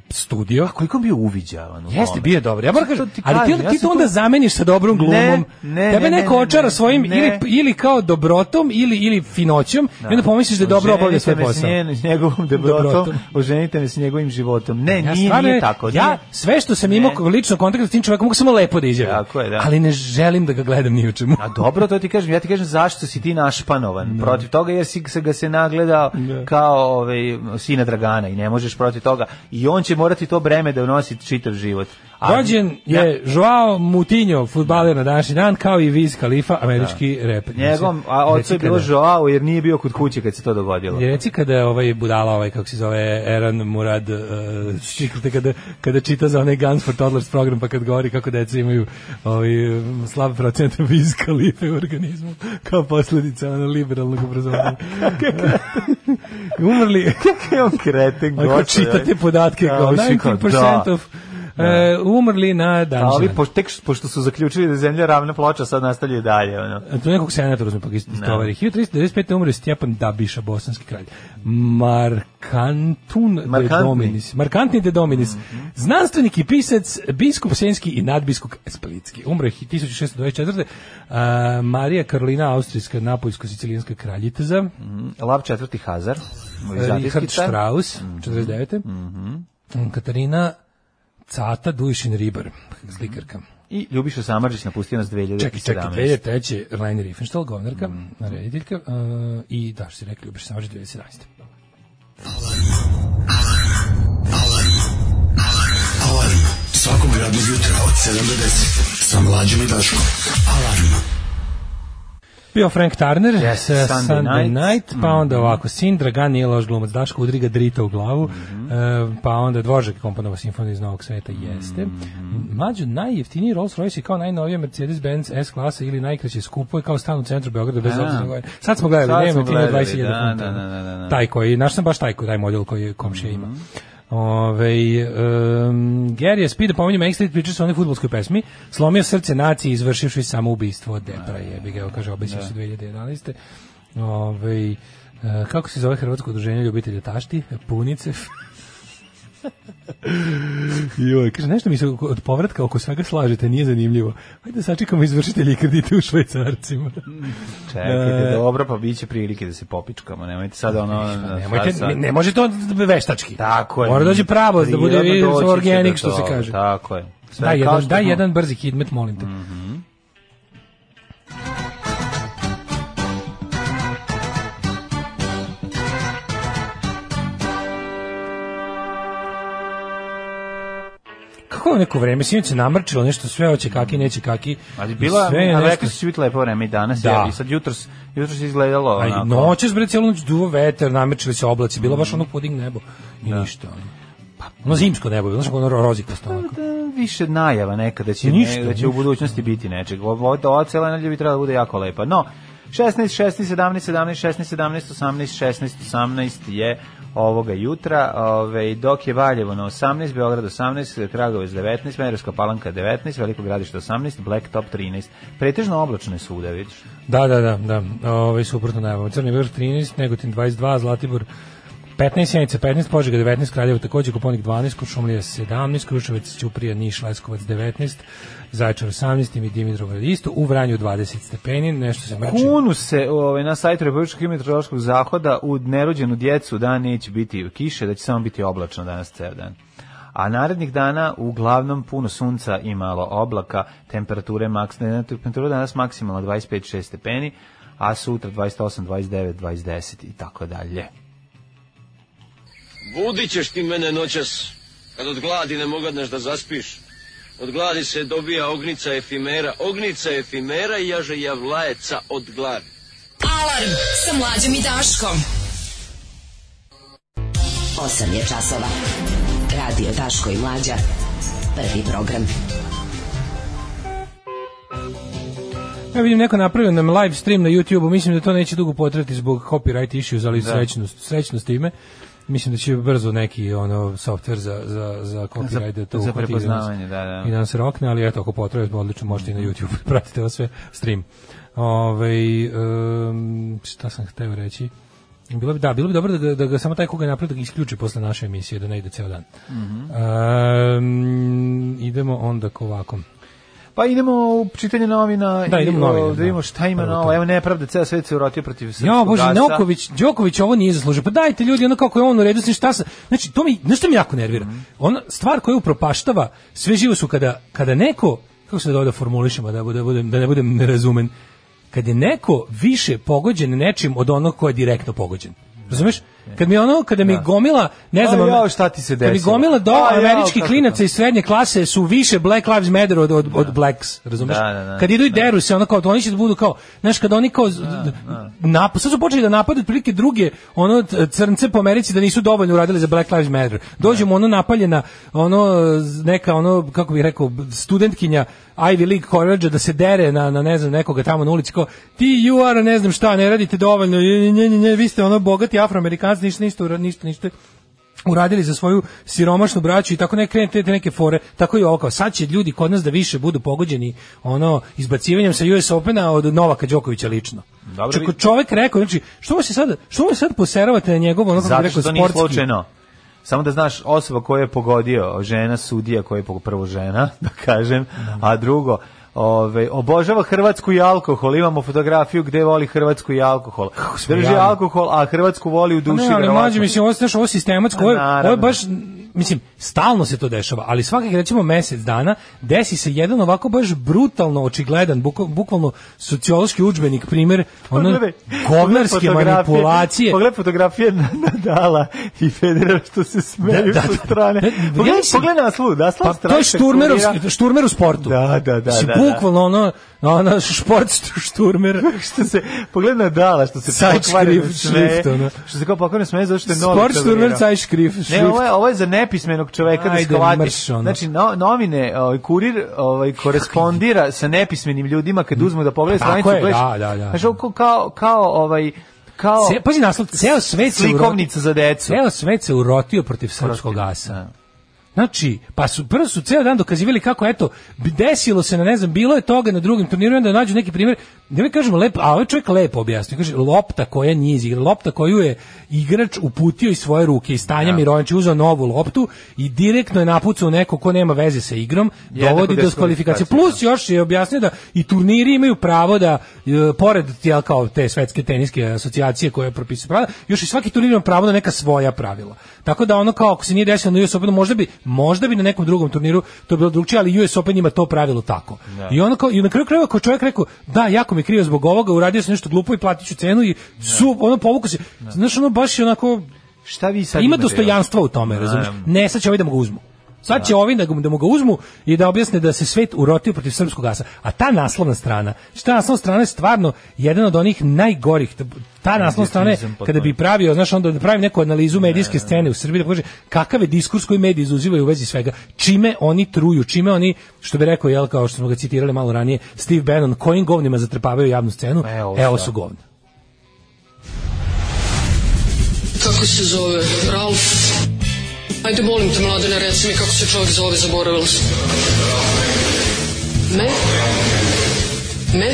studio. koliko bi uviđavan u Jeste, tome. bio je dobar. Ja moram To kažem, ono? ti ali ti, kažem, onda, ja ti sam to onda to- zameniš sa dobrom glumom. ne, ne, Tebe neko ne, ne, očara ne, svojim ne. ili, ili kao dobrotom ili, ili finoćom i onda pomisliš da je dobro obavlja svoj Oženite me s posao. njen- S njegovom dobrotom, Dobrotom. oženite me s njegovim životom. Ne, nije, stvarno, nije tako. Ja nije. sve što sam imao lično kontakt s tim čovjekom mogu samo lepo da izjavim. Tako je, da. Ali ne želim da ga gledam ni u čemu. A dobro, to ti kažem, ja ti kažem zašto si ti našpanovan protiv toga jer si se ga se nagledao kao ovaj sina Dragana i ne možeš protiv toga i on će morati to breme da nosi čitav život. A- Rođen Ja- je Joao Moutinho, futbaler na današnji dan, kao i Wiz Khalifa, američki rep. njegom, a ocu je bilo žao jer nije bio kod kuće kad se to dogodilo. Je reci kada je ovaj budala ovaj kako se zove Eran Murad uh, čikate kada kada čita za onaj Guns for Toddlers program pa kad govori kako deca imaju ovaj um, slab procenat viskalife u organizmu kao posledica ono liberalnog obrazovanja. Umrli Kakav je on kreten ako gotovo. čitate podatke Kao kao svi kao, 90% da. of e, umrli na A ovi, današnji dan. pošto, tek, što- pošto su zaključili da je zemlja ravna ploča, sad nastavljaju dalje. Ono. Tu nekog senatora uzme pak iz iz tovari. 1395. umre Stjepan Dabiša, bosanski kralj. Markantun de Markantni. Dominis. Markantni de Dominis. Znanstvenik i pisac, biskup Senski i nadbiskup Splitski. Umre hi- 1624. A, Marija Karolina, austrijska, napoljsko-sicilijanska kraljica. Lav četvrti Hazar. Richard vizantijski car. Strauss, 49. Katarina Cata Dušin Ribar, slikarka. I Ljubiša Samarđić napustio nas 2017. Čekaj, čekaj, 2003. Rajna Riefenstahl, govnarka, narediteljka, uh, i da, što si rekli, Ljubiša Samarđić, 2017. Alarm svakog radnog jutra od 7 do 10 sa mlađom i Daškom. Alarm. Bio Frank Turner, Yes, sa Sunday Sunday, Night. Night, pa onda ovako, Sin Dragan nije loš glumac, Daško udri ga drita u glavu, e, pa onda Dvožak je komponovao simfoniju iz Novog sveta, jeste. Mađo, najjeftiniji Rolls Royce je kao najnovija Mercedes-Benz S-klasa ili najkraće skupo je kao stan u centru Beograda, bez Da. obzira na koje- Sad smo gledali, Sad nema smo jeftinije od gledali, 20.000 da, funta. da, da, da, da, da. Taj koji, naš sam baš taj, koji- taj model koji je komšija ima. Ovaj um, Gary je Speed, pominjem Extra priča su o onoj futbolskoj pesmi, slomio srce naciji izvršivši samoubistvo od Depra, jebi ga, evo, kaže, obisio se 2011. Ovaj, e, kako se zove Hrvatsko udruženje ljubitelja tašti? Punicev. Joj, kaže, nešto mi se oko- od povratka oko svega slažete, nije zanimljivo. Hajde da sačekamo izvršitelji kredite u švajcarcima. Čekajte, E, dobro, pa bit će prilike da se popičkamo, nemojte sad ono... na- Nemojte, sad- ne, ne može to veštački. Tako je. Mora dođe pravo, da bude Prirodno doći će organik, do što se toga, kaže. Tako je. Sve Daj kao jedan, što daj smo- Mhm. jedan brzi hidmet, molim te. Kako je u neko vreme, sinoć se namrčilo nešto, sve hoće kaki, neće kaki. Ali bila, i sve je a nešto- rekli su biti lepo vreme i danas, Da. da. i sad jutros, jutros je izgledalo A onako. i noćas bre cijelu noć duvo vetar, namećili se oblaci, bilo baš ono puding nebo i ništa. ono. Pa, ono zimsko nebo, bilo ono ro- rozik postao onako. Da, više najava neka da će, Ništa, ne, da će u ništa. budućnosti biti nečeg. Ovo- Ova, ova cela nedelja bi trebala da bude jako lepa. No, 16, 16, 17, 17, 16, 17, 18, 16, 18 je ovoga jutra, ove, dok je Valjevo na 18, Beograd 18, Kragovec 19, Merovska palanka 19, Veliko gradište 18, Black Top 13. Pretežno oblačno je svuda, vidiš. Da, da, da, da. Ovaj suprotno najavama. Crni vrh 13, Negotin 22, Zlatibor 15 Sjenica 15, Požega 19, Kraljevo takođe, Koponik 12, Kuršumlija 17, Kruševac, Ćuprija, Niš, Leskovac 19, Zaječar 18 i Dimitrov isto, u Vranju 20 stepeni, nešto se mrači. Kunu se ovaj, na sajtu Republičkog hidrometeorološkog zahoda u nerođenu djecu da neće biti kiše, da će samo biti oblačno danas ceo dan. A narednih dana uglavnom puno sunca i malo oblaka, temperature maks, ne, temperatura danas maksimalno 25-6 stepeni, a sutra 28, 29, 20 i tako dalje. Budit ćeš ti mene noćas, kad od gladi ne mogadneš da zaspiš. Od gladi se dobija ognica efimera, ognica efimera i jaže javlajeca od gladi. Alarm sa mlađom i Daškom. 8 je časova. Radio Daško i Mlađa. Prvi program. Ja vidim neko napravio nam live stream na YouTubeu, mislim da to neće dugo potrati zbog copyright issues, ali da. srećno, srećno s time. Mislim da će brzo neki ono softver za za za copyright da to za uhvati i nas- prepoznavanje, da, da. I da nas rokne, ali eto ako potrebe odlično možete i na YouTube pratite ovo sve stream. Ovaj em, šta sam hteo reći? Bilo bi da, bilo bi dobro da, ga- da ga samo taj koga napravi da ga isključi posle naše emisije da ne ide ceo dan. Mhm. Em, idemo onda k ovako. Pa idemo u čitanje novina Da, idemo i, novine, o, da. da vidimo šta ima Prvo to. novo. Evo nepravda, ceo svet se urotio protiv srpskog Ja, bože, gasa. Neoković, Đoković ovo nije zaslužio. Pa dajte ljudi, ono kako je on u redu, s tim šta sa... Znači, to mi, nešto mi jako nervira. Mhm. Ona stvar koja upropaštava, sve živo su kada, kada neko, kako se da ovdje formulišemo, da, bude, budem- da ne budem nerazumen, kad je neko više pogođen nečim od onog ko je direktno pogođen. Razumeš? Kad mi ono, kada mi gomila, ne znam, A ono- Pa jao, šta ti se Kad mi desilo? gomila do A jao, američkih kako klinaca to? iz srednje klase su više Black Lives Matter od, od, od Blacks, razumeš? Da, da, da. Kad idu i deru se, ono kao, oni će da budu kao, znaš, kad oni kao, nap, sad su počeli da napadaju otprilike druge, ono, t- crnce po Americi da nisu dovoljno uradili za Black Lives Matter. Dođemo ono napaljena, ono, z- neka, ono, kako bih rekao, studentkinja Ivy League college da se dere na, na, ne znam, nekoga tamo na ulici, kao, ti, you are, ne znam šta, ne radite dovoljno, nje, nje, nje, nje, vi ste ono bogati afroamerikanci, ništa, ništa, ura- ništa, ništa, uradili za svoju siromašnu braću i tako ne krenete te neke fore, tako i ovo kao sad će ljudi kod nas da više budu pogođeni ono izbacivanjem sa US Opena od Novaka Đokovića lično. Dobro, Čak vidi. čovjek rekao, znači, što mu se sad, što mu sad poseravate na njegov ono kako Zato bi rekao što to nije sportski. slučajno. Samo da znaš, osoba koju je pogodio, žena, sudija koja je pog- prvo žena, da kažem, a drugo, Ove, obožava Hrvatsku i alkohol. Imamo fotografiju gde voli Hrvatsku i alkohol. smo Drži jadni. alkohol, a Hrvatsku voli u Pa duši. Ne, ali verovatno. mlađe, mislim, ovo, znaš, ovo sistematsko, ovo, je- Pa, ovo naravno. je baš, mislim, stalno se to dešava, ali svakih, recimo, mesec dana desi se jedan ovako baš brutalno očigledan, buko- bukvalno sociološki udžbenik primer, ono, Pogledaj, govnarske pogledaj Pa fotografije- manipulacije. Pogledaj fotografije Nadala i Federa što se smeju Da, da, da, da. strane. Da, da, ja Pogledaj, mislim- pogledaj naslov, naslov Pa to strane je šturmer, u- kalkulira- šturmer u sportu. Da, da, da, Mislim, da, da. bukvalno ono, ono šport stu- šturmer. što se pogledaj Nadala što se Sajt pokvareno šrift- smeje. šrift, ono. Što se kao pokvareno smeje zato što je novi. Sport šturmer, caj škrif. Ne, šrift. ovo je, ovo je za nepismenog čoveka da Ajde, shvati. mrš, ono. Znači, no, novine, ovaj, kurir ovaj, korespondira sa nepismenim ljudima kad uzmu da pogledaju Tako stranicu. je, gledaš- da, da, da. Znaš, ovo kao- kao, kao, ovaj, kao Ce- pazi naslov, ceo svet se urotio, slikovnica za decu. ceo svet se urotio protiv srpskog gasa. Znači, pa su prvo su ceo dan dokazivali kako eto bi- desilo se na ne znam bilo je toga na drugim turniru i onda nađu neki primjer. Ne mi kažemo lepo, a ovaj čovjek lepo objasnio. Kaže lopta koja nije iz igre, lopta koju je igrač uputio iz svoje ruke i Stanja Mirović je uzeo novu loptu i direktno je napucao neko ko nema veze sa igrom, Jednako dovodi do diskvalifikacije. diskvalifikacije, Plus Plus još je objasnio da i turniri imaju pravo da e, pored jel, kao te svetske teniske asocijacije koje propisuju pravila, još i svaki turnir ima pravo na neka svoja pravila. Tako da ono kao ako se nije desilo na US Openu, možda bi možda bi na nekom drugom turniru to bilo drugčije, ali US Open ima to pravilo tako. I ono kao i na kraju krajeva kao čovjek rekao, da, jako mi je krivo zbog ovoga, uradio sam nešto glupo i platit ću cenu i su ono povuku se. Znaš, ono baš je onako Šta vi sad Pa ima imate, dostojanstva u tome, razumiješ? Naravno. Ne, sad će ovi da mu ga uzmu. Sad će ovi da, ga- da mu ga uzmu i da objasne da se svet urotio protiv srpskog gasa. A ta naslovna strana, šta naslovna strana je stvarno jedan od onih najgorih. Ta naslovna strana je, potpuno. kada bi pravio, znaš, onda da pravim neku analizu medijske scene u Srbiji, da kaže kakav je diskurs koji mediji izuzivaju u vezi svega, čime oni truju, čime oni, što bi rekao, jel, kao što smo ga citirali malo ranije, Steve Bannon, kojim govnima zatrpavaju javnu scenu, Evo, evo sad. su govna. Kako se zove? Ralf? Ajde, molim te, mladene, reci mi kako se čovjek zove, zaboravila sam. Me? Me?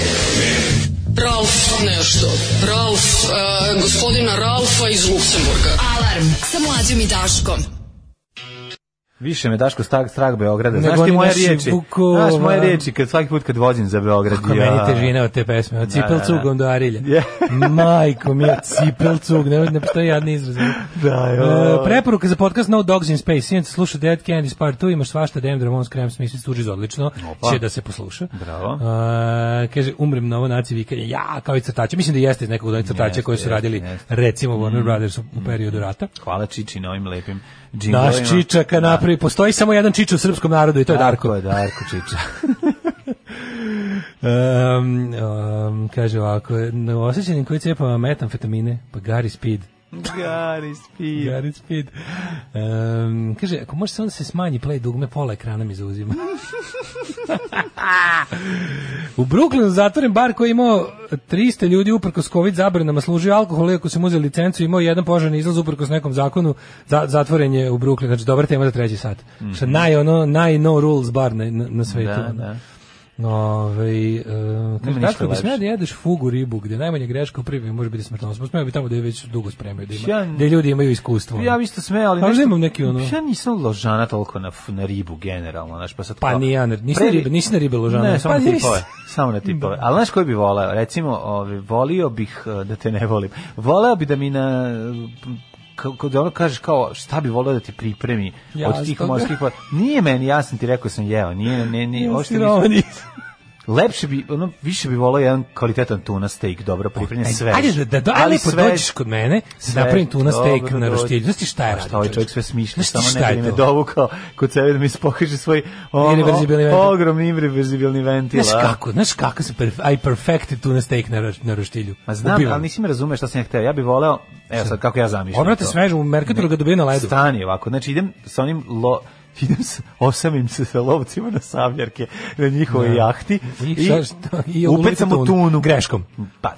Ralf nešto. Ralf, e, gospodina Ralfa iz Luksemburga. Alarm sa mlađom i Daškom. Više me Daško strah, strah Beograda. Znaš Nego ti oni moje naši riječi? Vukova. Znaš moje riječi kad svaki put kad vođem za Beograd. Kako meni težina od te pesme, od da, cipel da. cugom do Arilja. Je. Majko mi je cipel cug, ne, ne postoji jadni izraz. Da, jo. E, preporuka za podcast No Dogs in Space. Sinoć sam slušao Dead Candy's Part 2, imaš svašta, Dem Dramon, Krem Smith, Stuđiz, odlično. Opa. Će da se posluša. Bravo. E, kaže, umrem na ovo naci vikanje, ja, kao i crtače. Mislim da jeste iz nekog od onih crtača Jeste, koji su jeste, radili, jeste. Mm. recimo, Warner Brothers u, u periodu rata. Hvala Čiči na ovim lepim džinglovima. Naš Čičaka napravi, postoji samo jedan Čič u srpskom narodu i to je Darko. Darko je Darko Čiča. Um, um, kaže ovako, na osjećanim koji cepava metamfetamine, pa gari speed. Gari spi. Gari speed. Um, kaže, ako može samo da se smanji play dugme, pola ekrana mi zauzima. u Brooklynu zatvoren bar koji je imao 300 ljudi uprkos COVID zabranama služio alkohol, iako su mu uzeli licencu, imao je jedan požarni izlaz uprkos nekom zakonu, za, zatvoren je u Brooklynu. Znači, dobra tema za treći sat. Što je naj, ono, naj no rules bar na, na, na svetu. Mhm. Da, ono. da. Ove, e, Nema kaže, ništa dakle, bi smela lepše. da jedeš fugu ribu, gde najmanja greška u pripremi može biti smrtonosna. Smela bi tamo da je već dugo spremaju, da, ima, Ja- da ljudi imaju iskustvo. Ja bi isto sme, ali Pa uzimam neki ono. Ja nisam ložana toliko na, f- na ribu generalno, znaš, pa sad Pa kao- ni ja, ne- nisi na Previ- ribe, nisi na ribe ložana. Ne, samo Pa na nisi. tipove. Samo na tipove. Ali znaš koji bi voleo? Recimo, ovaj, volio bih eh, da te ne volim. Voleo bi da mi na kako da ono kažeš kao šta bi voleo da ti pripremi od tih Jastoga. morskih vod. Nije meni jasno ti rekao sam jeo, nije ne ne uopšte nisam. Sirovani. Lepše bi ono više bi voleo jedan kvalitetan tuna steak, dobro pripremljen sve. Ajde da, da, da ali lepo dođeš kod mene, da napravim tuna steak na roštilju. Znaš ti šta je radio? Šta ovaj čovjek sve smišlja, Znaš ti samo šta ne je bi me to? dovukao kod sebe da mi ispokaže svoj o, Irreverzibilni ventil. o, ogromni irreverzibilni ventil. Znaš a? kako, znaš kako se perf- I perfected tuna steak na, roš- na roštilju. Ma znam, Ubivam. ali nisi me razumeš šta sam ja hteo. Ja bih voleo, evo sad kako ja zamišljam. Obrate to. svežu, u Merkatoru ga dobije na ledu. Stani ovako, znači idem sa onim lo, idem sa, osamim se sa lovcima na savljarke na njihovoj jahti U njih i, sa- šta- i upecam u tunu. Pa, ulovite tunu. Greškom.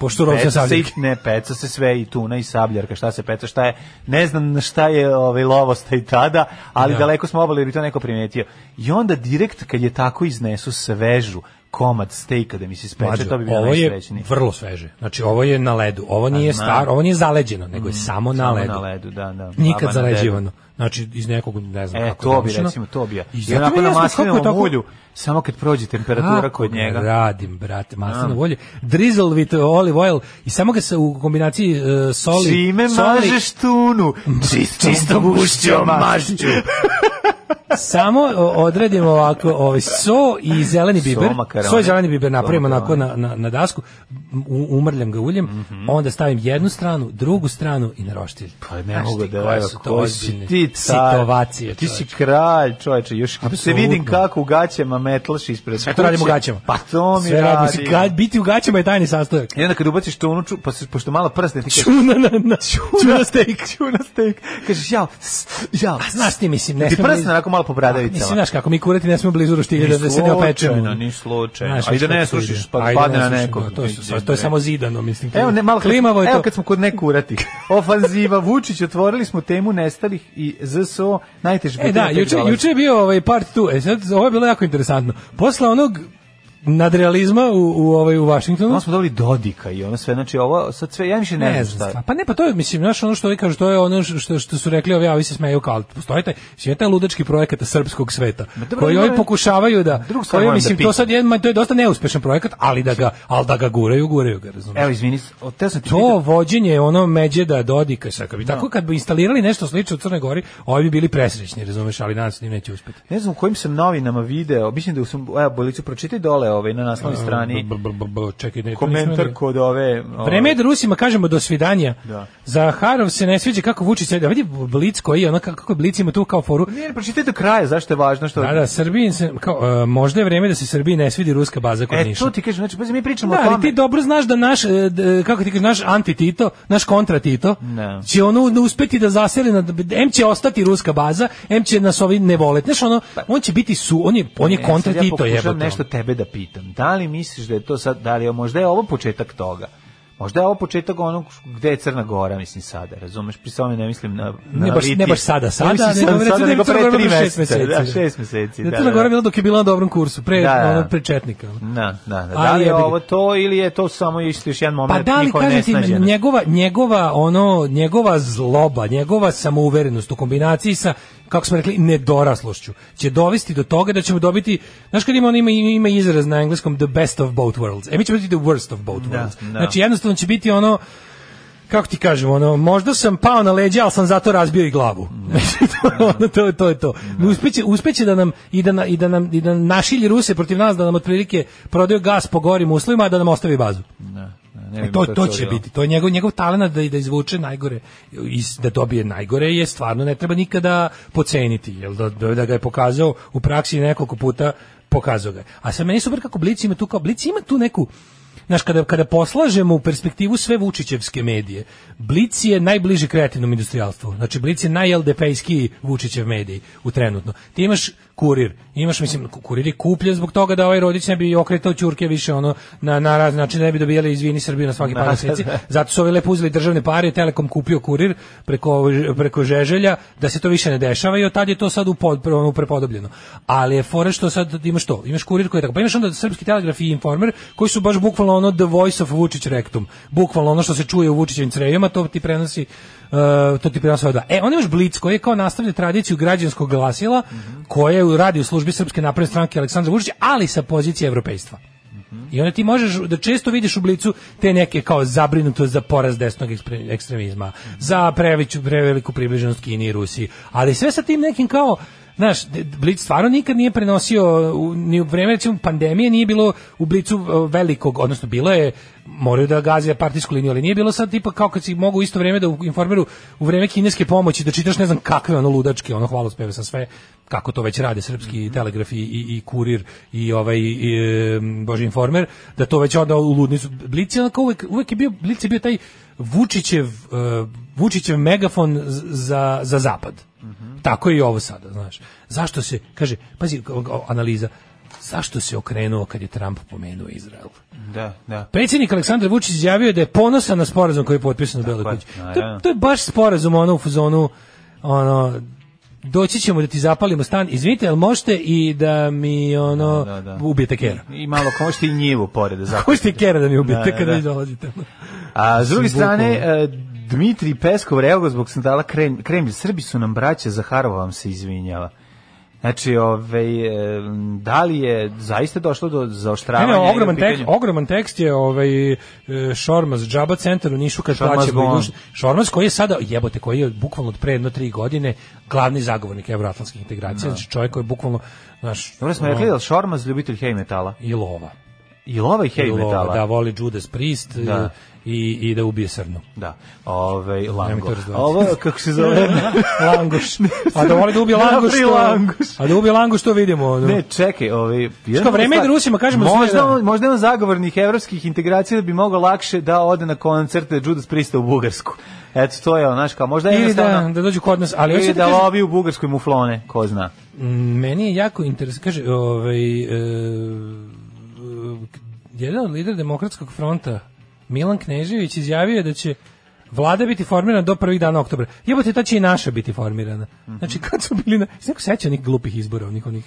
Pošto peca lovca se savljarke. i- Ne, peca se sve i tuna i sabljarka, šta se peca, šta je, ne znam na šta je ovaj, lovosta i tada, ali Da. daleko smo obali jer bi to neko primetio. I onda direkt kad je tako iznesu svežu komad stejka da mi se ispeče, Mlađo, to bi bilo ovo je najsrećnije. vrlo sveže. Znači ovo je na ledu. Ovo nije Pa znam. Mhm, staro, ovo nije zaleđeno, nego je samo na Samo ledu. na ledu, da, da. Baba Nikad na zaleđivano. Znači iz nekog ne znam E, kako. to bi zamišljeno. recimo, to bi ja. I I zato mi onako je na jasno kako je maslinovom tako- ulju, samo kad prođe temperatura Kako kod ga njega. Radim, brate, maslinovo ulje. Drizzle with olive oil i samo ga se u kombinaciji e, soli, Čime soli mažeš tunu? Čist, čistom ušćom mašću. samo o, odredimo ovako ovaj so i zeleni biber. makarone. So i zeleni biber napravimo So onako makarone. na, na, na dasku, u- umrljam ga uljem, onda stavim jednu stranu, drugu stranu i na roštilj. Mhm. Pa ne Znaš mogu ti da koje evo, su to koji si ozbiljne ti car. Sitovacije. Ti si čoveče. kralj, čoveče, još se Apsolutno. vidim kako u gaćama metlaš ispred Sve to radimo u kuće. gaćama. Pa to mi Sve radimo. radi. Mislim, ga- biti u gaćama je tajni sastojak. I onda kad ubaciš tunu, ču, pa se, pošto malo prsne, ti kažeš, Čuna na, na, čuna steak. čuna steak, kažeš, jao, jao. A znaš ti, mislim, ne Ti smemo prsne blizu- onako malo po bradavicama. Mislim, znaš kako mi kurati ne smemo blizu roštilja da, da se ne opečemo. Ni slučajno, ni Znaš, slučajno. Ajde kako ne se ide. slušiš, pa Ajde, padne na ne slušaj, nekog. da, To, su, to je samo zidano, mislim. Evo ne malo kad- klimavo je to. Evo kad smo kod nekurati. Ofanziva Vučić otvorili smo temu nestalih i ZSO najteži E da, juče, juče je bio ovaj part 2. E sad, ovo je bilo jako interesantno. Posle onog nadrealizma u, u, ovaj, u Vašingtonu, Onda smo dobili Dodika i ono sve, znači ovo, sad sve, ja više ne, ne znam šta. Pa ne, pa to je, mislim, znaš, ono što vi kažu, to je ono što, što su rekli ovi, a ovi se smeju kao, ali postoji taj, mislim, je taj ludački projekat srpskog sveta, dobro, koji ima- ovi pokušavaju da, Drugu stvar koji, moram da mislim, to pitam. sad je, ma, to je dosta neuspešan projekat, ali da ga, ali da ga guraju, guraju ga, razumiješ? Evo, izvini, o, teo sam ti To pitati- vođenje ono međeda Dodika sa bi tako kad bi instalirali nešto slično u Crnoj Gori, ovi bi bili presrećni, razumeš, ali nadam se da im neće uspeti. Ne znam u kojim sam novinama video, mislim da sam, evo, bolicu, pročitaj dole ovaj, na naslovnoj E, strani B- b- b- b- čekaj, ne, to nisam komentar vidio. kod ove... ovaj, Vreme je da Rusima kažemo do svidanja. Da. Za Harov se ne sviđa kako Vučić sedi. A Vidi Blic koji je, ono kako, kako Blic ima tu kao foru. Ne, ne, pročitaj do kraja, zašto je važno što... E, Da, da, Srbiji se, kao, e, možda je vreme da se Srbiji ne svidi ruska baza kod E, Niša. to ti kažem, znači, pazi, mi pričamo Da, o ali tome. ti dobro znaš da naš, e, d- kako ti kažeš, naš anti-Tito, naš kontra-Tito, Ne. će ono uspeti da zaseli, na, M će ostati ruska baza, M će nas ovi ne voleti. Znaš, ono, on će biti su, on je, on je Ne, sad kontra-Tito, ono. Ja pokušavam jebote. nešto tebe da pitam. Da li misliš da je to sad, da li je, možda je ovo početak toga? Možda je ovo početak onog gde je Crna Gora, mislim, sada, razumeš? Pri tome ne mislim na, na Ne baš, Litije. ne baš sada, sada, ne mislim sada, recimo sada, da je nego Crna pre Gora tri bila meseca. Da, šest Da, meseci. je Crna Gora bila dok je bila na dobrom kursu, pre, Da, da. ono, pre Četnika. ono. Da, da, da. Da Ali li je jebi ga. ovo to ili je to samo isto još jedan Pa moment da li njihove kažem ti nesnađenosti? njegova njegova ono njegova zloba, njegova samouverenost u kombinaciji sa kako smo rekli nedoraslošću će dovesti do toga da ćemo dobiti znaš kad ima on ima ima izraz na engleskom the best of both worlds. E mi ćemo biti the worst of both Da, worlds. da. Znači jednostavno će biti ono kako ti kažem, ono, možda sam pao na leđa, ali sam zato razbio i glavu. ono, to, je- to je to. Uspeće, uspeće da nam, i da, na- i da nam i da našilji Ruse protiv nas, da nam otprilike prodaju gas po gorim uslovima, a da nam ostavi bazu. Ne E, bi to, mi to će čudilo. biti. To je njegov, njegov talent da, da izvuče najgore, iz, da dobije najgore je stvarno ne treba nikada poceniti. Jel, da, da da ga je pokazao u praksi nekoliko puta pokazao ga. je. A sad meni je super kako Blic ima tu, kao Blic ima tu neku Znaš, kada, kada poslažemo u perspektivu sve Vučićevske medije, Blic je najbliži kreativnom industrijalstvu. Znači, Blic je najldp-ski Vučićev medij u trenutno. Ti imaš kurir, imaš, mislim, ku- kurir je kupljen zbog toga da ovaj rodić ne bi okretao ćurke više ono, na, na raz, znači ne bi dobijali izvini Srbiju na svaki par meseci. Zato su ovi lepo uzeli državne pare, Telekom kupio kurir preko, preko Žeželja, da se to više ne dešava i od tad je to sad upod, ono, prepodobljeno. Ali je fora što sad imaš to, imaš kurir koji je tako, pa imaš onda Srpski telegraf i Informer koji su baš bukvalno ono the voice of Vučić rektum, bukvalno ono što se čuje u Vučićevim crevima, to ti prenosi e, to ti prenosi da. E, on imaš Blic koji je kao nastavlja tradiciju građanskog glasila koje u radi u službi Srpske napredne stranke Aleksandra Vučića, ali sa pozicije evropejstva. I onda ti možeš da često vidiš u blicu te neke kao zabrinutost za poraz desnog ekspre- ekstremizma, za preveću, preveliku približenost Kini i Rusiji, ali sve sa tim nekim kao Znaš, d- d- Blic stvarno nikad nije prenosio, u- ni u vreme recimo pandemije nije bilo u Blicu e, velikog, odnosno bilo je, moraju da gaze partijsku liniju, ali nije bilo sad tipa kao kad si mogu u isto vreme da u informeru u vreme kineske pomoći da čitaš ne znam kakve ono ludačke, ono hvalospeve sa sve, kako to već rade srpski telegraf i, i, i kurir i ovaj i, em, bože informer da to već onda u ludnicu Blic je onako uvek, uvek je bio Blic je bio taj Vučićev e, Vučićev megafon z- za, za zapad tako je i ovo sada znaš zašto se kaže pazi o- o- analiza zašto se okrenuo kad je Trump pomenuo Izrael Da, da. Predsjednik Aleksandar Vučić izjavio je da je ponosan na sporazum koji je potpisan u Beloj je, kući. To, naravno. je- to je baš sporazum ono u fazonu ono doći ćemo da ti zapalimo stan. Izvinite, jel možete i da mi ono Da, da, da. ubijete kera? I malo kao što i njivu pored da zapamtite. Možete i kera da mi ubijete Da, da, kada da. vi dolazite. A s druge Mislim, strane, e, Dmitri Peskov reago zbog sandala Krem- Kremlj. Srbi su nam braće, Zaharova vam se izvinjava. Znači, ovaj, e, da li je zaista došlo do Ne, zaoštravanja? ne, ili ogroman u pitanju- tekst, ogroman tekst je ovaj e, Šormaz Džaba centar u Nišu kad Šormaz plaće Gon. Šormaz koji je sada jebote koji je bukvalno od pre jedno tri godine glavni zagovornik evroatlantskih integracija, znači čovjek koji je bukvalno naš Dobro smo rekli, da li Šormaz ljubitelj hej metala? i lova. I lova i hej Bilo, metala? ovaj, Da, voli Judas Priest Da. i, i da ubije srnu. Da, ovaj Nemoj lango. to razdvajati. Ovo kako se zove? languš. A da voli da ubije Dobri languš, to, languš. A da ubije languš, to vidimo. Ono. Ne, čekaj, ovaj jedna vreme je stvar- da Rusima kažemo sve, možda da. on, možda je on zagovornik evropskih integracija da bi mogao lakše da ode na koncerte Judas Priesta u Bugarsku. Eto to je onaš kao možda je Ili da, jednostavno da dođu kod nas. Ali ili hoću da da kažem, lovi u Bugarskoj muflone, ko zna. m, meni je jako interesantno, kaže, ovaj, e, jedan od lider demokratskog fronta, Milan Knežević, izjavio je da će Vlada biti formirana do prvih dana oktobra. Jebote, ta će i naša biti formirana. Mhm. Znači, kad su bili na... Jesi neko seća onih glupih izbora, onih onih...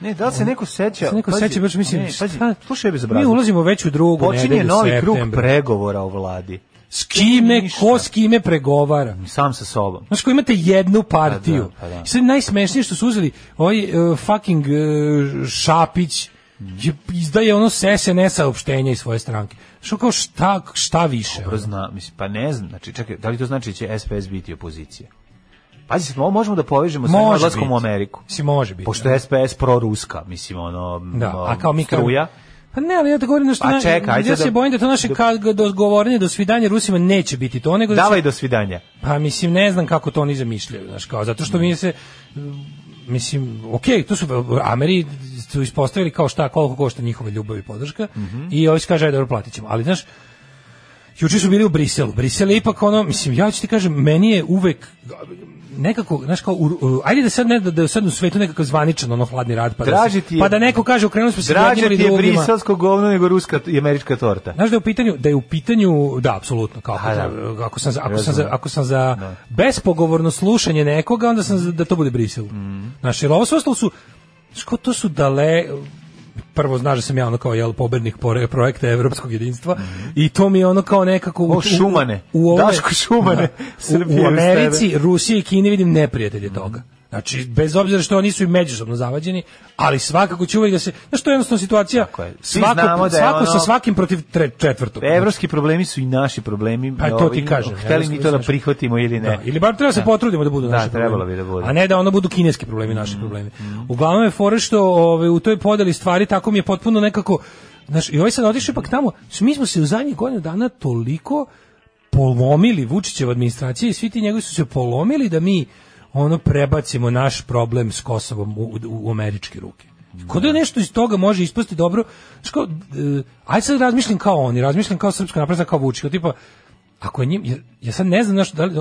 Ne, da li se neko seća? Se neko pazi, seća, baš mislim, ne, pazi, šta- slušaj bez Mi obraza. ulazimo već u drugu Počinje nedelju novi krug septembra. pregovora o vladi. S kime, ko s kime pregovara. Sam sa sobom. Znaš, ko imate jednu partiju. Pa da, pa da. I Sad najsmešnije što su uzeli ovaj e, fucking e, Šapić je, izdaje ono s SNS saopštenja iz svoje stranke. Što kao šta, šta više? ono? Dobro zna, mislim, pa ne znam, znači, čekaj, da li to znači da će SPS biti opozicija? Pazi, ovo možemo da povežemo sa Može odlaskom u biti. Ameriku. Si može biti. Pošto je SPS proruska, mislim, ono, da, m, a kao mi kao- struja. Pa ne, ali ja te govorim nešto. Pa na- čekaj, ajde ja da- se bojim da to naše kad do govorenja do svidanja Rusima neće biti to, nego Znači, da će- Davaj do svidanja. Pa mislim ne znam kako to oni zamišljaju, znaš, kao zato što mi se mm, mislim, okej, tu su Ameri su Mhm. "E, ispostavili kao šta koliko košta njihova ljubav i podrška i ovi su kaže aj dobro platit ćemo. Ali znaš, Juče su bili u Briselu. Brisel je ipak ono, mislim, ja ću ti kažem, meni je uvek nekako, znaš kao, u, u- ajde da sad ne da, da sad u svetu nekakav zvaničan ono hladni rad pa, da, Draži se, ti je- pa da neko kaže okrenuli smo se Draže jednima ti ili je drugima. briselsko govno nego ruska i američka torta. Znaš da je u pitanju, da je u pitanju, da, apsolutno, kao, A, da. ako- ako, sam za, ako, sam Razumem. za, ako sam za bespogovorno slušanje nekoga, onda sam za, da to bude Brisel. Mhm. Znaš, jer ovo sve ostalo su, znaš, kao, to su dale, prvo znaš da sam ja ono kao jel pobednik pore- projekta evropskog jedinstva i to mi je ono kao nekako u, Mhm. O, Šumane. u, u ovome- Daško Šumane. Da. Srbije u, u uz Mhm. Americi, Rusiji i Kini vidim neprijatelje toga Znači, bez obzira što oni su i međusobno zavađeni, ali svakako će uvijek da se... Znaš, to je jednostavno situacija, je. Svi svako, znamo da je svako sa ono- svakim protiv tre, četvrtog. Pa Evropski problemi su i naši problemi. Pa to Ovaj, ti kažem, Hteli ja mi to da znaš. prihvatimo ili ne. Da, ili bar treba se potrudimo da budu Da, naši trebalo problemi. bi da bude. A ne da ono budu kineski problemi, Mm. naši problemi. Uglavnom je fora što ovaj, u toj podeli stvari tako mi je potpuno nekako... Znaš, i ovaj sad otišao ipak tamo. Znaš, Mi smo se u zadnjih godina dana toliko polomili Vučićeva administracija i svi ti njegovi su se polomili da mi ono prebacimo naš problem s Kosovom u, u, u američke ruke. Kod je nešto iz toga može ispasti dobro. Znaš, kao, e, aj sad razmišljam kao oni, razmišljam kao srpska napredna, kao Vučić. Kao tipa, ako je njim, jer ja sad ne znam znaš, da li,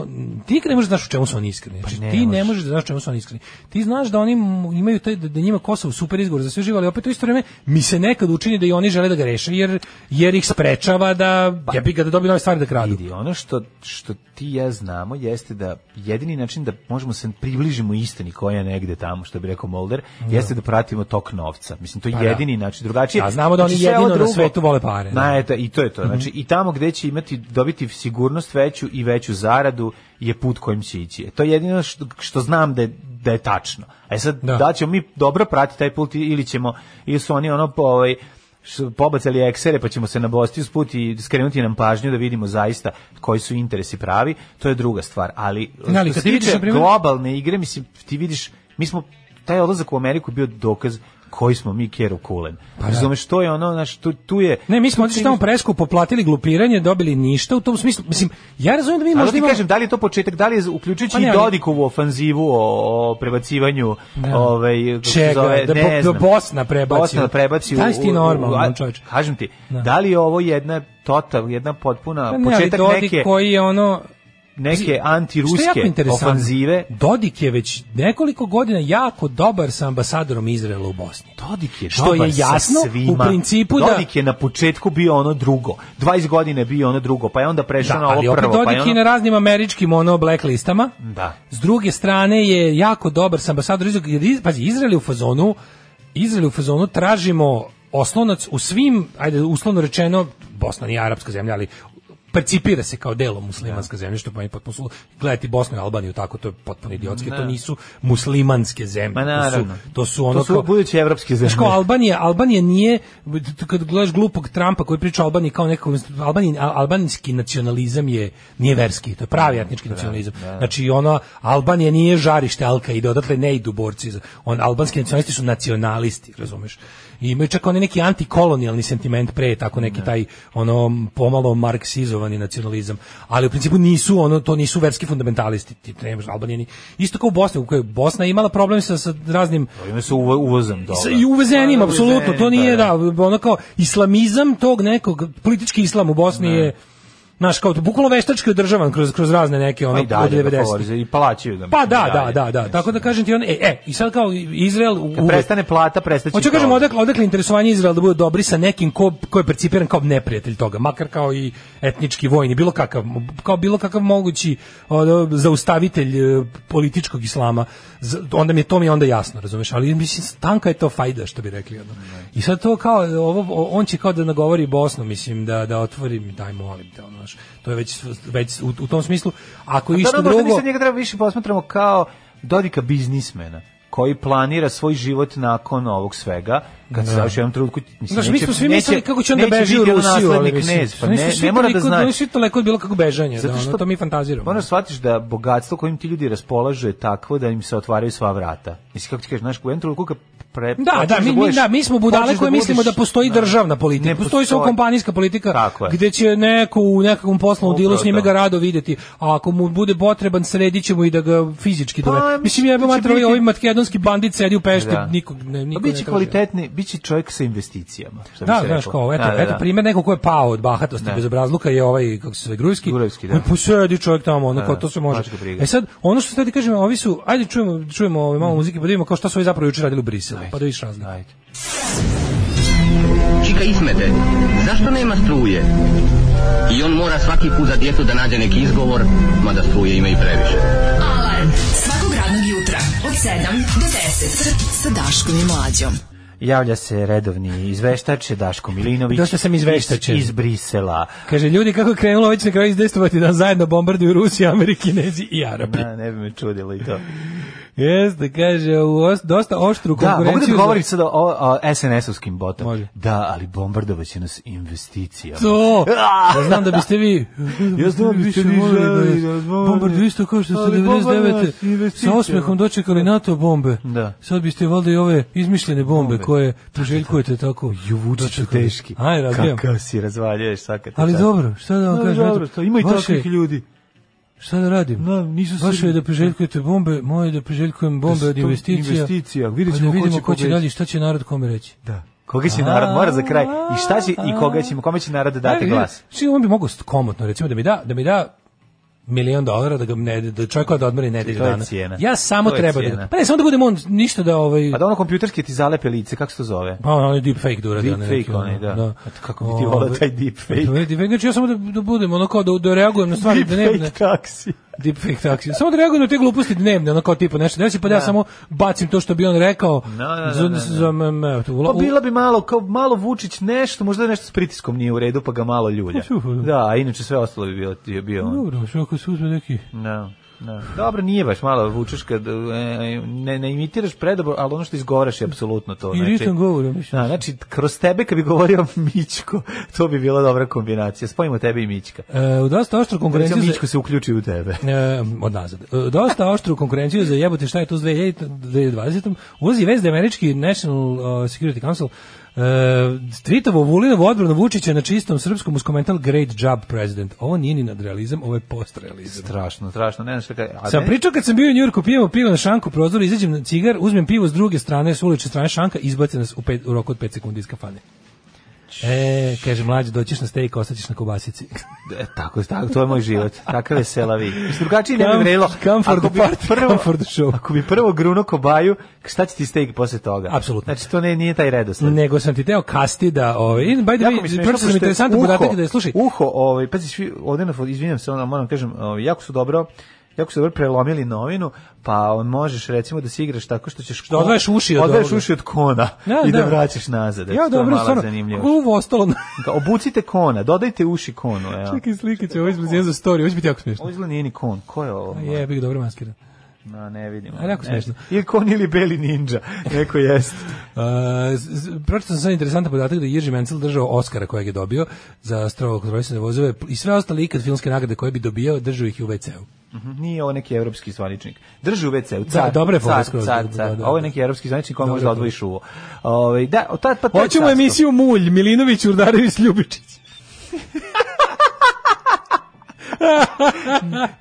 ti nikad ne možeš da znaš u čemu su oni iskreni. Znači, Pa ne ti ne možeš. možeš da znaš u čemu su oni iskreni. Ti znaš da oni m- imaju taj, da, da njima Kosovo super izgovor za sve živo, ali opet u isto vreme mi se nekad učini da i oni žele da ga reše, jer, jer ih sprečava da Pa- jebi ga da dobiju nove stvari da kradu. vidi, ono što, što ti i ja znamo jeste da jedini način da možemo se približimo istini koja je negde tamo, što bi rekao Molder, jeste da pratimo tok novca. Mislim, to je Pa da. jedini način. Drugačije... A znamo da oni znači, sve ovo jedino na drugo- svetu vole pare, da. Na, eto, I to je Mhm. to. Znači, i tamo gde će imati, dobiti sigurnost veću i veću zaradu je put kojim će ići. E, To je jedino što, što znam da je, da je tačno. E sad, da. Da. ćemo mi dobro pratiti taj put ili ćemo, ili su oni ono po, ovaj, š- pobacali eksere pa ćemo se nabosti usput i skrenuti nam pažnju da vidimo zaista koji su interesi pravi, to je druga stvar. Ali, Ne, ali što kad se vidiš, tiče na primjer- globalne igre, mislim, ti vidiš, mi smo, taj odlazak u Ameriku je bio dokaz koji smo mi keru kulen. Pa, Razumeš, to je ono, znaš, tu, tu je... Ne, mi smo otišli tamo preskupo, platili glupiranje, dobili ništa u tom smislu. Mislim, ja razumijem da mi Ali možda ti imamo... kažem, da li je to početak, da li je uključujući Pa ne, i ali- Dodikovu ofanzivu o, o prebacivanju Da. ovaj, kako se Čega? zove, Da ne Bo- da znam. Bosna prebaci Bosna u- da prebaci u- Daj si ti u- u- normalan, a- čovječe. Kažem ti, Da. da li je ovo jedna total, jedna potpuna, Pa ne, ali početak Dodik neke, koji je ono Što neke je jako antiruske interesantno, ofanzive? Dodik je već nekoliko godina jako dobar sa ambasadorom Izraela u Bosni. Dodik je Što dobar je sa jasno, u svima. principu da- Dodik je na početku bio ono drugo. 20 godine je bio ono drugo, pa je onda prešao Da, na ali ovo opet prvo. Dodik pa je ono... je na raznim američkim ono black listama. Da. S druge strane je jako dobar sa ambasadorom Izraela. jer iz- Pazi, Izrael je u fazonu, Izrael je u fazonu tražimo oslonac u svim, ajde uslovno rečeno, Bosna nije arapska zemlja, ali percipira se kao delo muslimanska zemlja, što pa mi potpuno sulu- Gledati Bosnu i Albaniju tako, to je potpuno idiotski, to nisu muslimanske zemlje. Ma to, su, naravno. to su ono to su kao- buduće evropske zemlje. Znaš kao Albanija, Albanija nije, t- kad gledaš glupog Trumpa koji priča o Albaniji kao nekako, Albanin, al- albanski nacionalizam je, nije verski, to je pravi etnički nacionalizam. Znači, ono, Albanija nije žarište Alka ide, odatle ne idu borci. za- On, albanski nacionalisti su nacionalisti, razumeš? I imaju čak onaj neki antikolonijalni sentiment pre, tako neki taj, ono, pomalo marksizovani nacionalizam. Ali u principu nisu, ono, to nisu verski fundamentalisti. Ti, ne, možeš, Albanija ni- isto kao u Bosni, u kojoj je Bosna imala problem sa, sa raznim Pa Ima se uvo- uvozom sa- dobro. Pa, I uvezenim, apsolutno, to nije, da. da, ono kao islamizam tog nekog, politički islam u Bosni je, znaš, kao to, bukvalo veštački održavan kroz, kroz razne neke, ono, Pa i od dalje, ga 90. favorizuju, i plaćaju ga. Pa mislim, da, i da, dalje. da, da, Mislim, tako da kažem ti, on, e, e, i sad kao Izrael u- Kad uvek- prestane plata, prestaće Hoću i kažem to. odakle, odakle interesovanje Izraela da bude dobri sa nekim ko, ko je percipiran kao neprijatelj toga, makar kao i etnički vojni, bilo kakav, kao bilo kakav mogući ono, zaustavitelj e, političkog islama. Z- Onda mi je to mi je onda jasno, razumeš, ali mislim tanka je to fajda što bi rekli ono. I sad to kao ovo o- on će kao da nagovori Bosnu, mislim da da otvori, daj molim te, ono, znaš, to je već već u, u tom smislu ako Da, išta da, možda mi drugo. sad njega treba više posmatramo kao Dodika biznismena koji planira svoj život nakon ovog svega kad se završi u jednom trenutku mislim Znaš, mi neće- smo svi neće- mislili kako će on da neće beži u biti ono Rusiju, ali naslednik mislim, knez, pa znaš, ne, svi ne mora da toliko- znači znaš, svi toliko je bilo kako bežanje, da, Zato ono, što to mi fantaziramo. Moraš shvatiš da bogatstvo kojim ti ljudi raspolažu je takvo da im se otvaraju sva vrata. Mislim, kako ti kažeš, znaš, u jednom trenutku kad pre... Da, hoćeš da, mi, mi, budeš- da, mi smo budale hoćeš koje mislimo da budeš- postoji državna politika. Ne postoji samo postoji. kompanijska politika Tako je. gde će neko u nekakvom poslovnom Upravo dilu s njime to. ga rado videti. A ako mu bude potreban, sredit ćemo i da ga fizički Pa, dove. mislim Mislim, da jebe će mater, ovi biti- ovi makedonski bandit sedi u pešti, Da. Pa nikog ne, A niko ne biće traži. kvalitetni, biće čovjek sa investicijama. što bi Da, se znaš reklo. kao, eto, Da, da, eto da. primjer nekog ko je pao od bahatosti Da. bez obrazluka je ovaj, kako se zove, Grujski. Grujski, da. On Posedi čovjek tamo, ono, Da, kao to se može. baš ga briga. Mhm. E sad, ono što sad ti kažem, ovi su, ajde čujemo, čujemo ovaj, malo muzike, pa da vidimo kao šta su ovi zapravo jučer radili u Briselu, pa da vidiš razliku. Ajde. Čika Ismete, zašto nema struje? I on mora svaki put za djetu da nađe neki izgovor, mada struje ima i previše. Alarm svakog radnog jutra od 7 do 10 sa Daškom i Mlađom. Javlja se redovni izveštač Daško Milinović. Dosta sam izveštačen. Iz, iz Brisela. Kaže, ljudi, kako je krenulo, ovo će na kraju izdestovati da zajedno bombarduju Rusi, Ameriki, Kinezi i Arapi. Da, ne bi me čudilo i to. Jeste, kaže, u os- dosta oštru Da, konkurenciju. mogu da za- govorim sada o, o SNS-ovskim botom. Može. Da, ali bombardovaće nas investicijama. To, ja znam da biste vi Ah! Ja znam da biste vi voleli želeli nas da nas bombardirate. bombarduju isto kao što ste Ali bombardovali 99. sa investicijama. osmehom dočekali NATO bombe Da. sad biste valjda i ove izmišljene bombe, Bombe. koje poželjkujete tako Ju, vučić su dočekali. teški. aj razbijam Kako si razvaljuješ svaka te ali čast. dobro, šta da vam Ali kažem dobro, eto, to ima i vaše- takvih ljudi. šta da radim Da, nisu Vaše Srbi. je da priželjkujete bombe, moje je da priželjkujem bombe Da su od to investicija. investicija, vidjet pa ćemo da ko vidimo će ko će pobediti. dalje, šta će narod kome reći. Da. Koga će narod, mora za kraj. I šta će, i koga će, kome će narod dati Ajde, glas? vidi, Čim on bi mogao st- komotno, recimo, da mi da, da mi da milion dolara da ga ne, da čovjeka da odmori nedelju To je dana. cijena. Ja samo To je treba da cijena. ga, pa ne, samo da budem on ništa da ovaj Pa da ono kompjuterski ti zalepe lice, kako se to zove? Pa on je deepfake da uradi. Deep onaj fake neki, onaj, ono, da. A to kako bi ti volao taj deepfake? To je deepfake, znači ja samo da, da budem, ono kao da, da reagujem na stvari, da ne, ne, Deepfake taksi. deepfake taksi. Samo da reagujem na te gluposti dnevne, ono kao tipa nešto desi, pa da ja samo bacim to što bi on rekao. No, no, no, za- no, no. za- mm, evo, to, Pa u- bilo bi malo, kao malo Vučić nešto, možda nešto s pritiskom nije u redu, pa ga malo ljulja. Pa, čuo, da. Da, a inače sve ostalo bi bilo, je bio on. Dobro, što ako se uzme neki... No, no. Dobro, nije baš malo vučeš kad e, ne, ne imitiraš predobro, ali ono što izgovaraš je apsolutno to. I ritam govora, mislim. Da, znači, kroz tebe kad bi govorio Mićko, to bi bila dobra kombinacija. Spojimo tebe i Mićka. E, u dosta oštru Recimo, konkurenciju... za- Mićko se uključi u tebe. E, od nazad. E, Dosta oštru konkurenciju za jebote šta je to s e, 2000 2020. Ulazi vez da je američki National uh, Security Council uh, tweetovo Vulinovu odbranu Vučića na čistom srpskom uz komentar Great job president. Ovo nije ni nadrealizam, ovo je postrealizam. Strašno, strašno, ne znam šta kaj. a Sam ne- pričao kad sam bio u Njurku, pijemo pivo na šanku prozor, izađem na cigar, uzmem pivo s druge strane, s ulične strane šanka, izbace nas u, pet, u roku od 5 sekundi iz kafane. E, kaže, mlađe, doćeš na stejk, ostaćeš na kobasici. E, tako, tako, to je moj život. Takav je selavi. Mislim, drugačije ne bi Come- vredilo. come for Ako the bi party, prvo- come for the show. Ako bi prvo gruno kobaju, šta će ti steak posle toga? Apsolutno. Znači, to ne, nije taj redosled. Nego sam ti teo kasti da, ovaj, in, by the Jako mi way, smiješno, pročito sam pošto je interesantan uho- podatak da je, slušaj, Uho, ovaj, pazi, svi, ovde na, fo- izvinjam se, ono, moram kažem, ovaj, jako su dobro, jako su dobro prelomili novinu, pa on možeš recimo da se igraš tako što ćeš... Da odvajaš uši od odvajaš ovoga. uši od kona Da, i da, da. vraćaš nazad. Eto, to Ja je dobro, malo stvarno, zanimljivo. kako je ovo ostalo na... Kao, Obucite kona, dodajte uši konu, evo. Čekaj, slike će, ovo izgleda jedan za story, ovo će biti jako smiješno. Ovo izgleda nije ni kon, ko je ovo? Je, bih dobro maskiran. No, ne vidim. A, jako Ne. smešno. Ili kon ili beli ninja, neko jeste. Uh, z- z- pročitao sam sad interesantan podatak da je Jerži Mencel držao Oscara kojeg je dobio za strogo kontrolisane vozove i sve ostale ikad filmske nagrade koje bi dobio, držao ih i u WC-u. Mhm, Nije ovo neki evropski zvaničnik. Drži u WC-u. Da, car, dobra je fora car, skroz. car, Da, car. da, da. Ovo je neki evropski zvaničnik koji može da je odvoji šuvo. Ovaj, da, o, tad, pa, to je Hoćemo carstvo. emisiju Mulj, Milinović, Urdarević, Ljubičić.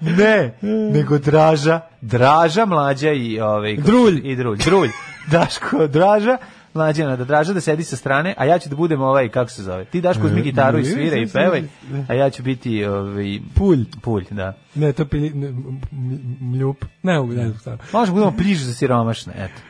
Ne, nego Draža. Draža, mlađa i... Ovaj, kako- Drulj. I drulj. Drulj. Daško, Draža. Mlađana, da Draža da sedi sa strane, a ja ću da budem ovaj, kako se zove. Ti Daško uzmi gitaru i svira i pevaj, a ja ću biti ovaj, Pulj. pulj, da. Ne, to pili... Ne, m- m- mljup. Ne, mogu, ne, znam stvarno. Možemo budemo pliž za siromašne, eto.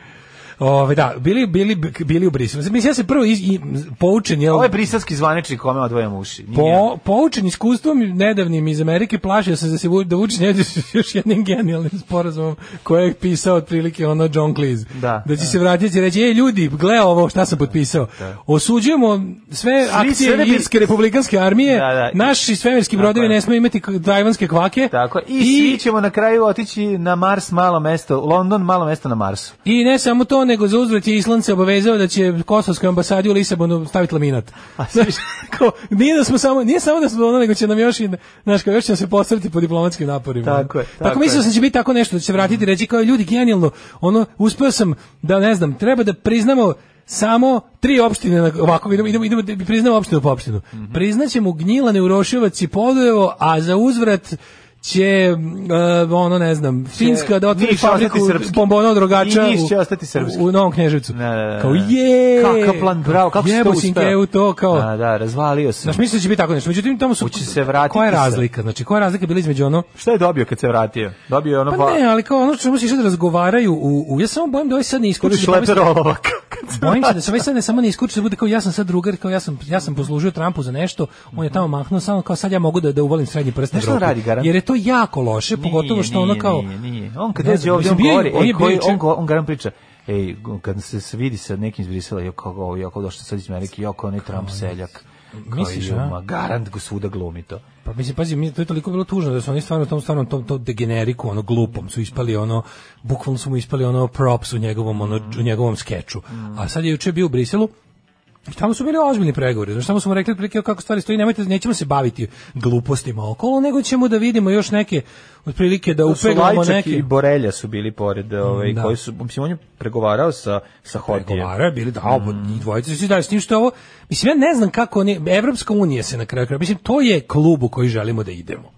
Ove, da, bili, bili, bili u Briselu. Mislim, ja se prvo iz, i, poučen, jel, Ovo je briselski zvaničnik kome odvojam uši. Nije. Po, poučen iskustvom nedavnim iz Amerike, plašio sam da se Vu- da Vučić ne ide s još jednim genijalnim sporazumom koje je pisao otprilike ono John Cleese. Da. da će se vratiti i reći, ej ljudi, gle ovo šta sam potpisao. Osuđujemo sve Svi akcije Srbi- Irske republikanske armije, Da, da. naši svemirski Tako brodovi je. ne smiju imati k- tajvanske kvake. Tako, i, svi ćemo na kraju otići na Mars malo mesto, London malo mesto na Marsu. I ne samo to, nego za uzvrat je Island se obavezao da će kosovskoj ambasadi u Lisabonu staviti laminat. Znaš, kao, nije da smo samo, nije samo da smo ono, nego će nam još i, znaš, kao, još će nam se postaviti po diplomatskim naporima. Tako je, tako tako mislio je. Mhm. sam da će biti tako nešto, da će se vratiti i reći kao ljudi, genijalno, ono, uspeo sam da, ne znam, treba da priznamo samo tri opštine, na- ovako idemo, idemo, idemo da priznamo opštinu po opštinu. Mhm. Priznaćemo Gnjilane, Uroševac i Podujevo, a za uzvrat će, e, ono, ne znam, Finska da otvori Niš će ostati fabriku srpski. bombona od rogača I Niš će u- ostati srpski. u, u Novom Kneževcu. Da, da, da. Kao je! E, Kakav plan, bravo, kako si to Jebo uspeo? Sinkeu to, kao... Da, da, razvalio sam. Znaš, mislim da će biti tako nešto. Međutim, tamo su... Hoće se vratiti Koja je se. razlika? Znači, koja je razlika bila između ono... Šta je dobio kad se vratio? Dobio je ono Pa ne, ali kao ono čemu se sad razgovaraju u, u ja samo bojim da ovaj sad ne iskuči. Koriš leper olovak. Bojim se da se ovaj sad ne samo ne iskuči da bude kao ja sam sad drugar, kao ja sam ja sam poslužio Trumpu za nešto, on je tamo mahnuo samo kao sad ja mogu da da uvalim srednji prst na Znaš šta on Evropu. radi, Garan? Jer je to jako loše, pogotovo što ono kao Nije, nije, On kad Ne dođe znam, ovdje, mislim, on bio govori, je- on je ej, koji- bio juče- on, go- on garan priča, ej, kad se se vidi sa nekim iz Brisela, jo, kao ovo, jo, kao došao sad iz Amerike, jo, kao onaj Trump seljak. Kao, Misliš, jo, a? ma, Garant ga svuda glumi to. Pa mislim, pazi, mi, to je toliko bilo tužno da su oni stvarno u tom stvarnom tom, tom degeneriku, ono glupom, su ispali ono, bukvalno su mu ispali ono props u njegovom, ono, u njegovom skeču. A sad je juče bio u Briselu, I tamo su bili ozbiljni pregovori. Znači, tamo smo rekli otprilike kako stvari stoji, nemojte, nećemo se baviti glupostima okolo, nego ćemo da vidimo još neke otprilike da To su upeglamo Lajčak neke. i Borelja su bili pored, ovaj, Da. koji su, mislim, on je pregovarao sa, sa Hotijem. Pregovarao je bili da obo njih dvojica su i dalje s tim što je ovo mislim ja ne znam kako oni Evropska unija se na kraju kraja mislim to je klub u koji želimo da idemo.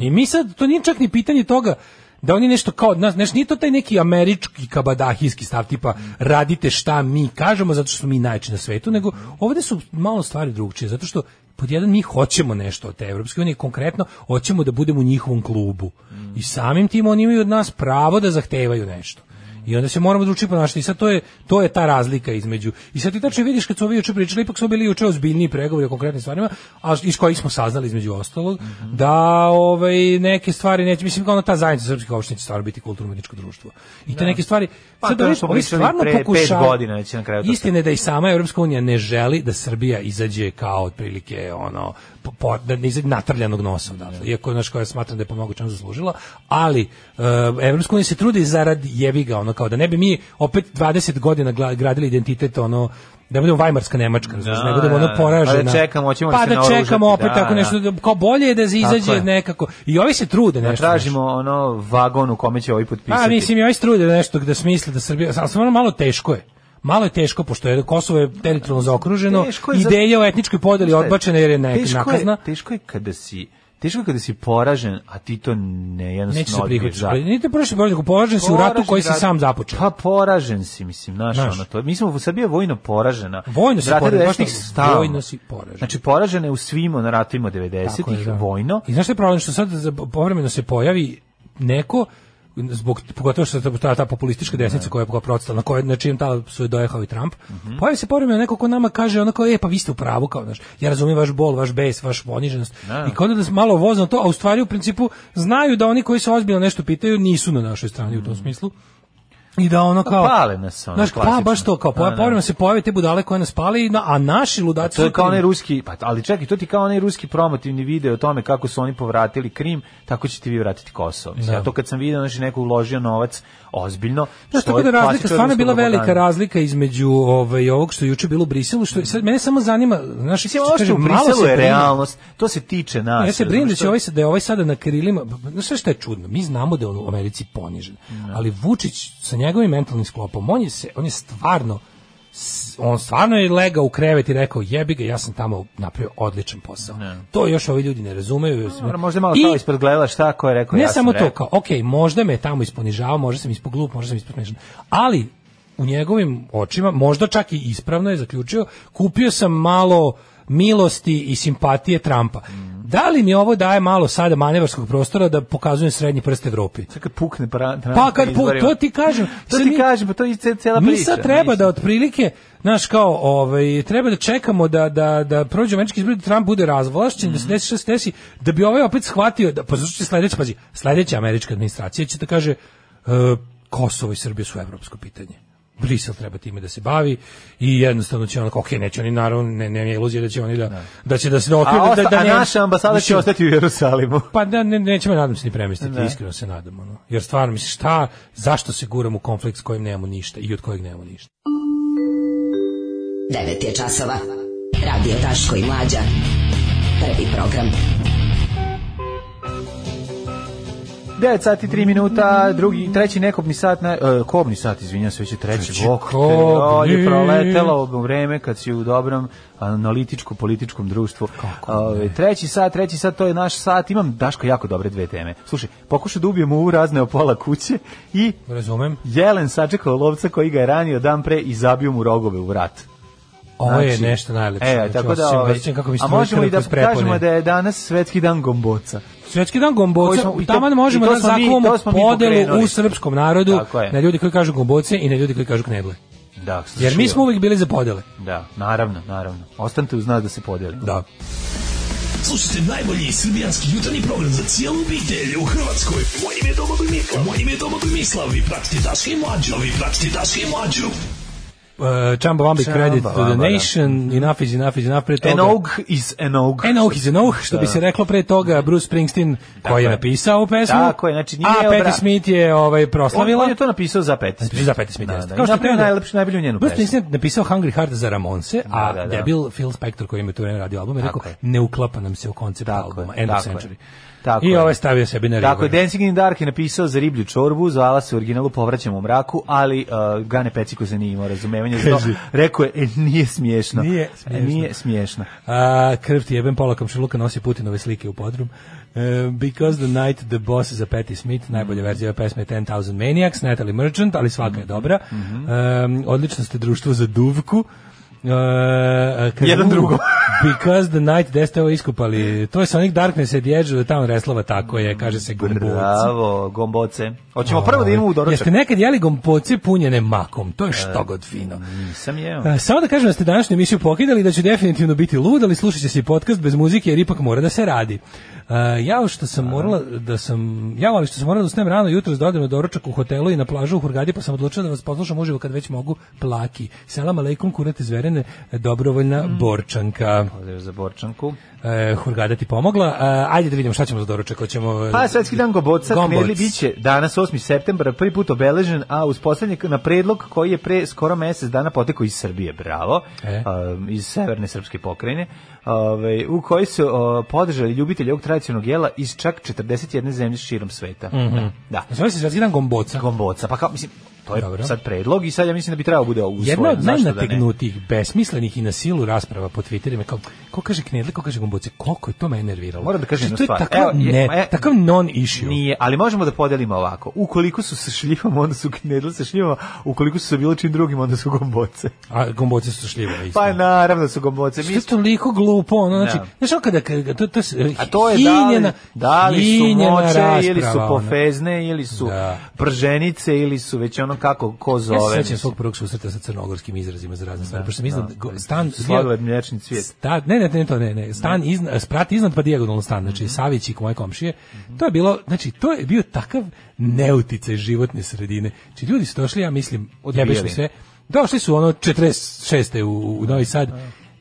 I mi sad to nije čak ni pitanje toga da oni nešto kao od nas, znaš, nije to taj neki američki kabadahijski stav tipa radite šta mi kažemo zato što smo mi najči na svetu, nego ovde su malo stvari drugčije, zato što pod jedan mi hoćemo nešto od te Evropske unije, konkretno hoćemo da budemo u njihovom klubu i samim tim oni imaju od nas pravo da zahtevaju nešto. I onda se moramo drugačije ponašati. I sad to je to je ta razlika između. I sad ti tačno vidiš kad su ovi juče pričali, ipak su bili juče ozbiljni pregovori o konkretnim stvarima, a iz kojih smo saznali između ostalog Mhm. da ovaj neke stvari neće mislim kao ona ta zajednica srpskih opština će stvarno biti kulturno umetničko društvo. I te neke stvari Pa, sad to je ovi, što smo ovi pričali stvarno pre pet pokušavaju- godina da će na kraju to Istina je da i sama Evropska unija ne želi da Srbija izađe kao otprilike ono po, po, da ne izađe natrljanog nosa odatle. Iako znaš koja smatram da je po mnogo čemu zaslužila, ali e, Evropska unija se trudi zarad jebiga ono kao da ne bi mi opet 20 godina gla- gradili identitet ono da budemo vajmarska Nemačka, razumiješ, Da, ne budemo da, ono da. poražena. Pa da čekamo, hoćemo li Pa se da naoružati, čekamo opet da, tako da. nešto, da- kao bolje je da se Tako izađe je. nekako. I ovi se trude Da nešto. znaš. tražimo ono vagon u kome će ovi potpisati. A Pa, mislim ja isto trude nešto da smisle da Srbija, samo stvarno malo teško je. Malo je teško pošto je Kosovo je teritorijalno zaokruženo, Teško je za- ono, ideja o etničkoj podeli Šta je? odbačena jer je nek, Teško nakazna. Je, teško je kada si teško je kada si poražen, a ti to ne jednostavno Neće se odbiješ, prihvatiti. Pa, da. Da. Niti prošli prođe, poražen si u ratu koji si Poražen sam rat. započeo. Pa poražen si, mislim, naš, Znaš. ono to. Mi smo, Srbija je vojno poražena. Vojno si Rate poražen, baš 90-ih tako, stalno. vojno si poražen. Znači, poražena je u svim ono ratovima Tako je, 90-ih, da. vojno. I znaš što je problem što sad za- povremeno se pojavi neko zbog pogotovo što je ta, ta populistička desnica koja je koja protestala na kojoj na čijem tal su je dojehao i Trump. Mhm. Pojavi se povremeno neko ko nama kaže onako e pa vi ste u pravu kao znaš. Ja razumem vaš bol, vaš bes, vaš poniženost. I kao da se malo vozno to, a u stvari u principu znaju da oni koji se ozbiljno nešto pitaju nisu na našoj strani u tom smislu. I da ono kao Mhm. Pale nas, ono, Znaš, pa klasično. baš to kao Da, da. povremeno se pojave te budale koje nas pali, na- a naši ludaci To je su kao krivi. onaj ruski, pa ali čekaj, to ti kao onaj ruski promotivni video o tome kako su oni povratili Krim, tako ćete vi vratiti Kosovo. Mislim, Da. Ja to kad sam vidio, znači neko uložio novac ozbiljno. Znaš, što tako je da razlika, klasična stvarno je ruska bila velika propaganda. razlika između ovaj, ovog što je juče bilo u Briselu, što je- sad, mene samo zanima, znaš, Mislim, što ovo što kažem, u malo se Briselu je brinem. realnost, to se tiče nas. Ja se brinem da razumeš, će to- ovaj sad- da je ovaj sada na krilima, znaš sve što je čudno, mi znamo da je on u Americi ponižen, ali Vučić sa njegovim mentalnim sklopom, on je, se, on je stvarno, s- on stvarno je legao u krevet i rekao jebi ga, ja sam tamo napravio odličan posao. To još ovi ljudi ne razumeju. Dobro, Možda je malo I- stao ispred gledala šta ko je rekao. ne ja sam samo rekao. to, kao, ok, možda me je tamo isponižavao, možda sam ispod glup, možda sam ispod smešan, ali u njegovim očima, možda čak i ispravno je zaključio, kupio sam malo milosti i simpatije Trumpa. Da li mi ovo daje malo sada manevarskog prostora da pokazujem srednji prst Evropi? Sad kad pukne pra, na Pa kad pu, izborima. to ti kažem. to sad ti mi- kažem, pa to je ce- cela mi priča. sad treba mislim. da otprilike, znaš kao, ovaj, treba da čekamo da, da, da prođe američki izbor, da Trump bude razvlašćen, Mhm. da se desi što se desi, da bi ovaj opet shvatio, da, pa zato što će sledeća, pazi, sledeća američka administracija će da kaže, e, Kosovo i Srbija su evropsko pitanje. Brisel treba time da se bavi i jednostavno će onako, ok, neće oni naravno, ne, nema iluzije da će oni da, da će da se okvir, A, da, osta, da a ne- naša ambasada će Mislim, ostati u Jerusalimu. Pa da, ne, nećemo, nadam se, ni premestiti, Ne. iskreno se nadam. Ono. Jer stvarno, mislim, šta, zašto se guramo u konflikt s kojim nemamo ništa i od kojeg nemamo ništa? 9 je časova. Radio Daško i Mlađa. Prvi program. 9 sati 3 minuta, drugi, treći nekobni sat, na, e, kobni sat, izvinjam se, već je treći, Treći treći bok. te, kobni. Ovdje je proletelo vreme kad si u dobrom analitičko-političkom društvu. Ove, treći sat, treći sat, to je naš sat. Imam, Daško, jako dobre dve teme. Slušaj, pokušaj da ubijemo u razne opola kuće i Razumem. jelen sačekao lovca koji ga je ranio dan pre i zabio mu rogove u vrat. Ovo je nešto najlepše. E, Znači, tako da, osjećam- ovaj, osjećam kako mi a struje možemo i da krv kroz prepone. kažemo da je danas svetski dan gomboca. Svetski dan Koji gomboca, smo- i to- taman možemo i to da smo mi- zakuvamo to smo mi podelu pokrenuli. u srpskom narodu Tako je. na ljudi koji kažu gomboce i na ljudi koji kažu kneble. Da, Jer mi smo uvijek bili za podele. Da, naravno, naravno. Ostanite uz nas da se podelimo. Da. Slušajte najbolji srbijanski jutarnji program za cijelu obitelj u Hrvatskoj. Moje ime je Domagoj Mislav. Moje ime je Domagoj Mislav. Vi pratite Daška i Mlađu. Vi pratite Daška i Mlađu. Uh, Chamba Wamba Chamba credit to the Wamba, da. nation, enough is enough is enough pre toga. Enog is Enog. Enough is enough, što bi se reklo pre toga Bruce Springsteen koji je je. napisao ovu pesmu. Tako je, znači nije A obra- Patti Smith je ovaj On, proslavila. on je to napisao za Peti Smith. Znači, Za Patti Smith, Znači, Da, da. Znači, jeste. Kao I što napravio je- najlepšu, najbolju njenu Bruce pesmu. Springsteen je napisao Hungry Heart za Ramonse, a Da, da, da. debil Phil Spector koji im je tu vreme radio album je rekao Tako je. ne uklapa nam se u koncept Tako albuma, je, End of tako je. Century. Tako I je. ovaj stavio sebi na Tako je, ribu. Dancing in the Dark je napisao za riblju čorbu, zvala se u originalu Povraćam u mraku, ali uh, Gane Peciko se nije imao razumevanja. za to. Kaži. Rekao je, e, nije smiješno. Nije E, smiješno. Nije smiješno. A, krv ti jebem pola kamšiluka nosi Putinove slike u podrum. E, because the Night, The Boss za Patti Smith, najbolja verzija ove pesme je 10,000 Maniacs, Natalie Merchant, ali svaka Mhm. je dobra. E, odlično ste društvo za duvku. E, a, kaže, Jedan "U, drugom." because the night, gde ste ovo iskupali? To je Sonic Darkness at the Edge of the Town Reslova, tako je, kaže se gumboci. Bravo, gomboce. Hoćemo prvo da idemo u doručak. Ovaj, E, Jeste nekad jeli gomboce punjene makom, to je što god fino. Nisam jeo. E, Samo da kažem da ste današnju emisiju pokidali i da ću definitivno biti lud, ali slušat će se i podcast bez muzike jer ipak mora da se radi. E, ja što sam morala da sam ja ali što sam morala da ustanem rano jutros da odem na doručak u hotelu i na plažu u Hurgadi pa sam odlučila da vas poslušam uživo kad već mogu plaki. Selam aleikum kurate zverene dobrovoljna Mm. borčanka. Pozdrav za Borčanku. E, Hurgada ti pomogla. E, ajde da vidimo šta ćemo za doručak. Hoćemo Pa svetski dan gomboca Gomboc. knedli biće danas 8. septembra, prvi put obeležen, a uz poslednji na predlog koji je pre skoro mesec dana potekao iz Srbije, bravo, E. um, iz severne srpske pokrajine, ovaj, u koji su o, podržali ljubitelji ovog tradicionalnog jela iz čak 41 zemlje širom sveta. Mhm. Da, Zove se Svetski dan gomboca. gomboca, pa kao, mislim, to je Dobro. sad predlog i sad ja mislim da bi trebao bude usvojen. Jedna od zašto da ne? najnategnutijih, besmislenih i na silu rasprava po Twitterima, kao, ko kaže knedle, ko kaže gomboce, koliko je to me nerviralo. Moram da kažem Znači, jednu to je stvar. takav, Evo, je- ma ne, ja- takav non-issue. Nije, ali možemo da podelimo ovako. Ukoliko su sa šljivama, onda su knedle sa šljivama, ukoliko su sa bilo čim drugim, onda su gomboce. A gomboce su šljive. Pa naravno su gomboce. Što Mi je toliko glupo, ono, znači, Da. znaš, ono kada, kada, to, to, A to je da li, da li su hinjena moće ili su rasprava, ono. pofezne ili su Da. brženice ili su već ono kako ko Ja se zove. sećam svog prvog susreta sa crnogorskim izrazima za razne stvari, pošto sam iznad, go- stan, Sladoled, mlječni cvijet. Sta, ne, ne, ne, to ne, ne. Stan iznad, sprat iznad pa dijagonalno stan, Mhm. znači Savić i moje komšije. To je bilo, znači to je bio takav neuticaj životne sredine. Znači ljudi su došli, ja mislim, Odbijali. jebeš mi sve. Došli su ono 46. u, u Novi Sad.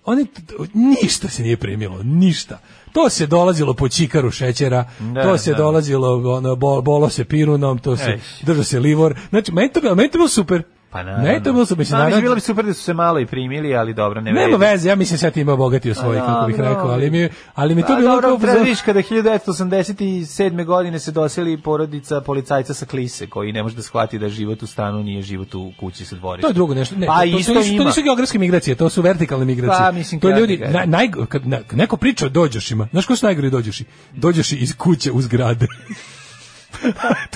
Oni t- t- ništa se nije primilo, ništa. To se dolazilo po čikaru šećera, Da, to se da. dolazilo ono, bo- bolo se pirunom, to se Ej. držao se livor. Znači, meni to, bilo- meni to bilo super. Pa naravno. meni to bilo super. Mislim, Pa, naravno- bilo bi super da su se malo i primili, ali dobro, ne nema vredi. veze, ja mislim sad ti ima bogati svoje, A, kako bih dobro. rekao, ali mi, ali mi to Pa, bilo dobro, kao... treba vidiš kada 1987. godine se doseli porodica policajca sa Klise, koji ne može da shvati da život u stanu nije život u kući sa dvorišta. To je drugo nešto. Ne, Pa to, to, isto to, nisu, to ima. nisu geografske migracije, to su vertikalne migracije. Pa, mislim, to je kako ljudi, ti kažem. na, naj, kad, na, kad neko priča o dođošima, znaš ko su najgori dođoši? Dođoši iz kuće u zgrade.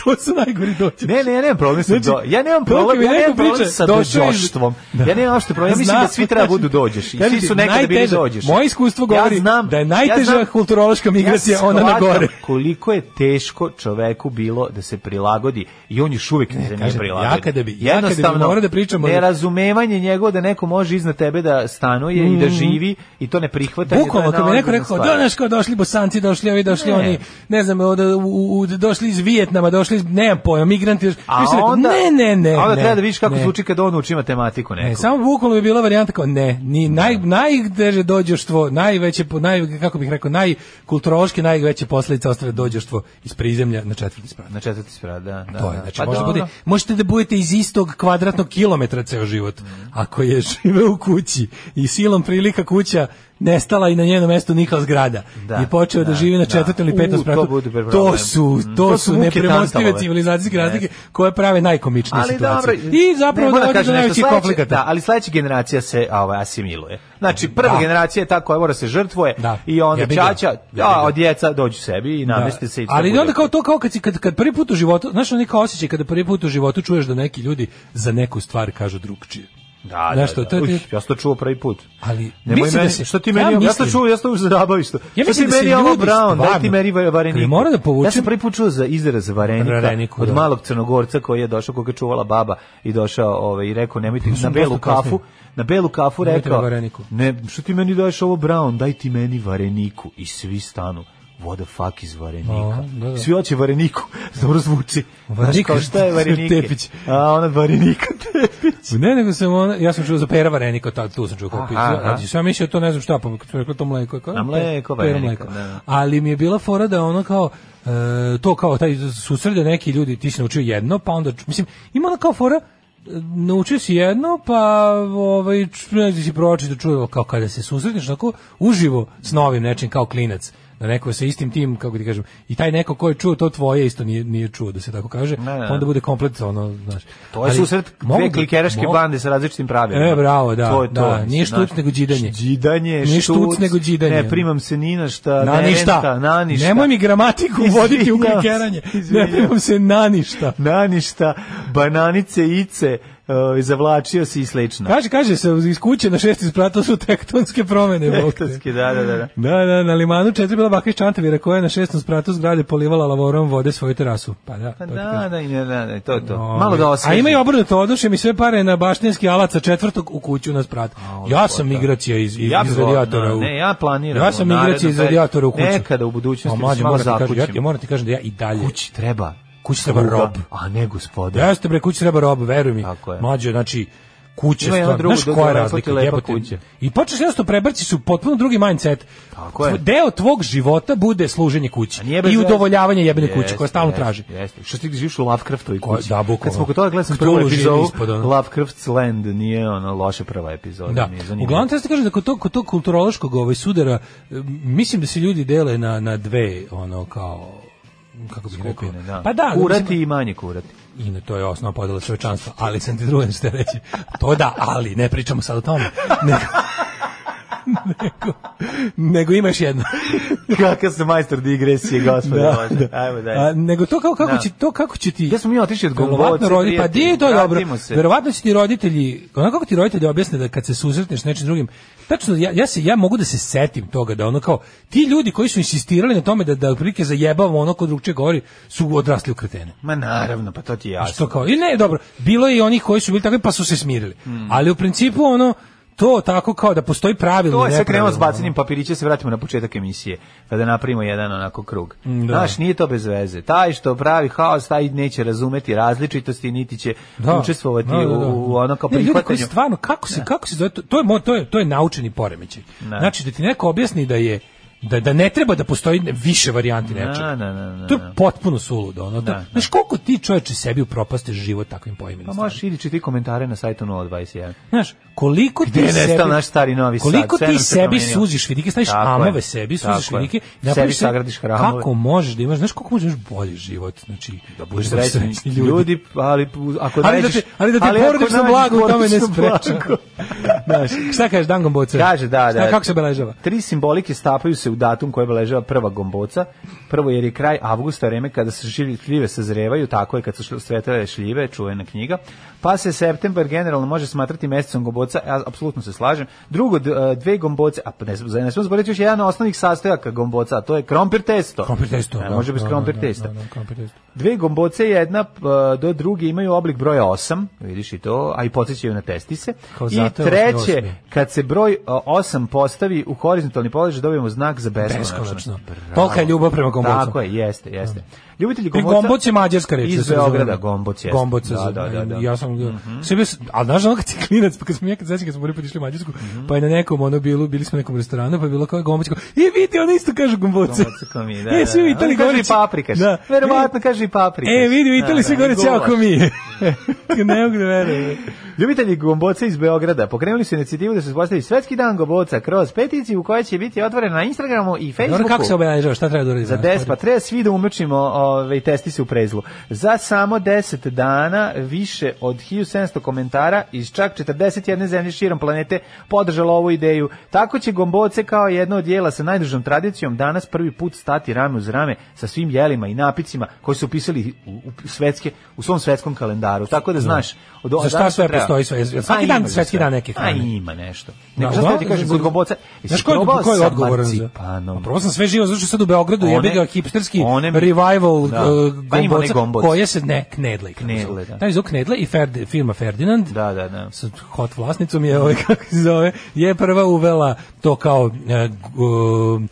to su najgori dođoši. Ne, ne, ja nemam problem sa Znači, do... Ja nemam dok problem, mi ja neko nemam problem priča, sa došao je iz- dođoštvom. Da. Ja nemam uopšte problem, ja mislim Znam, da svi treba budu dođeš. I Kažem svi ti, su nekada bili najteže- dođeš. Moje iskustvo govori ja znam, da je najteža ja znam- kulturološka migracija ja ona na shvatam gore. koliko je teško čoveku bilo da se prilagodi i on još uvijek ne, se nije kažem, prilagodio. ja kada bi- ja kada bi morao da pričam o- Nerazumevanje njegovo da neko može iznad tebe da stanuje i da Mhm. živi i to ne prihvata. Bukvalno, kad mi neko rekao, da, znaš, kao došli bosanci, došli ovi, došli Ne. oni, ne znam, od, u, u, došli iz Vijetnama došli, nemam pojma, migranti. došli. A Mislim, onda, ne, ne, ne. a onda ne, treba da vidiš kako ne. zvuči kad on uči matematiku neku. E, samo bukvalno bi bila varijanta kao ne, ni naj najdeže dođoštvo, najveće po- naj kako bih rekao, najkulturološki najveće posledice ostave dođoštvo iz prizemlja na četvrti sprat. Na četvrti sprat, da. da To je, da. znači Pa možda dobro. bude, možete da budete iz istog kvadratnog kilometra ceo život. Mhm. Ako je žive u kući i silom prilika kuća nestala i na njeno mesto nikla zgrada Da, i počeo da, da, živi na da. četvrtom ili U, petom to spratu. bude To, problem. Mm, su to, to su su muke nepremostive Tantalove. civilizacijske razlike Jeste. koje prave najkomičnije Ali dobro, situacije. I zapravo ne, moram dovodi do kažem nešto, najvećih sledeće- konflikata. Da, ali sledeća generacija se a, ovaj, asimiluje. Znači, prva Da. generacija je ta koja mora se žrtvuje Da. i onda Jebi ga. čača, Jebi a, ga. od djeca dođu sebi i namesti se. i sve ali bude. onda kao to kao kad si kad kad prvi put u životu, znaš onaj kao osjećaj kada prvi put u životu čuješ da neki ljudi za neku stvar kažu drugčije. Da, da, Znaš što, da. to je- Uš, ja sam to čuo prvi put. Ali Nemoj mislim meni, da se što ti meni, ja, sam mislim- čuo, ja sam to za zabavište. Ja što ti mislim da se meni ovo ljudi Brown, daj ti stvarno- meni varenika. Ali moram da Ja sam povučem- prvi put čuo za izraz varenika, Vareniku, od da. malog crnogorca koji je došao, koga je čuvala baba i došao ovaj, i rekao, nemojte na sam belu dosta kasnije. kafu, na belu kafu Nemojte rekao, na vareniku. ne, što ti meni daješ ovo Brown, daj ti meni vareniku i svi stanu. What the fuck is varenika? A, da, da. Svi hoće vareniku. Dobro zvuči. Znaš Varenika, kao šta je varenike? Tepić. A ona varenika tepić. Ne, nego sam ona, ja sam čuo za pera varenika, ta, tu sam čuo kao Aha, pizu, aha. ali sam ja mislio to ne znam šta, pa kad su rekli to mleko. je Kao, A mleko, pera varenika, mleko. da, da. Ali mi je bila fora da ono kao, e, to kao taj susrede neki ljudi, ti si naučio jedno, pa onda, ču- mislim, ima ona kao fora, e, naučio si jedno, pa ovaj, ču- ne znam, si pročito čuo, kao kada se susretneš, tako uživo s novim nečim kao klinac, da neko sa istim tim, kako ti kažem, i taj neko ko je čuo to tvoje isto nije, nije čuo, da se tako kaže, pa Ne, ne. onda bude komplet ono, znaš. To je Ali susret mogu dve da- klikeraške mogu- bande sa različitim pravilima. E, bravo, da, To je da, mislim, nije štuc, znaš. nego đidanje. Đidanje, Nije štuc, nego đidanje. Ne, primam se ni na šta, na ne ništa. na ništa. Nemoj mi gramatiku voditi u Izvinjavam se, klikeranje. Ne izvinjavam primam se na ništa. Na ništa, bananice, ice, uh, zavlačio se i slično. Kaže, kaže se, iz kuće na šesti sprat, to su tektonske promene. Bog te. Ektatski, da, da, da. da. Da, da, na limanu četiri bila baka iz Čantavira koja je na šestom spratu zgrade polivala lavorom vode svoju terasu. Pa da, Pa to ti kažem. Da, da, i ne, da, da, to je to. Ovaj. Malo da osvežim. A ima i obrnuto, odoše mi sve pare na baštinski alat sa četvrtog u kuću na sprat. Ja sam migracija iz, iz, Ja bi iz volao, radijatora. da, u- ne, ja planiram Ja sam u migracija iz narednom radijatora u kuću. periodu. Nekada u budućnosti A, da se mlađe, malo moram ti kažem, ja, zakućim. ja moram ti kažem da ja i dalje. Kući treba. Kući treba sluga, rob. A ne gospoda. Jeste bre kući treba rob, veruj mi. Tako je. Mlađe, znači kuće Ima jedno stvarno, drugo, znaš drugo koja je lepo ti razlika, lepa jebote. kuća. I počneš jednostavno prebrci su potpuno drugi mindset. Tako je. Tvo- Deo tvog života bude služenje kući A nije bez i veze. udovoljavanje jebene kuće Jeste, koja stalno jeste, traži. Jeste. Što ti živiš u Lovecraftovoj Ko- kući? da, bukvalno. Kad smo kod toga gledali sam Cthulhu prvu živi epizodu, ispod, ono. Lovecraft's Land nije ono loše prva epizoda. Da. nije zanimljivo. Uglavnom treba se kaže da kod tog, kod tog kulturološkog ovaj sudara e, mislim da se ljudi dele na na dve ono kao kako bih rekao. Skupine, da. Pa da, kurati mislim- i manje kurati. I na to je osnova podela čovečanstva, ali sam ti drugo što reći. To da, ali, ne pričamo sad o tome. Nego, nego, nego ima još jedno. Kakav se majstor digresije, gospode Da, Bože. da. Ajmo dalje. A, nego to kao kako Da. će to kako će ti Gde smo mi otišli od Verovatno gomboce, rodi, pa di je to prijatelji? dobro. Vratimo se. Verovatno će ti roditelji, onako kako ti roditelji objasne da kad se susretneš s nečim drugim, tačno ja, ja se ja mogu da se setim toga da ono kao ti ljudi koji su insistirali na tome da da otprilike zajebavamo ono ko drugčije govori su odrasli u kretene. Ma naravno, pa to ti je A jasno. Što kao, i ne, dobro, bilo je i onih koji su bili takvi pa su se smirili. Hmm. Ali u principu ono, to tako kao da postoji pravilno. To i je sve krenulo s nepravilno, bacanjem papirića, se vratimo na početak emisije, pa da napravimo jedan onako krug. Mm, Da. Znaš, nije to bez veze. Taj što pravi haos, taj neće razumeti različitosti, niti će ono. učestvovati Da, da, da. u, u ono kao Ne, ljudi koji prihvatanju. stvarno, kako se, kako se zove, to, to je, mo- to je, to je naučeni poremećaj. Da. Znači, da ti neko objasni da je, da, da ne treba da postoji više varijanti Na, nečega. na, na, na, To je na. potpuno suludo. Ono, da, znaš, koliko ti čoveče sebi upropastiš život takvim pojmima? Pa možeš ili čiti komentare na sajtu 021. Znaš, koliko Gde ti je nestao sebi- naš stari Novi Sad? Koliko Sve ti nam se sebi promenilo. suziš vidike, staviš Tako je. amove sebi, suziš Tako je. vidike, Sebi napraviš se- sagradiš hramove. Kako možeš da imaš, znaš koliko možeš bolji život, znači Da budeš srećni ljudi, ali ako Ali da nađeš- te, ali da te ako porodično nađeš blago u tome ne porodično sprečava. blago. Znaš, šta kažeš dan gomboce? Kaže, da, Šta, da. kako se beležava? Tri simbolike stapaju se u datum koji obeležava prva gomboca. Prvo jer je kraj avgusta vreme kada se šilj- šljive sazrevaju, tako je kad su šl- svetale šljive, čuvena knjiga. Pa se septembar generalno može smatrati mesecom gomboca, ja apsolutno se slažem. Drugo, d- e, dve gomboce, a pa ne, znam- ne smemo zaboraviti još jedan od osnovnih sastojaka gomboca, a to je krompir testo. Krompir testo. Ne, da, može bez da, da, krompir da, testa. da, da, krompir testo. Dve gomboce, jedna p- do druge imaju oblik broja 8, vidiš i to, a i podsjećaju na testise. Kao I zato je Treće, kad se broj 8 postavi u horizontalni položaj, dobijemo znak za beskonačno. Beskonačno. Bravo. Tolika je ljubav prema gombocu. Tako je, jeste, jeste. Ljubitelji I gomboca... gomboc je mađarska reč. da Iz se razumemo. Beograda gomboc jeste. Gomboc se da, da, zove. da, da. Mhm. Ja sam, sve bio sam- ali znaš ono kad si klinac, pa kad smo ja kad sećam kad smo prvi put išli u Mađarsku, Mhm. pa je na nekom ono bilo, bili smo u nekom restoranu, pa je bilo kao gomboc, kao, i vidi, ono isto kaže gomboce. Gomboce kao mi, da, E, svi da, u da. Italiji On kaže govore- i paprikaš. Da. Verovatno kaže i paprikaš. E, vidi, u Italiji Da, svi da, govore i cijao gulaš. ko mi je. Ne mogu da verujem. Ljubitelji gomboca iz Beograda pokrenuli su inicijativu da se uspostavi Svetski dan gomboca kroz peticiju koja će biti otvorena na Instagramu i Dobro, Facebooku. kako se obeležava, šta treba da uradim? Za 10, pa treba svi da umrčimo ove, i testi se u prezlu. Za samo 10 dana više od 1700 komentara iz čak 41 zemlje širom planete podržalo ovu ideju. Tako će gomboce kao jedno od jela sa najdužom tradicijom danas prvi put stati rame uz rame sa svim jelima i napicima koji su upisali u, u, svetske, u svom svetskom kalendaru. Tako da znaš... Od, Za šta danas sve treba. postoji sve- jer A, svaki ima dan za svetski sve. dan neke A hrane. ima nešto. Nego šta Da, ti uglavnom- kažem, kod gomboca... Znaš jesi ko je, probao ko je sa odgovoran za... Pa marcipanom? A Prvo sam sve živo, zato što sad u Beogradu One- jebi ga hipsterski one- revival Da. uh, Pa ima onaj gomboca, gomboc. koje se ne, knedle. kako se zove. Knedle, da. Taj zvuk knedle i Ferd, firma Ferdinand Da, da, da. sa hot vlasnicom je, ovaj, kako se zove, je prva uvela to kao uh, gu-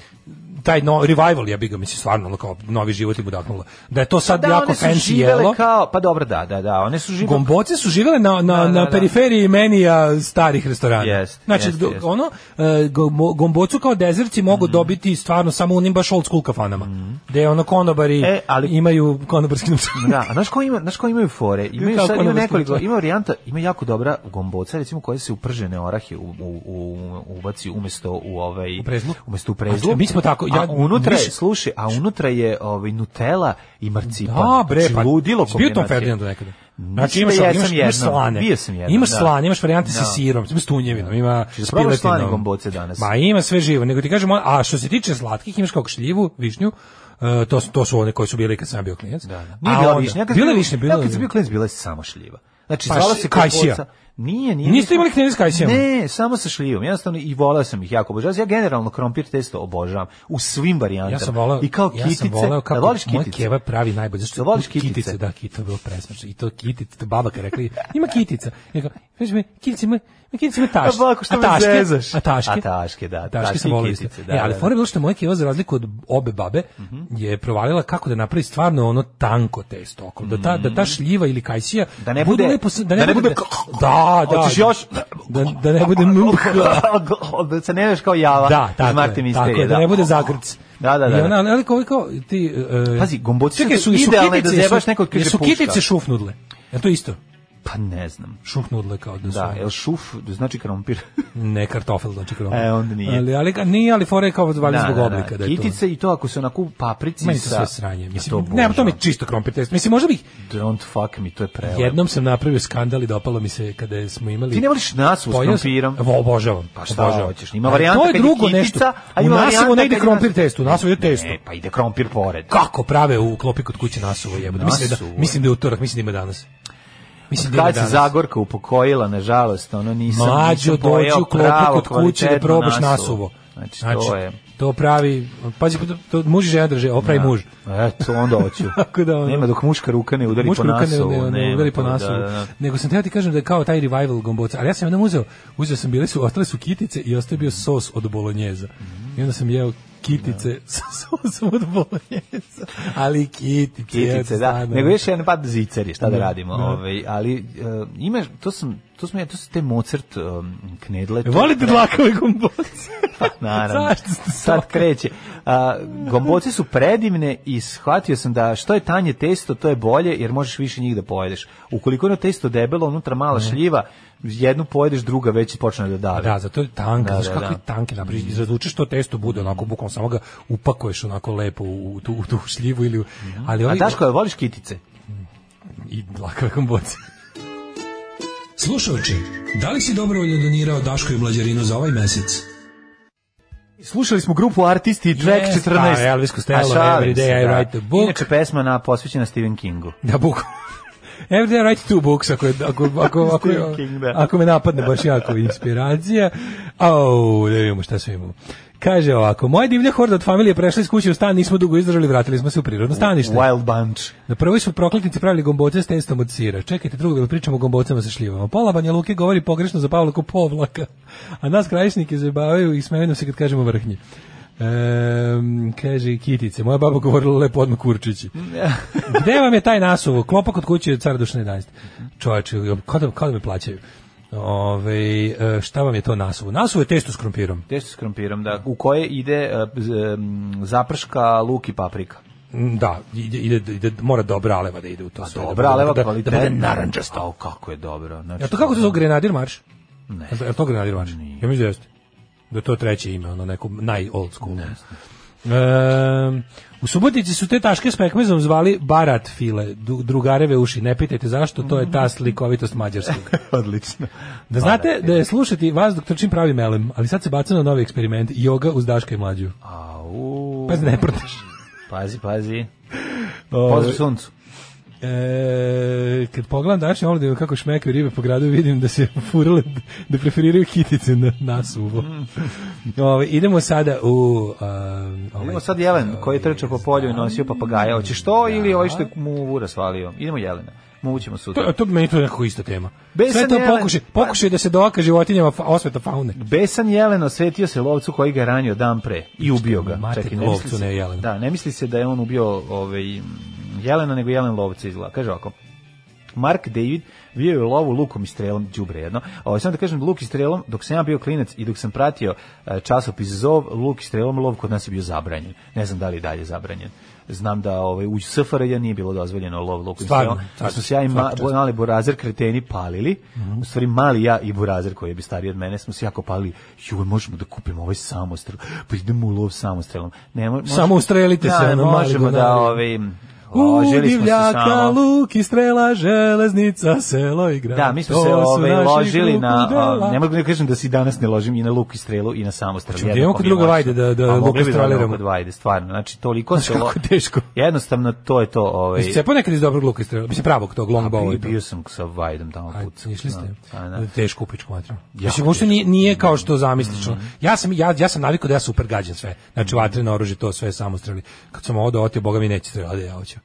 taj no, revival, ja bih ga, mislim, stvarno, ono kao novi život im udahnula. Da je to sad Pa da, jako one su fancy živele jelo. kao, pa dobro, da, da, da, one su živele Gomboce su živele na, na, Da, da, na da. periferiji menija starih restorana. Jest, znači, jest, do- jest. Mhm. ono, e, gombo- gombocu kao dezerci mogu dobiti stvarno samo u onim baš old school kafanama. Gde ono konobari E, ali- imaju konobarski novčanik. Da, a znaš ko ima, znaš ko imaju fore? Imaju Kako sad, ima ono nekoliko, vaskriče? ima varijanta, ima jako dobra gomboca, recimo koje se u pržene orahe u, u, u, ubaci umesto u ovaj U prezlu? umesto u A prezlu. če- mi smo tako, a ja- unutra je, više- slušaj, a unutra je ovaj Nutella i marcipan. Da, bre, Znači, pa ludilo si bio u tom kombinacija. Ferdinandu nekada. Mislim Znači imaš, da imaš, jesam imaš, jednom. slane. Bio sam jednom, imaš da. slane, imaš varijante Da. sa sirom, imaš tunjevinom, ima da probaš slane spiletinom. gomboce danas? Ma ima sve živo, nego ti kažem, a što se tiče slatkih, imaš kao šljivu, višnju, e, to, su, to su one koje su bile kad sam ja bio klijent. Da, da. Nije bila višnja. Ja kad sam Bila bio- višnja, bila Ja kad sam je. bio klinac bila je samo šljiva. Znači, Pa zvala š- se kajsija. kajsija. Nije, nije. Niste imali knedle s kajsijama? Ne, samo sa šljivom. Jednostavno i voleo sam ih jako obožavam. Ja generalno krompir testo obožavam u svim varijantama. Ja sam voleo, I kao ja kitice. sam voleo kako da voliš moja kitice. keva pravi najbolje. Zašto Da voliš kitice? Da, kitice, bilo presmešno. I to kitice, to baba kad rekli, ima kitica. I kao, veš me, kitice ima, ima kitice ima taške. A bako, što a me taške, zezaš? A taške. A taške, da, taške Taške sam i voleo. kitice, isto. da, E, da, ali Mhm. da. fora je bilo što je moja keva, za razliku od obe babe, je provalila kako da napravi stvarno ono tanko testo. Oko, da, ta, da ta šljiva ili kajsija Mhm. Da ne budu bude- lepo sa- da da ne, ne bude... bude- Da, da. Hoćeš još? Da, da ne bude... da se ne veš kao java Da, iz tako Marte je, tako Misterije. je, da ne bude zagrc. Da, da, da, I da. ona, ali kao, kao ti... e, Pazi, gomboci čekaj, su jesu idealne kitice, da zebaš jesu- nekog kaže Jesu puška. kitice šufnudle? Je to isto? Pa ne znam. Šufnudle kao da su... Da, el šuf znači krompir. Ne kartofel, znači krompir. E, onda nije. Ali, ali, nije, ali fora je kao valjda Pa zbog oblika. Da, je to. Kitice i to ako se onako u paprici Meni to sa... sve sranje. Ja Mislim, ne, to mi je obožavam. čisto krompir test. Mislim, možda bih... Don't fuck me, to je prelepo. Jednom sam napravio skandal i dopalo mi se kada smo imali... Ti ne voliš nasu s Pojeo sam- krompirom? Evo, obožavam. Pa šta obožavam. hoćeš? Ima Ali varijanta To je kad je drugo kitica, nešto. a U ima nasivo varijanta ne ide kad je nas- krompir testu, u nasivo ide testo. E, pa ide krompir pored. kako prave u klopi kod kuće nasuvo jebote. Mislim da Nasuvo. mislim da je utorak, mislim da ima danas. Mislim da ima Kad se danas. Zagorka upokojila, nažalost, ono nisam, Mlađo nisam pojeo dođi u klopu pravo kod kuće da kvalitetno probaš nasuvo. Znači, to je... to pravi, pazi, to, to muž i žena drže, opravi muž. Eto, onda hoću. Tako da, ono- Nema dok muška ruka ne udari Muška po ruka nasovu. ne, ne, ne nema udari po to, da, nasovu. da, da. Nego sam teo ti kažem da je kao taj revival gomboca. Ali ja sam jednom uzeo, uzeo sam bile su, ostale su kitice i ostao je bio sos od bolonjeza. I onda sam jeo kitice sa sosom od bolonjeza. Ali kitice. Kitice, jebote, da. stvarno. ono. Nego još jedan pad ziceri, šta da Da, radimo. da. Ovaj, ali e, imaš, to sam, to smo ja, to su te Mozart um, knedle. to je Volite pre- dlakove gomboce? Pa, naravno. Zašto ste Sad tako? kreće. A, gomboce su predivne i shvatio sam da što je tanje testo, to je bolje, jer možeš više njih da pojedeš. Ukoliko je ono testo debelo, unutra mala šljiva, jednu pojedeš, druga već počne da dave. Da, zato je tanka, Da, znaš da, kako je da. tanke napraviš, izradučeš to testo, bude onako bukom, samo ga upakuješ onako lepo u tu, u tu šljivu ili u... Ali Mhm. A ovi, Daško, jel voliš kitice? I dlakave komboce. Slušalče, da li si dobrovoljno donirao Daško i Mlađarinu za ovaj mesec? Slušali smo grupu Artisti i Track Yes, 14. pa, Elvis Costello, A šalim Every Day se, I da. Write a Book. Inače, pesma na, posvećena Stephen Kingu. Da, bukom. Every day I write two books, ako, je- ako, ako, ako, Stephen King, da. ako me napadne baš jako inspiracija. Au, da vidimo šta sve imamo. Kaže ovako, moja divlja horda od familije prešla iz kuće u stan, nismo dugo izdržali, vratili smo se u prirodno stanište. Wild bunch. Na prvoj su prokletici pravili gomboce s testom od sira. Čekajte drugog da pričamo o gombocama sa šljivama. Pola Banja Luke govori pogrešno za Pavla Povlaka, a nas krajišnike zabavaju i smeju nam se kad kažemo vrhnje. Ehm, kaže Kitice, moja baba govorila lepo odmah kurčići. Gde vam je taj nasuvo? Klopa kod kuće je car Dušan 11. Čovječe, kada, kada me plaćaju? Ove, e, šta vam je to nasuvo? Nasuvo je testo s krompirom. Testo s krompirom, da. U koje ide e, z- em, zaprška, luk i paprika. Mm, Da, ide, ide, ide, mora dobra aleva da ide u to sve. da Pa Dobra, bude- ali evo da, kvalitetna. Da bude narančasta. Au, kako je dobro. Znači, Ja to kako se zove Grenadir marš? Ne. Je to Grenadir marš? Ja mislim da jeste. Da je to treće ime, ono neko naj old school. Ehm, u Subotici su te taške s pekmezom zvali barat file, du- drugareve uši. Ne pitajte zašto, to je ta slikovitost mađarskog. Odlično. Da znate da je slušati vas dok trčim pravi melem, ali sad se baca na novi eksperiment, joga uz Daška i mlađu. Au. Pa ne prodaš. Pazi, pazi. Ove. Pozdrav suncu. E, kad pogledam dašnje ovdje kako šmekaju ribe po gradu, vidim da se furale, da preferiraju kitice na, na suvo. Mm. Ove, idemo sada u... um, ovaj- Idemo sad Jelen koji je trčao po polju i nosio papagaja. Hoće što ili ovaj što je mu vura svalio? Idemo Jelena. Mogućemo to, sutra. to meni to je nekako ista tema. Besan Sve to Jelen. pa- pokušaj, pokušaj da se doka životinjama fa, osveta faune. Besan Jelen osvetio se lovcu koji ga je ranio dan pre i ubio ga. Mater, misli lovcu, se- ne Jelenu. Da, ne misli se da je on ubio ovaj, Jelena, nego Jelen lovca izgleda. Kaže ovako, Mark David bio je u lovu lukom i strelom, đubre jedno. Ovo, sam da kažem, luk i strelom, dok sam ja bio klinac i dok sam pratio e, časopis Zov, luk i strelom lov kod nas je bio zabranjen. Ne znam da li je dalje zabranjen. Znam da ovaj, u SFRJ nije bilo dozvoljeno lov lukom i Stvarno, strelom. Da stvarno, Mhm. su se ja i ma, svaka čast. mali burazer kreteni palili. U stvari mali ja i burazer koji je bi stariji od mene smo se jako palili. Ju, možemo da kupimo ovaj samostrel. Pa idemo u lov samostrelom. Ne, mo, Samo ustrelite se, Da, ono, mali možemo da gunari. ovaj U, ložili smo se divljaka, samo. luk i strela, železnica, selo i grad. Da, mi smo To se su ovaj, naši ložili na, krokudela. a, ne mogu da kažem da se i danas ne ložim i na luk i strelu i na samostrel. Hoćemo da jednako idemo kod mi je moćno. druga Vajde da- da A Pa mogli luk bi odmah streliramo. kod Vajde, stvarno. Znači, toliko Znaš se... lo- kako je teško. Jednostavno, to je to. Ovaj, pa Jesi cepao nekad iz dobrog luka i strela? Mislim, pravog tog longbowa. i bio, to. bio sam sa Vajdom tamo Aj, put. išli ste. Da, da. Da, Teško u pičku materiju. Mislim, Jako uopšte nije, nije kao što zamislično. Mhm. Ja sam, ja, ja sam navikao da ja super gađam sve. Znači, vatreno oružje, to sve samo streli. Kad sam ovo otio, boga mi neće strelati, ja hoću.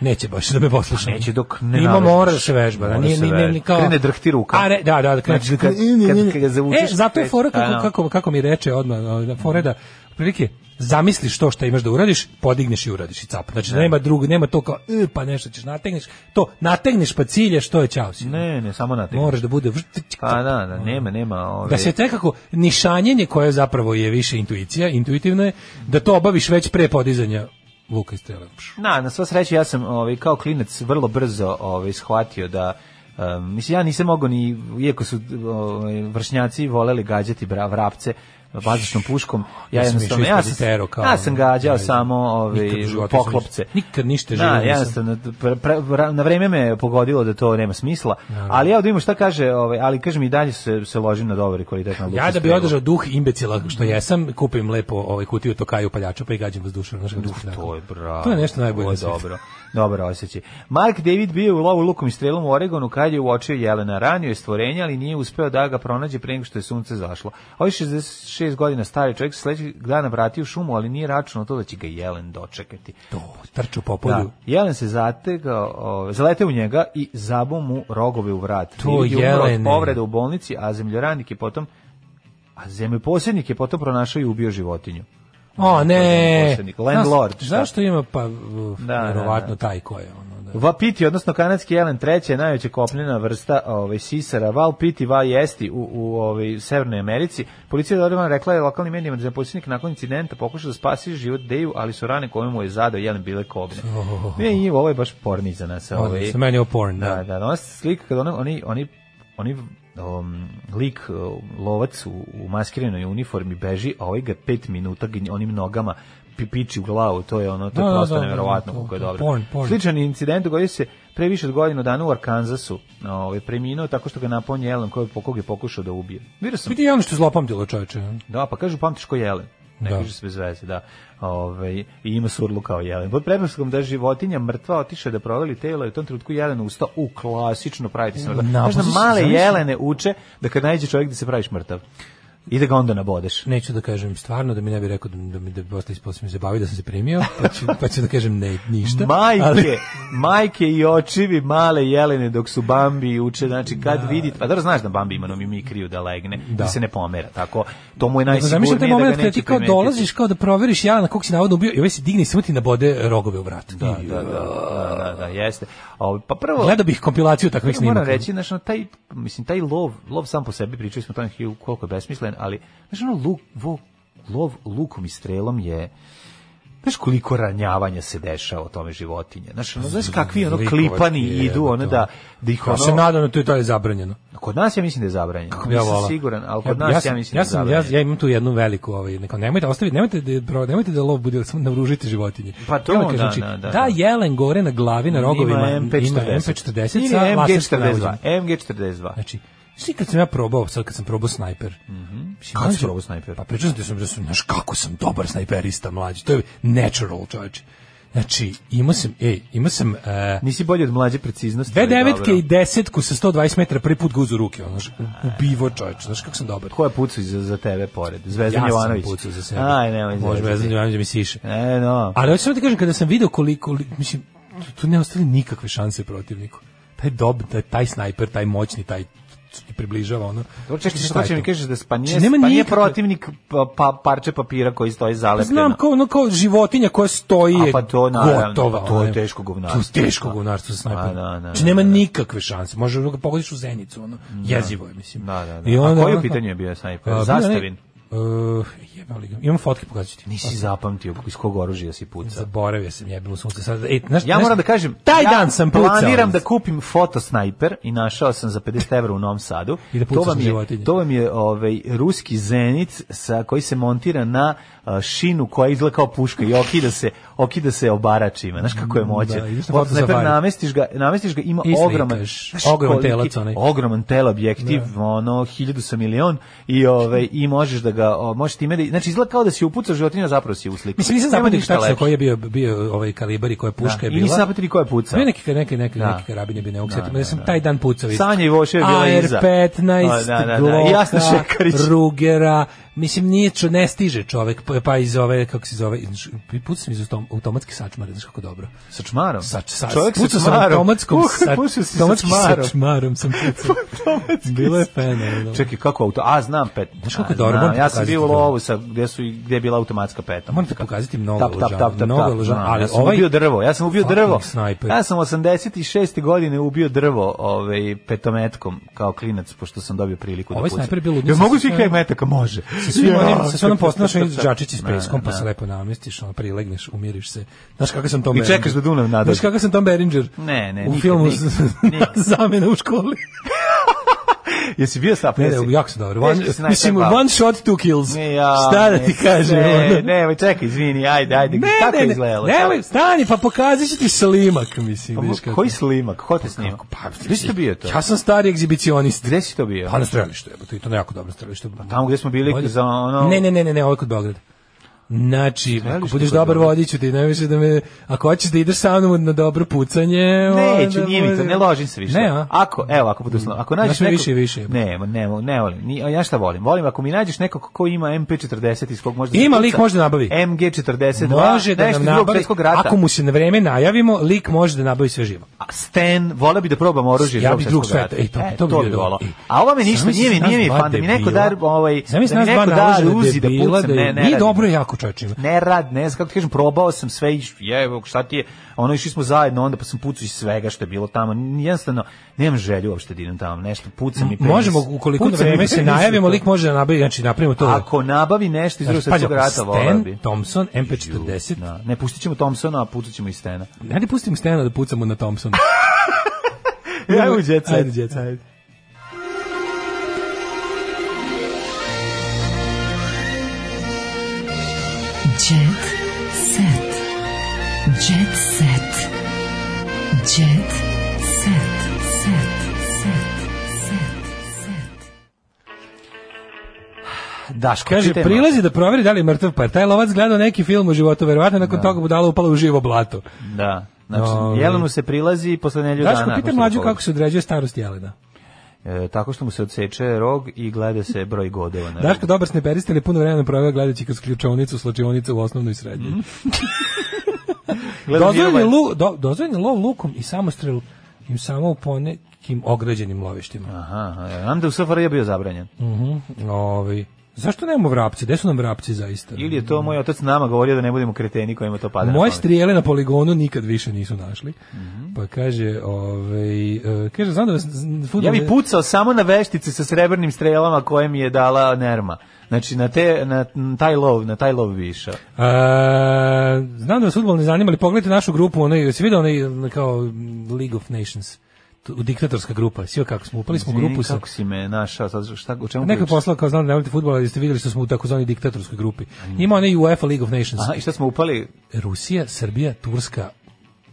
Neće baš da me posluša. Pa neće dok ne Ima navežbaš. mora da se vežba, da Mora nije se ni ne, vežba. ni kao Krene drhti ruka. A ne, da, da, da krene- Znači, kad- Ne, ne, ne. kad- kad ga zavučeš, E, zato je fora A, da. kako, kako, kako mi reče odmah, da fora da prilike zamisliš to što imaš da uradiš, podigneš i uradiš i cap. Znači nema drug, nema to kao e, pa nešto ćeš nategneš, to nategneš pa ciljaš, to je ćao si. Ne, ne, samo na Moraš da bude vrš- Pa da, da, nema, nema. Ove, da se tekako nišanjenje koje zapravo je više intuicija, intuitivno je da to obaviš već pre podizanja luka i strela. Pš. Na, na sva sreća ja sam ovaj kao klinac vrlo brzo ovaj shvatio da em, mislim ja nisam mogao ni iako su ovaj, vršnjaci voleli gađati bra, vrapce bazičnom puškom ja Ja sam jednostavno išao ja ispod sam Itero kao- ja sam gađao ne znam, samo ovaj nikad u životu nisam poklopce ništa- nikad ništa Da, živo nisam. jednostavno pre- pre- ra- na vreme me je pogodilo da to nema smisla ali ja odimo šta kaže ovaj ali kažem i dalje se se ložim na dobar i kvalitetan luk Ja i da bi strelu. održao duh imbecila Mm. što jesam, kupim lepo ovaj kutiju tokaju paljača pa i gađam vas dušom. To je bravo. To je nešto najbolje Ovo na je svetu. dobro. Dobro osjećaj. Mark David bio je u lovu lukom i strelom u Oregonu kad je uočio Jelena. Ranio je stvorenje, ali nije uspeo da ga pronađe pre nego što je sunce zašlo. Ovo je 66 godina stari čovjek se sledećeg dana vratio u šumu, ali nije računao to da će ga Jelen dočekati. To, trču po Da, polju. Jelen se zategao, ove, zaleteo u njega i zabao mu rogove u vrat. To David je umro od Jelene. povreda u bolnici, a zemljoradnik je potom a zemljoposjednik je potom pronašao i ubio životinju. O, ne! Posjednik, landlord, Znaš, šta? zašto ima pa, Da, da, da, verovatno taj ko je ono, da. Vapiti, odnosno kanadski jelen treća je najveća kopnena vrsta ovaj, sisara. Val piti, va jesti u, u ovaj, Severnoj Americi. Policija je odmah rekla je lokalnim medijima da je zaposljenik nakon incidenta pokušao da spasi život Deju, ali su rane koje mu je zadao jelen bile kobne. Ne, i ovo je baš porni za nas. Ovaj. Odlično, meni je ovo porn, da. Da, da, ona slika kada ona- oni, oni, oni um, lik um, lovac u, u maskiranoj uniformi beži, a ovaj ga pet minuta gnj- onim nogama pi- piči u glavu, to je ono, to je Da, da, prosto da, da, nevjerovatno to- kako je to- dobro. porn, porn. Sličan incident dogodio se pre više od godinu dana u Arkansasu. Ovaj, preminuo tako što ga naponje jelen koji po kog je pokušao da ubije. Vidio sam. Vidi ono što je zlopamtilo čoveče. Da, pa kažu pamtiš ko jelen. Ne Da. kaže se bez veze, da. Ove, I ima surlu kao jelen. Pod pretpostavkom da je životinja mrtva otišla da proveli telo i u tom trenutku jelen ustao u klasično praviti se mrtav. Na, Znaš da pa si- male zamisli. jelene uče da kad najde čovjek da se praviš mrtav. I da ga onda nabodeš. Neću da kažem stvarno, da mi ne bi rekao da, mi- da mi da bi ostali posle mi zabavi da sam se primio, pa ću, pa ću da kažem ne, ništa. Majke, ali- majke i očivi male jelene dok su Bambi uče, znači kad vidi, pa da znaš da Bambi ima mimikriju da legne, da. Da. se ne pomera, tako. To mu je Nego, Zamislim taj najsigurnije da moment ga kada neće ti kao primetiti. dolaziš kao da proveriš Jelena kog si navodno ubio i ovaj se digne i samo ti nabode rogove u vrat. Da, da, da, da, da, da, jeste. A ovaj, pa prvo Gledao bih kompilaciju takvih Prvo Moram snimaka. reći, znaš, ono, taj, mislim, taj lov, lov sam po sebi, pričali smo o tome Hugh, koliko je besmislen, ali, znaš, ono, luk, vo, lov lukom i strelom je, znaš koliko ranjavanja se dešava o tome životinje. Znaš, ono, znaš kakvi ono Likovački klipani je, idu, ono, to. da, da ih Ja se ono, nadam da to je to je zabranjeno. kod nas ja mislim da je zabranjeno. Kako bi ja Nisam volao. siguran, ali kod nas ja, sam- mislim ja da je sam, ja, zabranjeno. ja imam tu jednu veliku ovaj neko nemojte ostaviti nemojte da bro, nemojte da lov bude samo navružite životinje. Pa to, Ja vam kažem, da, znači, da, da, da, da. jelen gore na glavi na rogovima Ima ima MP40. MP40 Ili sa MG42. laserskim naođenjem. MG42. Znači, svi kad sam ja probao, sad kad sam probao snajper. mislim, Kako mlađe- Mhm. si probao snajper? Pa pričao sam ti sam, da sam, znaš, kako sam dobar snajperista, mlađi. To je natural, čovječe. Znači, imao sam, ej, imao sam... e, Nisi bolji od mlađe preciznosti. Dve ali dobro. devetke i desetku sa 120 metara prvi put guzu ruke, ono, znaš, u- ubivo čovječe, znaš kako sam dobar. Ko je pucao za, za tebe pored? Zvezdan ja Jovanović. sam pucao za sebe. Aj, nemoj Može zezati. Zvezdan Jovanović da mi siše. E, no. Ali hoću samo ti kažem, kada sam video koliko, koliko- mislim, tu- tu ne ostali nikakve šanse protivniku. Taj dob, taj, taj snajper, taj moćni, taj ti približava ono. Dobro, čekaj, Šta šta je će mi to? kažeš da spanje, Znači, nema spanje nikakve- protivnik pa, pa, parče papira koji stoji zalepljeno. Znam kao ono kao životinja koja stoji A je pa to, naravno, gotova. pa to je ono. teško govnarstvo. To je teško govnarstvo sa snajperom. A, da, da, znači da, nema da. nikakve šanse. Može ono ga pogodiš u zenicu, ono. Jezivo je, mislim. Da, da, da. I A onda koje ono- pitanje je bio snajper? A, bio je Zastavin? onaj- Uh, jebali ga. Imam fotke pokazati ti. Nisi zapamtio iz kog oružja si pucao. Zaboravio sam jebilo sunce. Sad, e, znaš, Ja znaš- moram da kažem, taj ja dan sam pucao. planiram da kupim fotosnajper i našao sam za 50 evra u Novom Sadu. I da to pucaš vam na je, životinje. To vam je ovaj, ruski zenit sa, koji se montira na a, šinu koja izgleda kao puška i okida se, okida se obaračima. Znaš kako je moćan. Mm, Da, ideš na fotosnajper fotosafari. namestiš ga, namestiš ga ima I slikaš. ogroman, Ogroman koliki- telac onaj. ogroman tel objektiv, ono, hiljadu sa milion i, ovaj, i možeš da ga, o, možeš time da, znači izgleda kao da si upucao životinju, a zapravo si uslikao. Mislim, nisam Nema zapamtio ništa šta lepše. koji je bio, bio ovaj kalibar i koja puška Da, je i bila. nisam zapamtio ni ko je pucao. Bio neki, neki, neki, Da. neki karabin je bio neog Da, setio, da, ja sam da. taj dan pucao. iz- Sanja Ivošev je bila iza. AR-15, Da, da, da, da. I Jasna Glocka, Šekarić. Rugera, mislim, nije čo, ne stiže čovek, pa- pa iz ove, kako se zove, iz- pucao sam iz autom- automatske sačmare, znaš kako dobro. Sa čmarom? Sa, sa, Čovjek sa pucao sam čmarom. automatskom Uh, sa, pucao si sa automatski čmarom. sa čmarom sam pucao. Bilo je fenomenalno. Čekaj, kako auto? A, znam pet. Znaš kako A, je dobro, znam, moram ti Ja sam pokazati bio u to. lovu sa, gde, su, i- gde je bila automatska peta. Moram ti pokazati mnogo Tap, tap, loža- tap, tap, mnogo tap. loža- Znam, ali ja sam ovaj- ubio drvo, ja sam ubio Fucking drvo. snajper. Ja sam 86. godine ubio drvo ovaj, petometkom kao klinac, pošto sam dobio priliku da Ovaj pucam. snajper je bio ludnica Jel mogu sa svih sve- pet metaka? Može. sa svim Ja, onim, sa svim onim tap, tap, postanom tap, tap. džačići s Ne, peskom, pa ne. se lepo namestiš, ono, prilegneš, umiriš se. Znaš kako sam Tom I Berenger? čekaš da Dunav nadađe. Znaš kako sam Tom Beringer? Ne, ne, U nikad, filmu nikad, z- nikad. zamena u školi. Jesi bio sa Ne, jesi? ne, jako se dobro. Teško One, si najpre mislim, bavio. one shot, two kills. Ne, ja, Šta da ne, ti kažem? ono? Ne, ne, ma čekaj, izvini, ajde, ajde. kako je ne, izgledalo? ne, nemoj, stani, pa pokazat ću ti slimak, mislim. Pa, vidiš kako. Koji slimak? Ko te snima? Pa, Gde si to bio to? Ja sam stari egzibicionist. Gde si to bio? Pa na strelištu, jebote, i to na jako dobro strelište. Pa tamo gde smo bili za ono- Ne, ne, ne, ne, ne, ovo je kod Beograda. Znači, ako budeš kod dobar Beograda. vodiću ti, ne više da me... Ako hoćeš da ideš sa mnom na dobro pucanje... Pa Neću, onda nije mi to, može- ne ložim se više. Ne, a? Ako, evo, ako budu slo- ako nađeš Znaš mi nekog... više i više. Ne, ma, ne, ne volim. Ni, a ja šta volim? Volim ako mi nađeš nekog ko ima MP40 iz kog možda... Ima se lik, puca, može da nabavi. MG42, Može da nešto nam iz Drugog nabavi, svjetskog rata. ako mu se na vreme najavimo, lik može da nabavi sve živo. A Stan, voleo bi da probam oružje iz Ja Drugog bi drugog svjetskog sveta, rata. E, ej, to bi- to bi bio dobro. volao. Ej, A ovo mi ništa, zamisli nije mi, nas nije mi dva fan, da mi neko debila. da, ovaj, Zamisli da mi nas dva neko da naložena ruzi da debila pucam, da- ne, ne Nije radim. dobro je jako čovječe. Ne rad, ne znam kako ti kažem, probao sam sve i jevo, šta ti je, ono išli smo zajedno, onda pa sam pucao iz svega što je bilo tamo, N- jednostavno, nemam želju uopšte da idem tamo, nešto, pucam i penis. Možemo, ukoliko na Pucam i vreme se penis. najavimo, lik može da nabavi, znači napravimo to. Ako nabavi nešto iz drugog Znači, pazi, svjetskog rata, ako volao Stan bi. Thompson, MP40, Da. Ne, pustit ćemo Thompsona, a pucat ćemo i Stena. Hajde pustimo Stena da pucamo na Thompsona. Ajmo u Jet Set. Ajde, Jet Set. Jet set. Jet set. Jet set. Set. Set. Set. Set. Daško, Kaže, čitaj prilazi da proveri da li je mrtav par. Taj lovac gledao neki film u životu, verovatno nakon toga budala upala u živo blato. malo. Da. Znači, Ovaj. Jelenu se prilazi posle nelju dana. Daško, ako pitaj se mlađu dogovori. kako se određuje starost jelena. E, tako što mu se odseče rog i gleda se broj godeva. na Daško rogu. dobar sneberista, ali puno vremena proveo gledajući kroz ključovnicu, slačionicu u osnovnoj i srednjoj. Mhm, Gledam Dozvoljen je Mirova- lu- do- dozvoljen je lov lukom i samostrel im samo u ponekim ograđenim lovištima. Aha, aha, ja znam da u SFRJ je bio zabranjen. Mhm. Ovaj, Zašto nemamo vrapci? Gde su nam vrapci zaista? Ili je to moj otac nama govorio da ne budemo kreteni kojima to pada. na Moje pamet. strijele na poligonu nikad više nisu našli. Mhm. Pa kaže, ovaj, e, kaže, znam da vas... Ja fudbal je- bi pucao samo na veštice sa srebrnim strelama koje mi je dala Nerma. Znači na te na taj lov, na taj lov bi išao. E, znam da vas futbol ne zanima, ali pogledajte našu grupu, onaj, si vidio onaj kao League of Nations, Tu- diktatorska grupa, svi kako smo, upali smo u Izvini, grupu sa... Kako si me našao? Sad, šta, o čemu Neko je pričaš? poslao kao znam da ne volite futbol, ali ste vidjeli što smo u takozvani diktatorskoj grupi. Ima onaj UEFA League of Nations. Aha, i šta smo upali? Rusija, Srbija, Turska,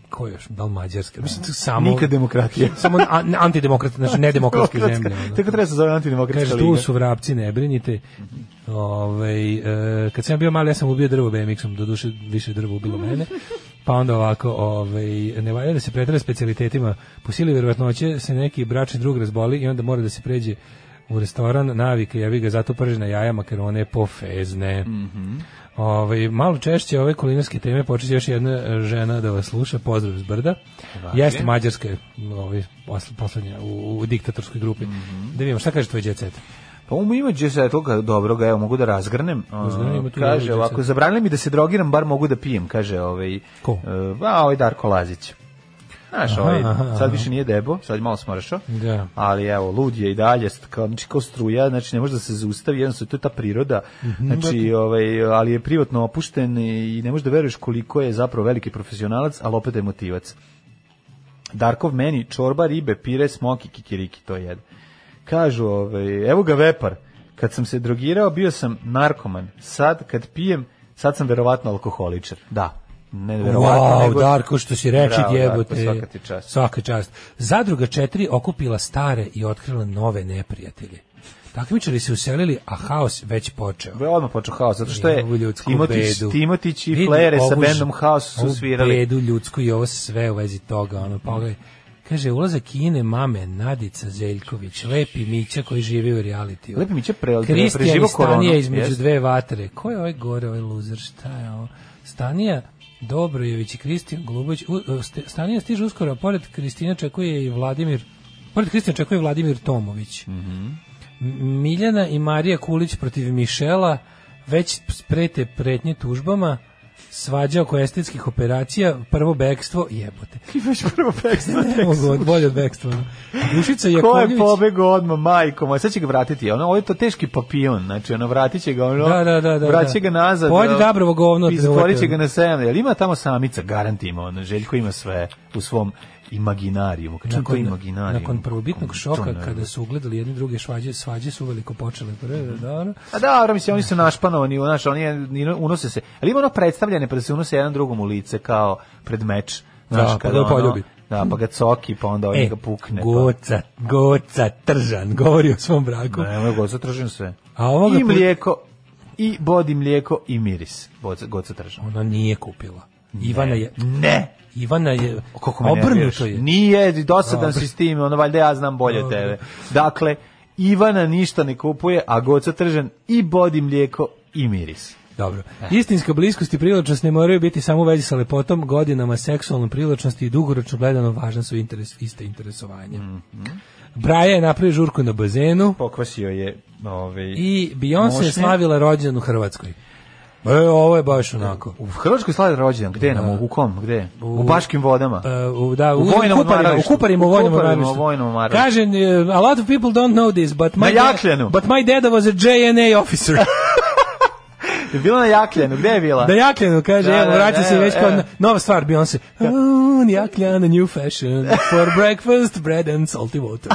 ko još, da li Mađarska? Mislim, to samo... Nikad demokratija. samo a- ne- antidemokrat, znači nedemokratske zemlje. ono. Tako treba se zove antidemokratska Kaže, liga. tu su vrapci, ne brinite. Ovaj, e, kad sam ja bio mali, ja sam ubio drvo BMX-om, doduše više drvo ubilo mene. Pa onda ovako, ovaj, ne valja da se pretere specijalitetima. Po sili verovatnoće se neki bračni drug razboli i onda mora da se pređe u restoran, navike, ja ga zato pržena jaja, makarone, pofezne. Ovaj, malo češće ove kulinarske teme počeće još jedna e, žena da vas sluša, pozdrav iz brda. Jeste Mađarska je ovaj, posl- poslednja u, u diktatorskoj grupi. Mhm. Da vidimo, šta kaže tvoj djecet? Pa um, ima džesetluka dobroga, evo mogu da razgrnem. A, Uzgrni, ima tu kaže dobro ovako, džeset. zabranili mi da se drogiram, bar mogu da pijem, kaže ovaj. Ko? e, a ovaj Darko Lazić. Znaš, Aha, ovaj, aha, sad aha. više nije debo, sad je malo smršao, Da. ali evo, lud je i dalje, st- kao, znači kao struja, znači ne može da se zaustavi, jednostavno to je ta priroda, Mhm. znači, ovaj, ali je privatno opušten i ne možeš da veruješ koliko je zapravo veliki profesionalac, ali opet emotivac. Darkov meni čorba, ribe, pire, smoki, kikiriki, to jede. Kažu, ovaj, evo ga vepar, kad sam se drogirao bio sam narkoman, sad kad pijem, sad sam verovatno alkoholičar. Da, ne verovatno, Wow, nego... Darko, što si reči, Bravo, jebote. Darko, svaka ti čast. Svaka čast. Zadruga 4 okupila stare i otkrila nove neprijatelje. Takmičari se uselili, a haos već počeo. Be, Odmah počeo haos, zato što je Ovu ljudsku Timotić, bedu. Timotić i Vidi Flere sa ovu bendom ž- Haos su ovu svirali. bedu ljudsku i ovo sve u vezi toga. Ono, pogledaj. Kaže, ulaza Kine, mame, Nadica Zeljković, lepi Mića koji živi u realitiju. Lepi Mića pre- pre- Kristijan preživo i Stanija koronu, između jest. dve vatre. Ko je ovaj gore, ovaj loser, šta je ovo? Stanija Dobrojević i Kristijan Golubović. U, u, Ste- Stanija stiže uskoro, a pored Kristina čekuje i Vladimir Pored Kristina čekuje i Vladimir Tomović. Mm. M- Miljana i Marija Kulić protiv Mišela već sprete pretnje tužbama svađa oko estetskih operacija, prvo bekstvo, jebote. Već prvo teksta, Ne mogu od bolje od bekstva. ono. Dušica Ko je Jakovljević. pobegao odmah, majko moja, sad će ga vratiti, ono, ovo je to teški papion, znači, ono, vratit će ga, ono, Da, da, da, da, vratit će ga da. nazad. Pojedi ono, Dabrovo govno od Izgovorit će Milote. ga na sejem, jel ima tamo samica, garant ima, ono, Željko ima sve u svom imaginarijumu, čim to imaginarijumu. nakon prvobitnog Kako mi to šoka ne- kada su ugledali jedne druge svađe, svađe su uveliko počele. ono. Prve, Mhm. dobro. A da, dobro, mislim, oni su našpanovani, znaš, oni je- ni- unose se. Ali ima ono predstavljanje, pa da se unose jedan drugom u lice, kao pred meč. Znaš, Da, pa kada da ono- poljubi. Da, pa ga coki, pa onda ovaj E, ga pukne. pa- Goca, Goca Tržan govori o svom braku. Ne, moj goca tržim sve. A ovoga I put- mlijeko, i bodi mlijeko i miris. Boca, goca tržim. Ona nije kupila. Ivana je... Ne! Ivana je... Kako me Obrnuto nerviraš. je. Nije, dosadan Dobro. si s time, ono valjda ja znam bolje od Dobro. tebe. Dakle, Ivana ništa ne kupuje, a goca tržan i bodi mlijeko i miris. Dobro. E. Istinska bliskost i privlačnost ne moraju biti samo u vezi sa lepotom, godinama seksualnom privlačnosti i dugoročno gledano važna su interes, iste interesovanja. Mhm. Braja je napravio žurku na bazenu Pa, Pokvasio je ovaj, i Beyoncé je mošnje. slavila rođendan u Hrvatskoj. E, ovo je baš onako. U Hrvatskoj slavi rođendan, gde nam, u kom, gde? U, Baškim vodama. E, u, da, U u, vojnom u Kuparima, u odmaralištu. Kuparima, u U vojnom Kuparima, odmaralištu. u vojnom odmaralištu. Kaže, e, a lot of people don't know this, but Na my, dad, Jakljanu. but my dada was a JNA officer. Je bila na Jakljanu, gde je bila? Da Jakljanu kaže, Pa. Da, evo, da, vraća da, se evo, već kao evo. no- nova stvar, Beyoncé. On Jakljana, new fashion, for breakfast, bread and salty water.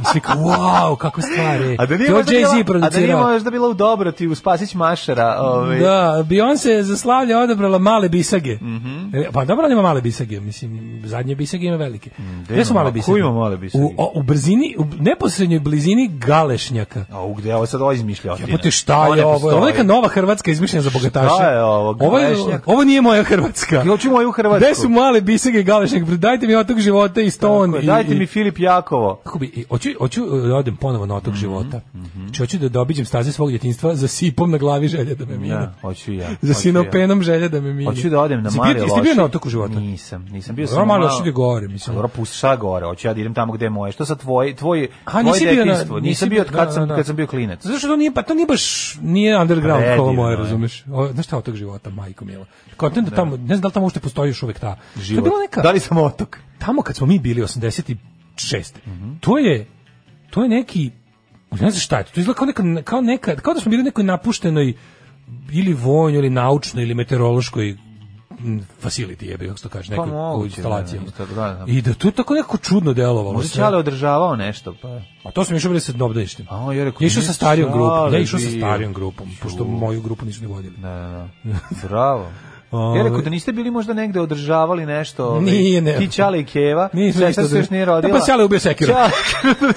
I svi kao, wow, kako stvari. A da nije To možda Jay-Z bila, a da nije producirao. možda bila u Dobroti, u Spasić Mašara, ovaj, Da, Beyoncé je za slavlje odabrala male bisage. Mhm. E, Pa dobro, ali ima male bisage, mislim, zadnje bisage ima velike. Gde su ima? male Mm, Ko bisage? ima male bisage? U, o- u brzini, u neposrednjoj blizini galešnjaka. A u gde ovo sad ovaj ovo izmišljotina? Jebote, šta je ovo? Ovo je neka nova Hrvatska izmišljena za bogataše. Šta je ovo? Ovo, je- Galešnjak? ovo nije moja Hrvatska. Ja hoću moju Hrvatsku. Gde su male bisage i galešnjak? Dajte mi otok života i ston. Tako je, i- Dajte i- mi Filip Jakovo. Kako bi, i hoću, hoću e, da odem ponovo na Mhm, otok života. Znači, hoću da dobiđem staze svog djetinjstva za sipom na glavi želja da me mine. Ja, hoću i ja. hoću i Za ja. sinopenom želja da me mine. Hoću da odem na Jesi Mare bio- Loše. Jesi bio na otoku života? Nisam, nisam bio Dobro, sam. Mare Loše ide gore, mislim. Dobro, pusti šta gore, hoću ja da idem tamo gde je moje. Što sa tvoj, tvoj, A, tvoje nisi bio na- detinjstvo? nisi Nisam bio od bio- kad da, sam, da, da. kad sam bio klinac. Zato što to nije, pa to nije baš, nije underground Predivno kao moje, je. razumeš? O, znaš šta od tog života, majko mila? Kontent da tamo, ne znam da li tamo ušte postoji još uvek ta. To je Život. bila neka- Da li sam otok? tamo kad smo mi bili 86. Mhm. To je to je neki ne znam šta je to. To izgleda kao neka, kao neka kao da smo bili u nekoj napuštenoj ili vojnoj ili naučnoj ili meteorološkoj mm, facility je kako se to kaže, nekoj Pa moguće, instalacijama. da, da, da. I da to je tako nekako čudno delovalo. Možda sve. Čale održavao nešto, pa... A to smo išli bili sa obdaništem. A on je rekao, Ja išao sa nisam starijom grupom. Ja Čale išao sa bio. starijom grupom, pošto moju grupu nisu ni vodili. Da, da, da. Bravo. Ja rekao da niste bili možda negde održavali nešto. ovaj, Ovaj- Nije, ne. Ti Čale i Keva. Nismo Sestra ništa se još nije održavali. rodila. Da, pa Ćale je ubio sekirom.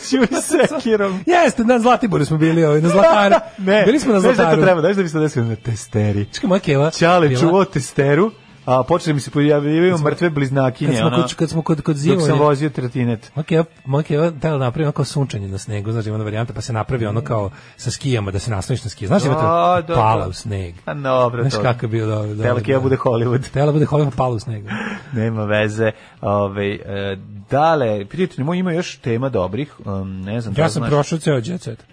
Ćale je ubio sekirom. Jeste, na Zlatiboru smo bili, ovaj, na Zlataru. ne, bili smo na znaš da to Zlataru. treba, znaš da bi se desilo na testeri. Čekaj, moja keva. Ćale bila- čuvao testeru, a počeli mi se pojavljivaju mrtve bliznakinje. Kad smo, ono, kod, kad smo kod, kod Dok sam zimanja, vozio tretinet. Makeva, Makeva tela napravi ono kao sunčanje na snegu, znaš, ima ona varijanta, pa se napravi ono kao sa skijama, da se nastaviš na skije. Znaš, ima A, to dobro. pala u sneg. A dobro, Znaš to. kako je bio dobro. dobro, Tela Keva da. bude Hollywood. Tela bude hodila pa pala u snegu. Nema veze. Ove, e, dale, prijatelji moji, ima još tema dobrih. Um, ne znam, da Ja li sam znaš. prošao ceo jet set.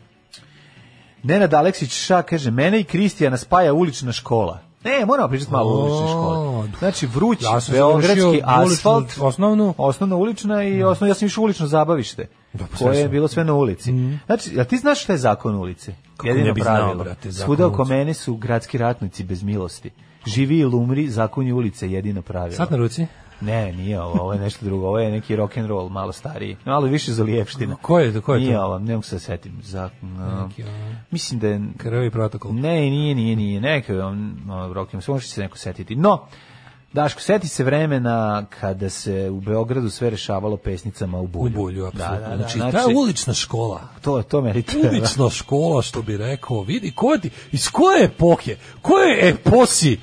Nenad Aleksić Ša kaže, mene i Kristijana spaja ulična škola. Ne, moramo pričati malo o uličnoj O, školi. Znači, vruć, Ja sam beogradski završio uličnu asfalt, osnovnu. osnovna ulična i osnovno, ja sam išao u ulično zabavište, pa sve koje je sam. Mm. bilo sve na ulici. Znači, jel ti znaš šta je zakon ulice? Kako ne bi znao, brate, zakon Svuda oko ulice. mene su gradski ratnici bez milosti. Živi ili umri, zakon je ulice je jedino pravilo. Sat na ruci. Ne, nije ovo, ovo je nešto drugo, ovo je neki rock and roll malo stariji, malo više za lijepštine. Ko je, ko je Nije to? ovo, ne mogu se da setim. Zakon, a, Neki, ono, mislim da je Krvi protokol. ne, nije, nije, nije, neka je on no, rock and roll, može se neko setiti. No, Daško, seti se vremena kada se u Beogradu sve rešavalo pesnicama u U bulju. bulju, apsolutno. Da, da, da, znači, znači, ta ulična škola. to, to meni treba. Ulična škola, što bi rekao, vidi, ko ti, iz koje epohe, koje eposi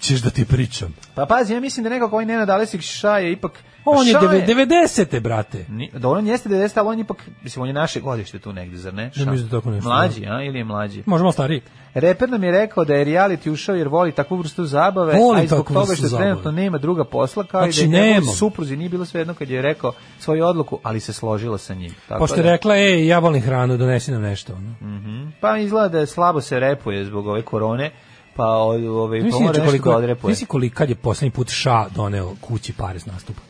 ćeš da ti pričam? Pa pazi, ja mislim da nekako ovaj Nenad Alesik Ša je ipak... On je Ša 90. brate. Ni- Dobro, on jeste 90, ali on ipak, mislim, on je naše godište tu negde, zar ne? Ša? mislim da tako nešto, Mlađi, a, ili je mlađi? Možemo malo stariji. Reper nam je rekao da je reality ušao jer voli takvu vrstu zabave, Voli a i zbog takvu toga vrstu što zabave. trenutno nema druga posla, kao Znači, i da je nemam. njegovoj supruzi nije bilo svejedno kad je rekao svoju odluku, ali se složila sa njim. Tako Pošto je da- rekla, ej, ja volim hranu, donesi nam nešto. Ono. Pa izgleda da je slabo se repuje zbog ove korone, pa o- ove, pa Nisi mora nešto inače da koliko, odrepuje. nisi koliko, kad je poslednji put ša doneo kući pare s nastupa.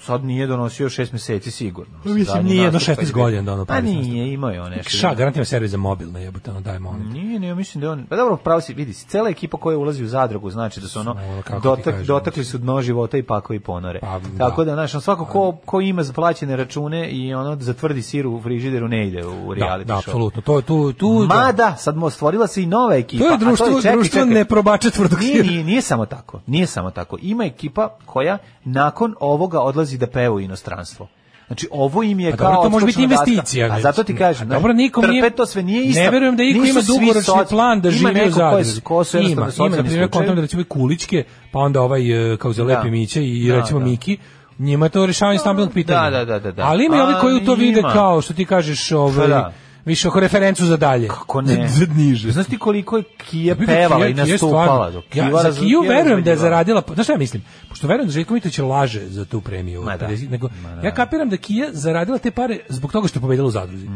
Sad nije donosio šest meseci sigurno. Mislim, Zadnji nije jedno nastup, 16 kad je- godina ono, donao Pa pare s nastupa. nije, imao je on nešto. Ša, garantima servis za mobilne, jebote, ono daj molim. Nije, ne, mislim da je on. Pa dobro, pravo si, vidi, cela ekipa koja ulazi u zadrugu, znači da su ono Ono, kako ti dotak, kažem, dotakli su dno života i pakovi ponore. Pa, da. Tako da, znaš, on svako ko, ko ima zaplaćene račune i ono zatvrdi sir u frižideru ne ide u Da, reality da, show. apsolutno. To je tu, tu, Mada, sad mo stvorila se i nova ekipa. to a je društvo, čekaj, društvo čekaj. ne probača tvrdog Nije, sira. nije, nije samo tako. Nije samo tako. Ima ekipa koja nakon ovoga odlazi da peva u inostranstvo. Znači, ovo im je Pa kao dobro, to može biti odskočna daska. investicija, A ne, zato ti ne, kažem, a znaš, dobro, nikom trpe nije- to sve nije isto. Ne verujem da iko Nisu ima svi dugoročni soci- plan da Ima živi u neko ko je- zadruzi. ko su ima, jednostavno ima, na socijalni primjer, kontam slučajevi. da recimo i Kulićke, pa onda ovaj, e, kao Zelepi Da. Miće i Da, recimo da. Miki, njima je to rešavanje stambenog pitanja. da, da, da, da. Ali ima i ovi A, koji u to vide ima. kao, što ti kažeš, ovaj, da. više oko referencu za dalje. Kako ne? Za- za niže. Znaš ti koliko je Kija Vidi, pevala Kija- i Kija je nastupala? stvarno- dok Ja, Kiva za raz- Kiju Kija verujem da je razvađivala. zaradila, znaš šta ja mislim? Pošto verujem da Željko Mitović laže za tu premiju. Ma da. 50, nego, Ma da. ja kapiram da Kija zaradila te pare zbog toga što je pobedila u zadruzi.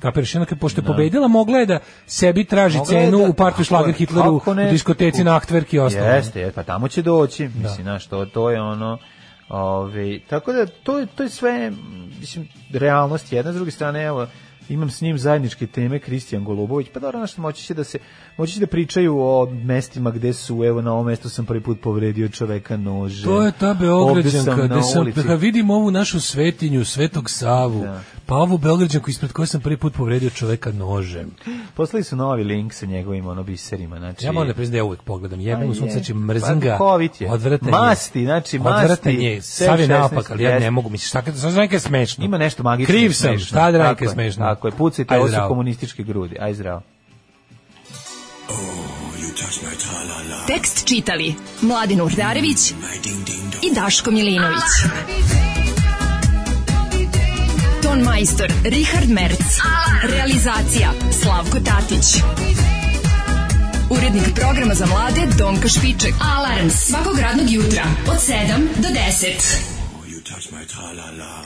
Kapiraš, jednako pošto je pobedila, mogla je da sebi traži Mm. Mogla je cenu da- u parku Kako Šlager ne? Hitleru, Kako ne? u diskoteci na Aktverk i ostalo. Jeste, jeste, pa tamo će doći, mislim, znaš, to, to je ono, ove, tako da, to, je- to je sve, m, mislim, realnost jedna, s druge strane, evo, imam s njim zajedničke teme, Kristijan Golubović, pa dobro, znaš, moći će da se, moći će da pričaju o mestima gde su, evo, na ovom mestu sam prvi put povredio čoveka nože. To je ta ovde Beograđanka, sam gde na sam, ulici. da vidim ovu našu svetinju, Svetog Savu, Da. pa ovu Beograđanku ispred koje sam prvi put povredio čoveka nožem. Poslali su novi link sa njegovim, ono, biserima, znači... Ja moram da priznam da ja uvek pogledam. Jebem Pa u sunce, je. znači mrzim Pa ga. duhovit je. Odvratan je. Masti, znači, masti, Odvratan je. sve Sav je 16, napak, ali ja jeste. ne mogu. Mislim, šta kad, sad neka je smešno. Ima nešto magično. Kriv i sam, smešno. šta da Tako neka je je, smešno. Tako je, pucajte, Aj, ovo su zdravo. komunističke grudi. Aj zdravo. Tekst čitali Mladin Urdarević i Daško Milinović. Ton Ton majstor Richard Merc. Realizacija Slavko Tatić. Urednik programa za mlade Donka Špiček. Alarms svakog radnog jutra od 7 do 10. You touch my tra-la-la.